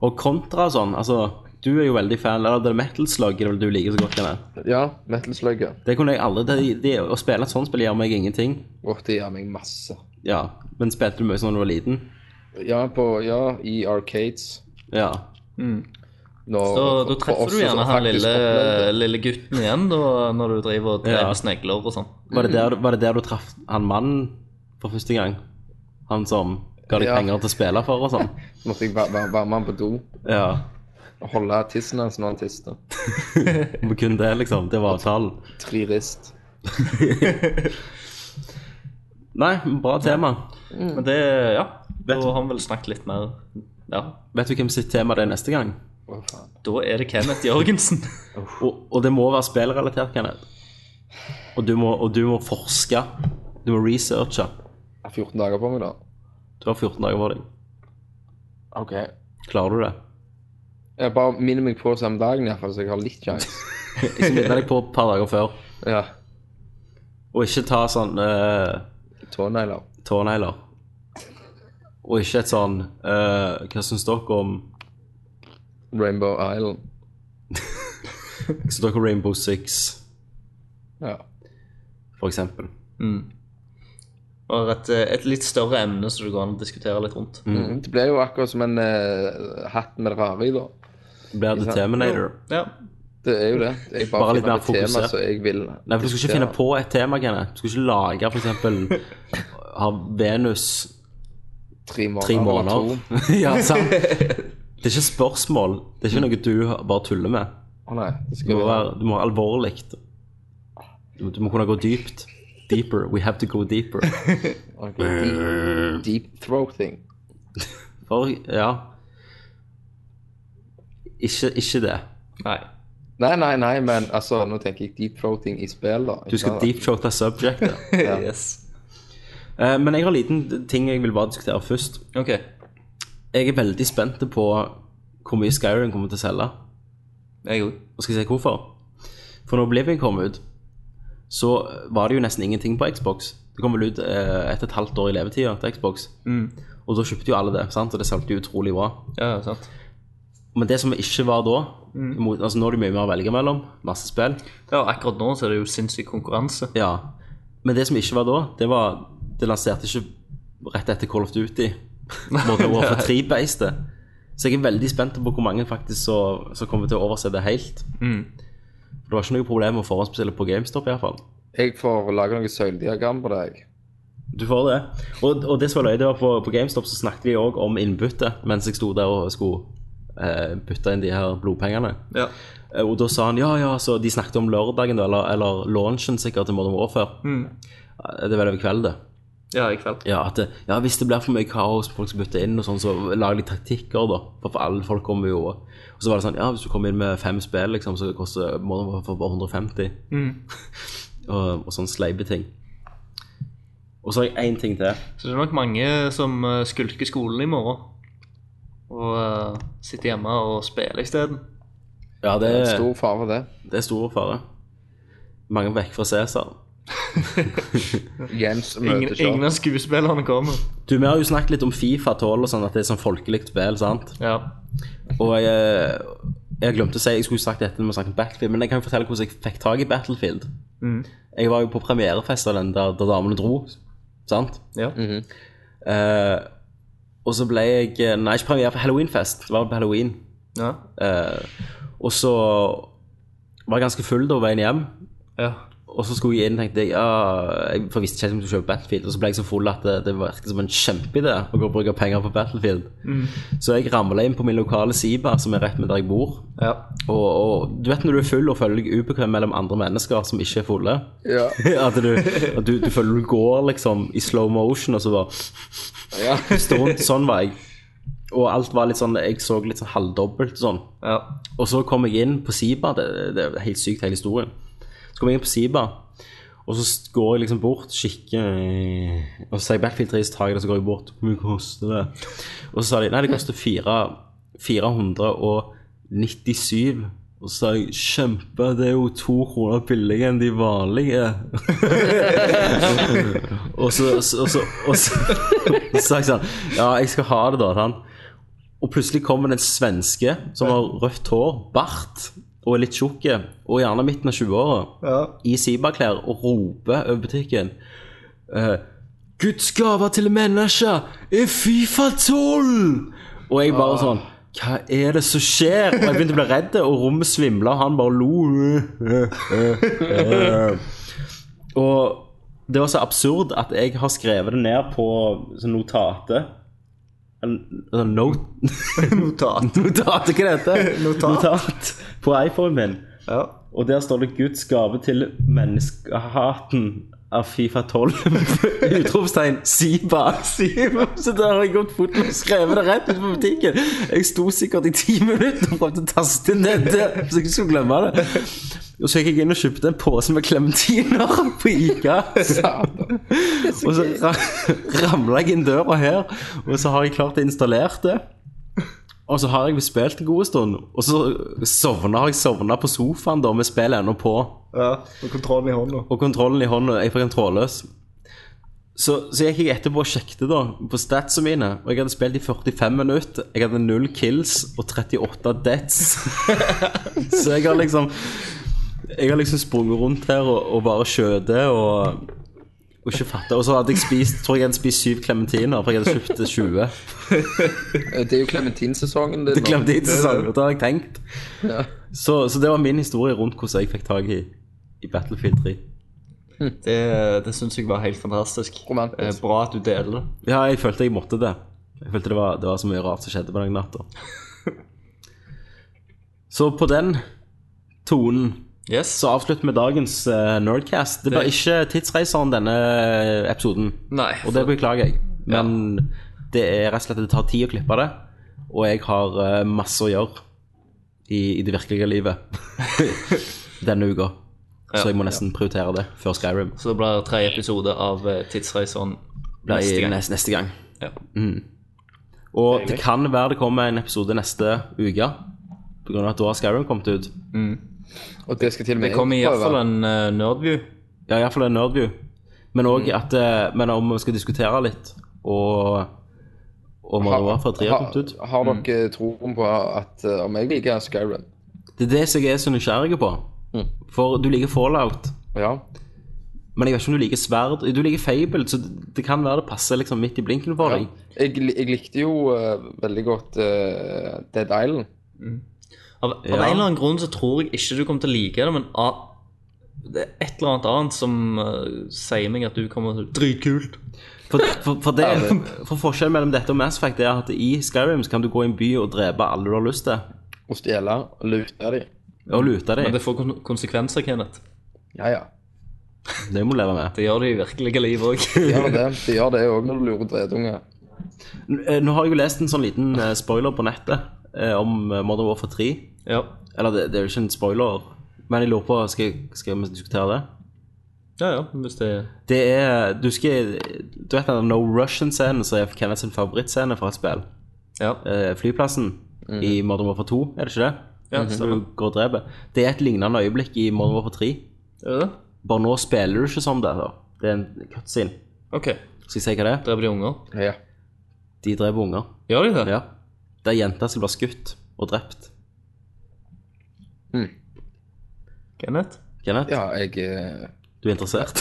Og kontra og sånn, altså Du er jo veldig fan eller det er Metal Slug er det vel du liker så godt. Kenneth? Ja, Metal Slug. ja. Det kunne jeg aldri det, det, Å spille et sånt spill gjør meg ingenting. Åh, det gjør meg masse. Ja, Men spilte du mye sånn da du var liten? Ja, på, ja i arcades. Ja. Mm. Når, Da, da for treffer oss du som gjerne han faktisk lille, eh, opplevde- lille gutten igjen da, når du driver og dreper Ja. snegler og sånn. Var det der, var det der du traff han mannen for første gang? Han som ga deg Ja. penger til å spille for og sånn? Måtte jeg være, være, være med han på do Ja. og holde tissen hans når han tiste. Men kun det, liksom. Det var avtalen. Tre rist. Nei, bra tema. Mm. Men det, ja. Da har vi vel snakket litt mer. Ja. Vet du hvem sitt tema det er neste gang? Å, faen. Da er det Kenneth Jørgensen. Og, og det må være spillrelatert, Kenneth. Og du, må, og du må forske. Du må researche. Jeg har 14 dager på meg, da. Du har 14 dager på deg. OK. Klarer du det? Jeg bare minner meg på samme dagen, i hvert fall, så jeg har litt sjanse. Jeg skal minne deg på et par dager før. Ja. Og ikke ta sånn eh, Tånegler. tånegler. Og ikke et sånn eh, Hva syns dere om Rainbow Island. Hva syns dere om Rainbow Six, Ja. for eksempel? Mm. Og et, et litt større emne som det går an å diskutere litt rundt. Mm. Det ble jo akkurat som en eh, hatt med det rare i, da. Blir det Terminator? Ja. Det er jo det. Jeg bare, Bare litt finner mer et tema fokusert. som jeg vil. Nei, for du skal ikke finne på et tema, Kenneth. Du skal ikke lage for eksempel ha Venus tre måneder. tre eller måneder. to. ja, sant? Det er ikke spørsmål. Det er ikke noe du bare tuller med. Å nei, det Du skal må vi være, du må være alvorlig. Du, du må kunne gå dypt. Deeper. We have to go deeper. Ok, eh, Deep, deep throating. For, ja Ikke, ikke det. Nei. Nei, nei, nei, men altså, nå tenker jeg deep throating i spill, da. Du skal Ikke sant? deepthroate subjectet. Yes. Eh, Men jeg har en liten ting jeg vil bare diskutere først. OK. Jeg er veldig spent på hvor mye Skyrim kommer til å selge. Jeg òg. Og skal jeg si hvorfor? For når Oblivion kom ut, så var det jo nesten ingenting på Xbox. Det kom vel ut eh, etter et halvt år i levetida til Xbox. Og da kjøpte jo alle det, sant? og det solgte jo utrolig bra. Ja, sant. Men det som ikke var da mot, altså Nå er det mye mer å velge mellom. Masse spill. Ja, akkurat nå så er det jo sinnssyk konkurranse. Ja. Men det som ikke var da, det var Det lanserte ikke rett etter Call of Duty. Modern Warfare 3-based. Så jeg er veldig spent på hvor mange faktisk som som kommer til å overse det helt. Mm. For det var ikke noe problem å forhåndsbestille på GameStop, iallfall. Jeg får lage noen søylediagram på deg. Du får det. Og, og det som var løye, det var på, på GameStop så snakket de òg om innbytte mens jeg sto der og skulle eh, bytte inn de her blodpengene. Ja. Eh, Og da sa han ja, ja, så de snakket om lørdagen, da, eller, eller launchen sikkert til Modern Warfare. Eh, Det var det over kvelden, det. Mm. Ja, i kveld. Ja, at det, ja, hvis det blir for mye kaos, folk skal bytte inn og sånn, så lager de taktikker, da. For, for alle folk kommer jo Og så var det sånn, ja, hvis du kommer inn med fem spill, liksom, så koster Modern Warfare bare 150. og, og sånn sleipe ting. Og så har jeg én ting til. Så det er nok mange som eh, skulker skolen i morgen. Og eh, sitter hjemme og spiller isteden. Ja, det, Eh. En stor fare for det. det er stor fare. Mange vekk fra Cæsar. Jens Ingen, møter ingen ikke av skuespillerne kommer. Du, vi har jo snakket litt om Fifa 12 og sånn, at det er sånn folkelig spill, sant? Ja. Og jeg, eh, jeg glemte å si, jeg skulle sagt dette når vi snakket om Battlefield, men jeg kan jo fortelle hvordan jeg fikk tak i Battlefield. Mm. Jeg var jo på premierefest av den der, der damene dro, sant? Ja. Eh, og så ble jeg, eh, nei, ikke premiere, for Halloweenfest, det var på Halloween. Ja. Og så var jeg ganske full da, på veien hjem, ja. Og så skulle jeg inn, tenkte jeg, ja, jeg for jeg visste ikke helt om jeg skulle kjøpe Battlefield. Og så ble jeg så full at det, det virket som en kjempeidé å gå og bruke penger på Battlefield. Så jeg ramla inn på min lokale Siba, som er rett med der jeg bor. ja. Og, og du vet når du er full og føler deg ubekvem mellom andre mennesker som ikke er fulle? Ja. At du, at du, du føler du går liksom i slow motion, og så bare Ja. puster rundt. Sånn var jeg. Og alt var litt sånn, jeg så litt sånn halvdobbelt og sånn. ja. Og så kom jeg inn på Siba, det, det er helt sykt hele historien. Så kom jeg inn på Siba, og så s- går jeg liksom bort, kikker, eh, og så sier jeg Battlefield 3, så tar jeg det, så går jeg bort, hvor mye koster det? Og så sa de, nei, det koster fire- 497, og så sa jeg, kjempe, det er jo to kroner billigere enn de vanlige. og så, og så, og så, og så, og så sa jeg sånn, ja, jeg skal ha det da, sa han. Og plutselig kommer den svenske som har rødt hår, bart og er litt tjukk og gjerne midten av 20-åra, i Siba-klær og roper over butikken eh, Guds gave til mennesker er Fifa 12! Og jeg bare sånn Hva er det som skjer? Og jeg begynte å bli redd, og rommet svimla, og han bare lo. og det var så absurd at jeg har skrevet det ned på sånn notatet. En- en Note Notat. Notat, hva det heter Notat. på iPhonen min. Ja. Og der står det 'Guds gave til menneskehaten av Fifa 12. Utropstegn Siba. Siba. Så der har jeg gått fort og skrevet det rett ut på butikken. Jeg sto sikkert i ti minutter og prøvde å taste ned det, så jeg ikke skulle glemme det. Og så gikk jeg inn og kjøpte en pose med klementiner på Ica. Og så ra ramla jeg inn døra her, og så har jeg klart å installere det. Og så har jeg spilt en god stund, og så sovna har jeg sovna på sofaen da med spillet ennå på Ja, Med kontrollen i hånda. og kontrollen i hånda. Jeg var kontrolløs. Så, så gikk jeg etterpå og sjekket da på statsene mine. Og jeg hadde spilt i 45 minutter. Jeg hadde null kills og 38 deaths. så jeg har liksom Jeg har liksom sprunget rundt her og, og bare skjøtet og, og ikke fatta. Og så hadde jeg spist tror jeg hadde spist syv klementiner, for jeg hadde kjøpt 20. Eh, Det er jo clementinsesongen din. Det nå. glemte jeg ikke å si, det har jeg tenkt. Ja. Så, så det var min historie rundt hvordan jeg fikk tak i, i Battlefield 3. Det, det syns jeg var helt fantastisk. Romantisk. Eh, Bra at du deler det. Ja, jeg følte jeg måtte det. Jeg følte det var, det var så mye rart som skjedde på den natta. Så på den tonen Yes. så avslutter vi dagens eh, Nerdcast. Det ble Det- ikke Tidsreiseren denne episoden, Nei. og det beklager jeg. Men det er rett og slett at det tar tid å klippe det, og jeg har eh, masse å gjøre i, i det virkelige livet denne uka. Så jeg må nesten prioritere det før Skyrim Så det blir tredje episode av eh, Tidsreiseren blir neste gang. Neste, neste gang. Ja. Mm. Og det kan være det kommer en episode neste uke. På grunn av at da har Skyrim kommet ut. Og det skal til og med Det kommer jeg prøve. iallfall en eh, nerdview. Ja, iallfall en nerdview. Men òg at eh, Men om vi skal diskutere litt, og Og Ha- Modern Warfare 3 har kommet ut. ha- Har Mm. dere troen på at eh, om jeg liker Skyrim? Det er det som jeg er så nysgjerrig på. For du liker Fallout, Ja. men jeg vet ikke om du liker sverd. Du liker Fable, så det det kan være det passer liksom midt i blinken for ja. deg. Jeg, li- jeg likte jo eh, veldig godt eh, Dead Island. Av, av Ja. en eller annen grunn så tror jeg ikke du kommer til å like det, men av, det er et eller annet annet som eh, sier meg at du kommer til Dritkult. For, for, for, det, for forskjellen mellom dette og Mass Effect er at i Skyrim så kan du gå i en by og drepe alle du har lyst til. Å stjele og lute de. Og lute Men dem. det får kon- konsekvenser, Kenneth. Ja, ja. Det må du leve med. Det gjør det i virkelige liv òg. De gjør det. De gjør det òg når du lurer dredunger. N- eh, Nå har jeg jo lest en sånn liten eh, spoiler på nettet eh, om eh, Modern Warfare 3. ja. Eller det, det er jo ikke en spoiler, men jeg lurer på Skal, jeg- skal vi diskutere det? ja, ja, hvis det Det er Du skal Du vet den No Russian-scenen som er Kenneth sin favorittscene fra et spill? Ja. Eh, Flyplassen i Modern Warfare 2, er det ikke det? Mhm. Ja, Når du går og dreper. Det er et lignende øyeblikk i Modern Warfare 3. Er det det? Bare nå spiller du ikke som det. da Det er en cutscene. OK. Skal jeg si hva det er? Dreper de unger? Ja. De dreper unger. Gjør de det? Ja. Det er jenter som blir skutt og drept. Kenneth? Kenneth, ja, jeg, eh, du er interessert?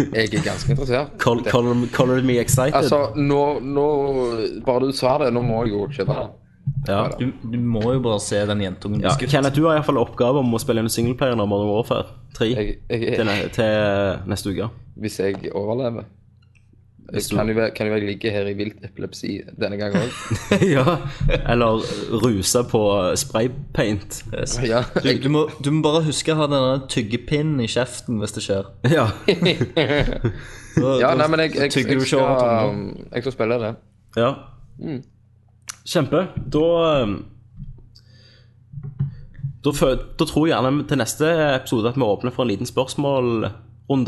jeg er ganske interessert. Col- col- Colored me excited? Altså, nå, nå Bare du sa det, nå må jeg jo kjøpe den. ja. Du, du må jo bare se den jentungen bli Ja. skutt. Kenneth, du har iallfall oppgave om å spille inn singleplayer når Modern Warfare 3 Jeg, jeg, til, ne til neste uke. hvis jeg overlever. Jeg Hvis du- kan jo være- kan jo jeg ligge her i vilt epilepsi denne gangen òg. ja. Eller ruse på spraypaint. Yes. Ja, Du, du, må, du må bare huske å ha denne tyggepinnen i kjeften hvis det skjer. Ja. Da, ja, da nei, men jeg, jeg, jeg, tygger du ikke over tunga. skal, um, jeg skal spille det. ja. Kjempe. Da um, da, fø- da tror jeg gjerne til neste episode at vi åpner for en liten spørsmålrunde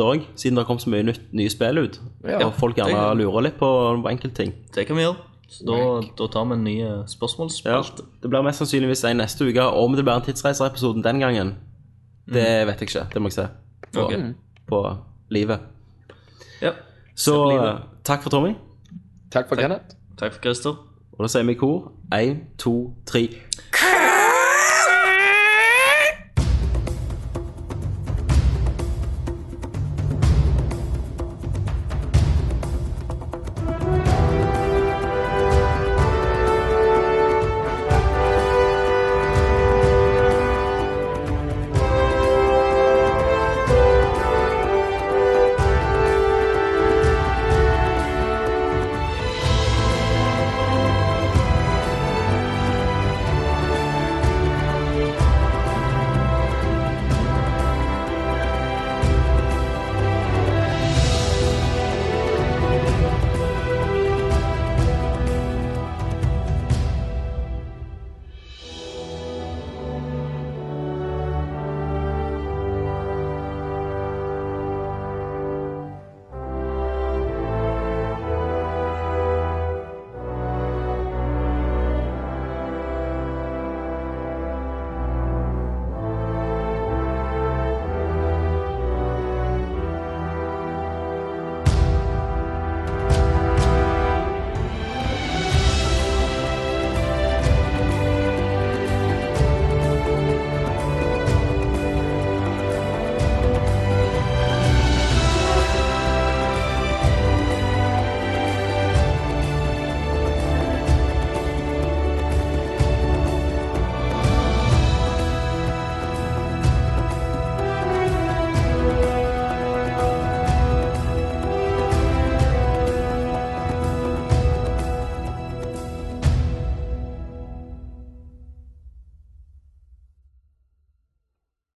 òg, siden det har kommet så mye nytt, nye spill ut. Ja, og folk gjerne det- lurer litt på, på enkeltting. Det kan vi gjøre. Så da, da tar vi en ny eh, Ja, spørsmålsspalte. det blir mest sannsynligvis en neste uke. Om det blir en tidsreiserepisode den gangen, det vet jeg ikke. Det må jeg se på, Ok. på livet. Ja. Så på livet. eh, takk for Tommy. Takk for Kenneth. Takk for Christer. Og da sier vi i kor én, to, tre.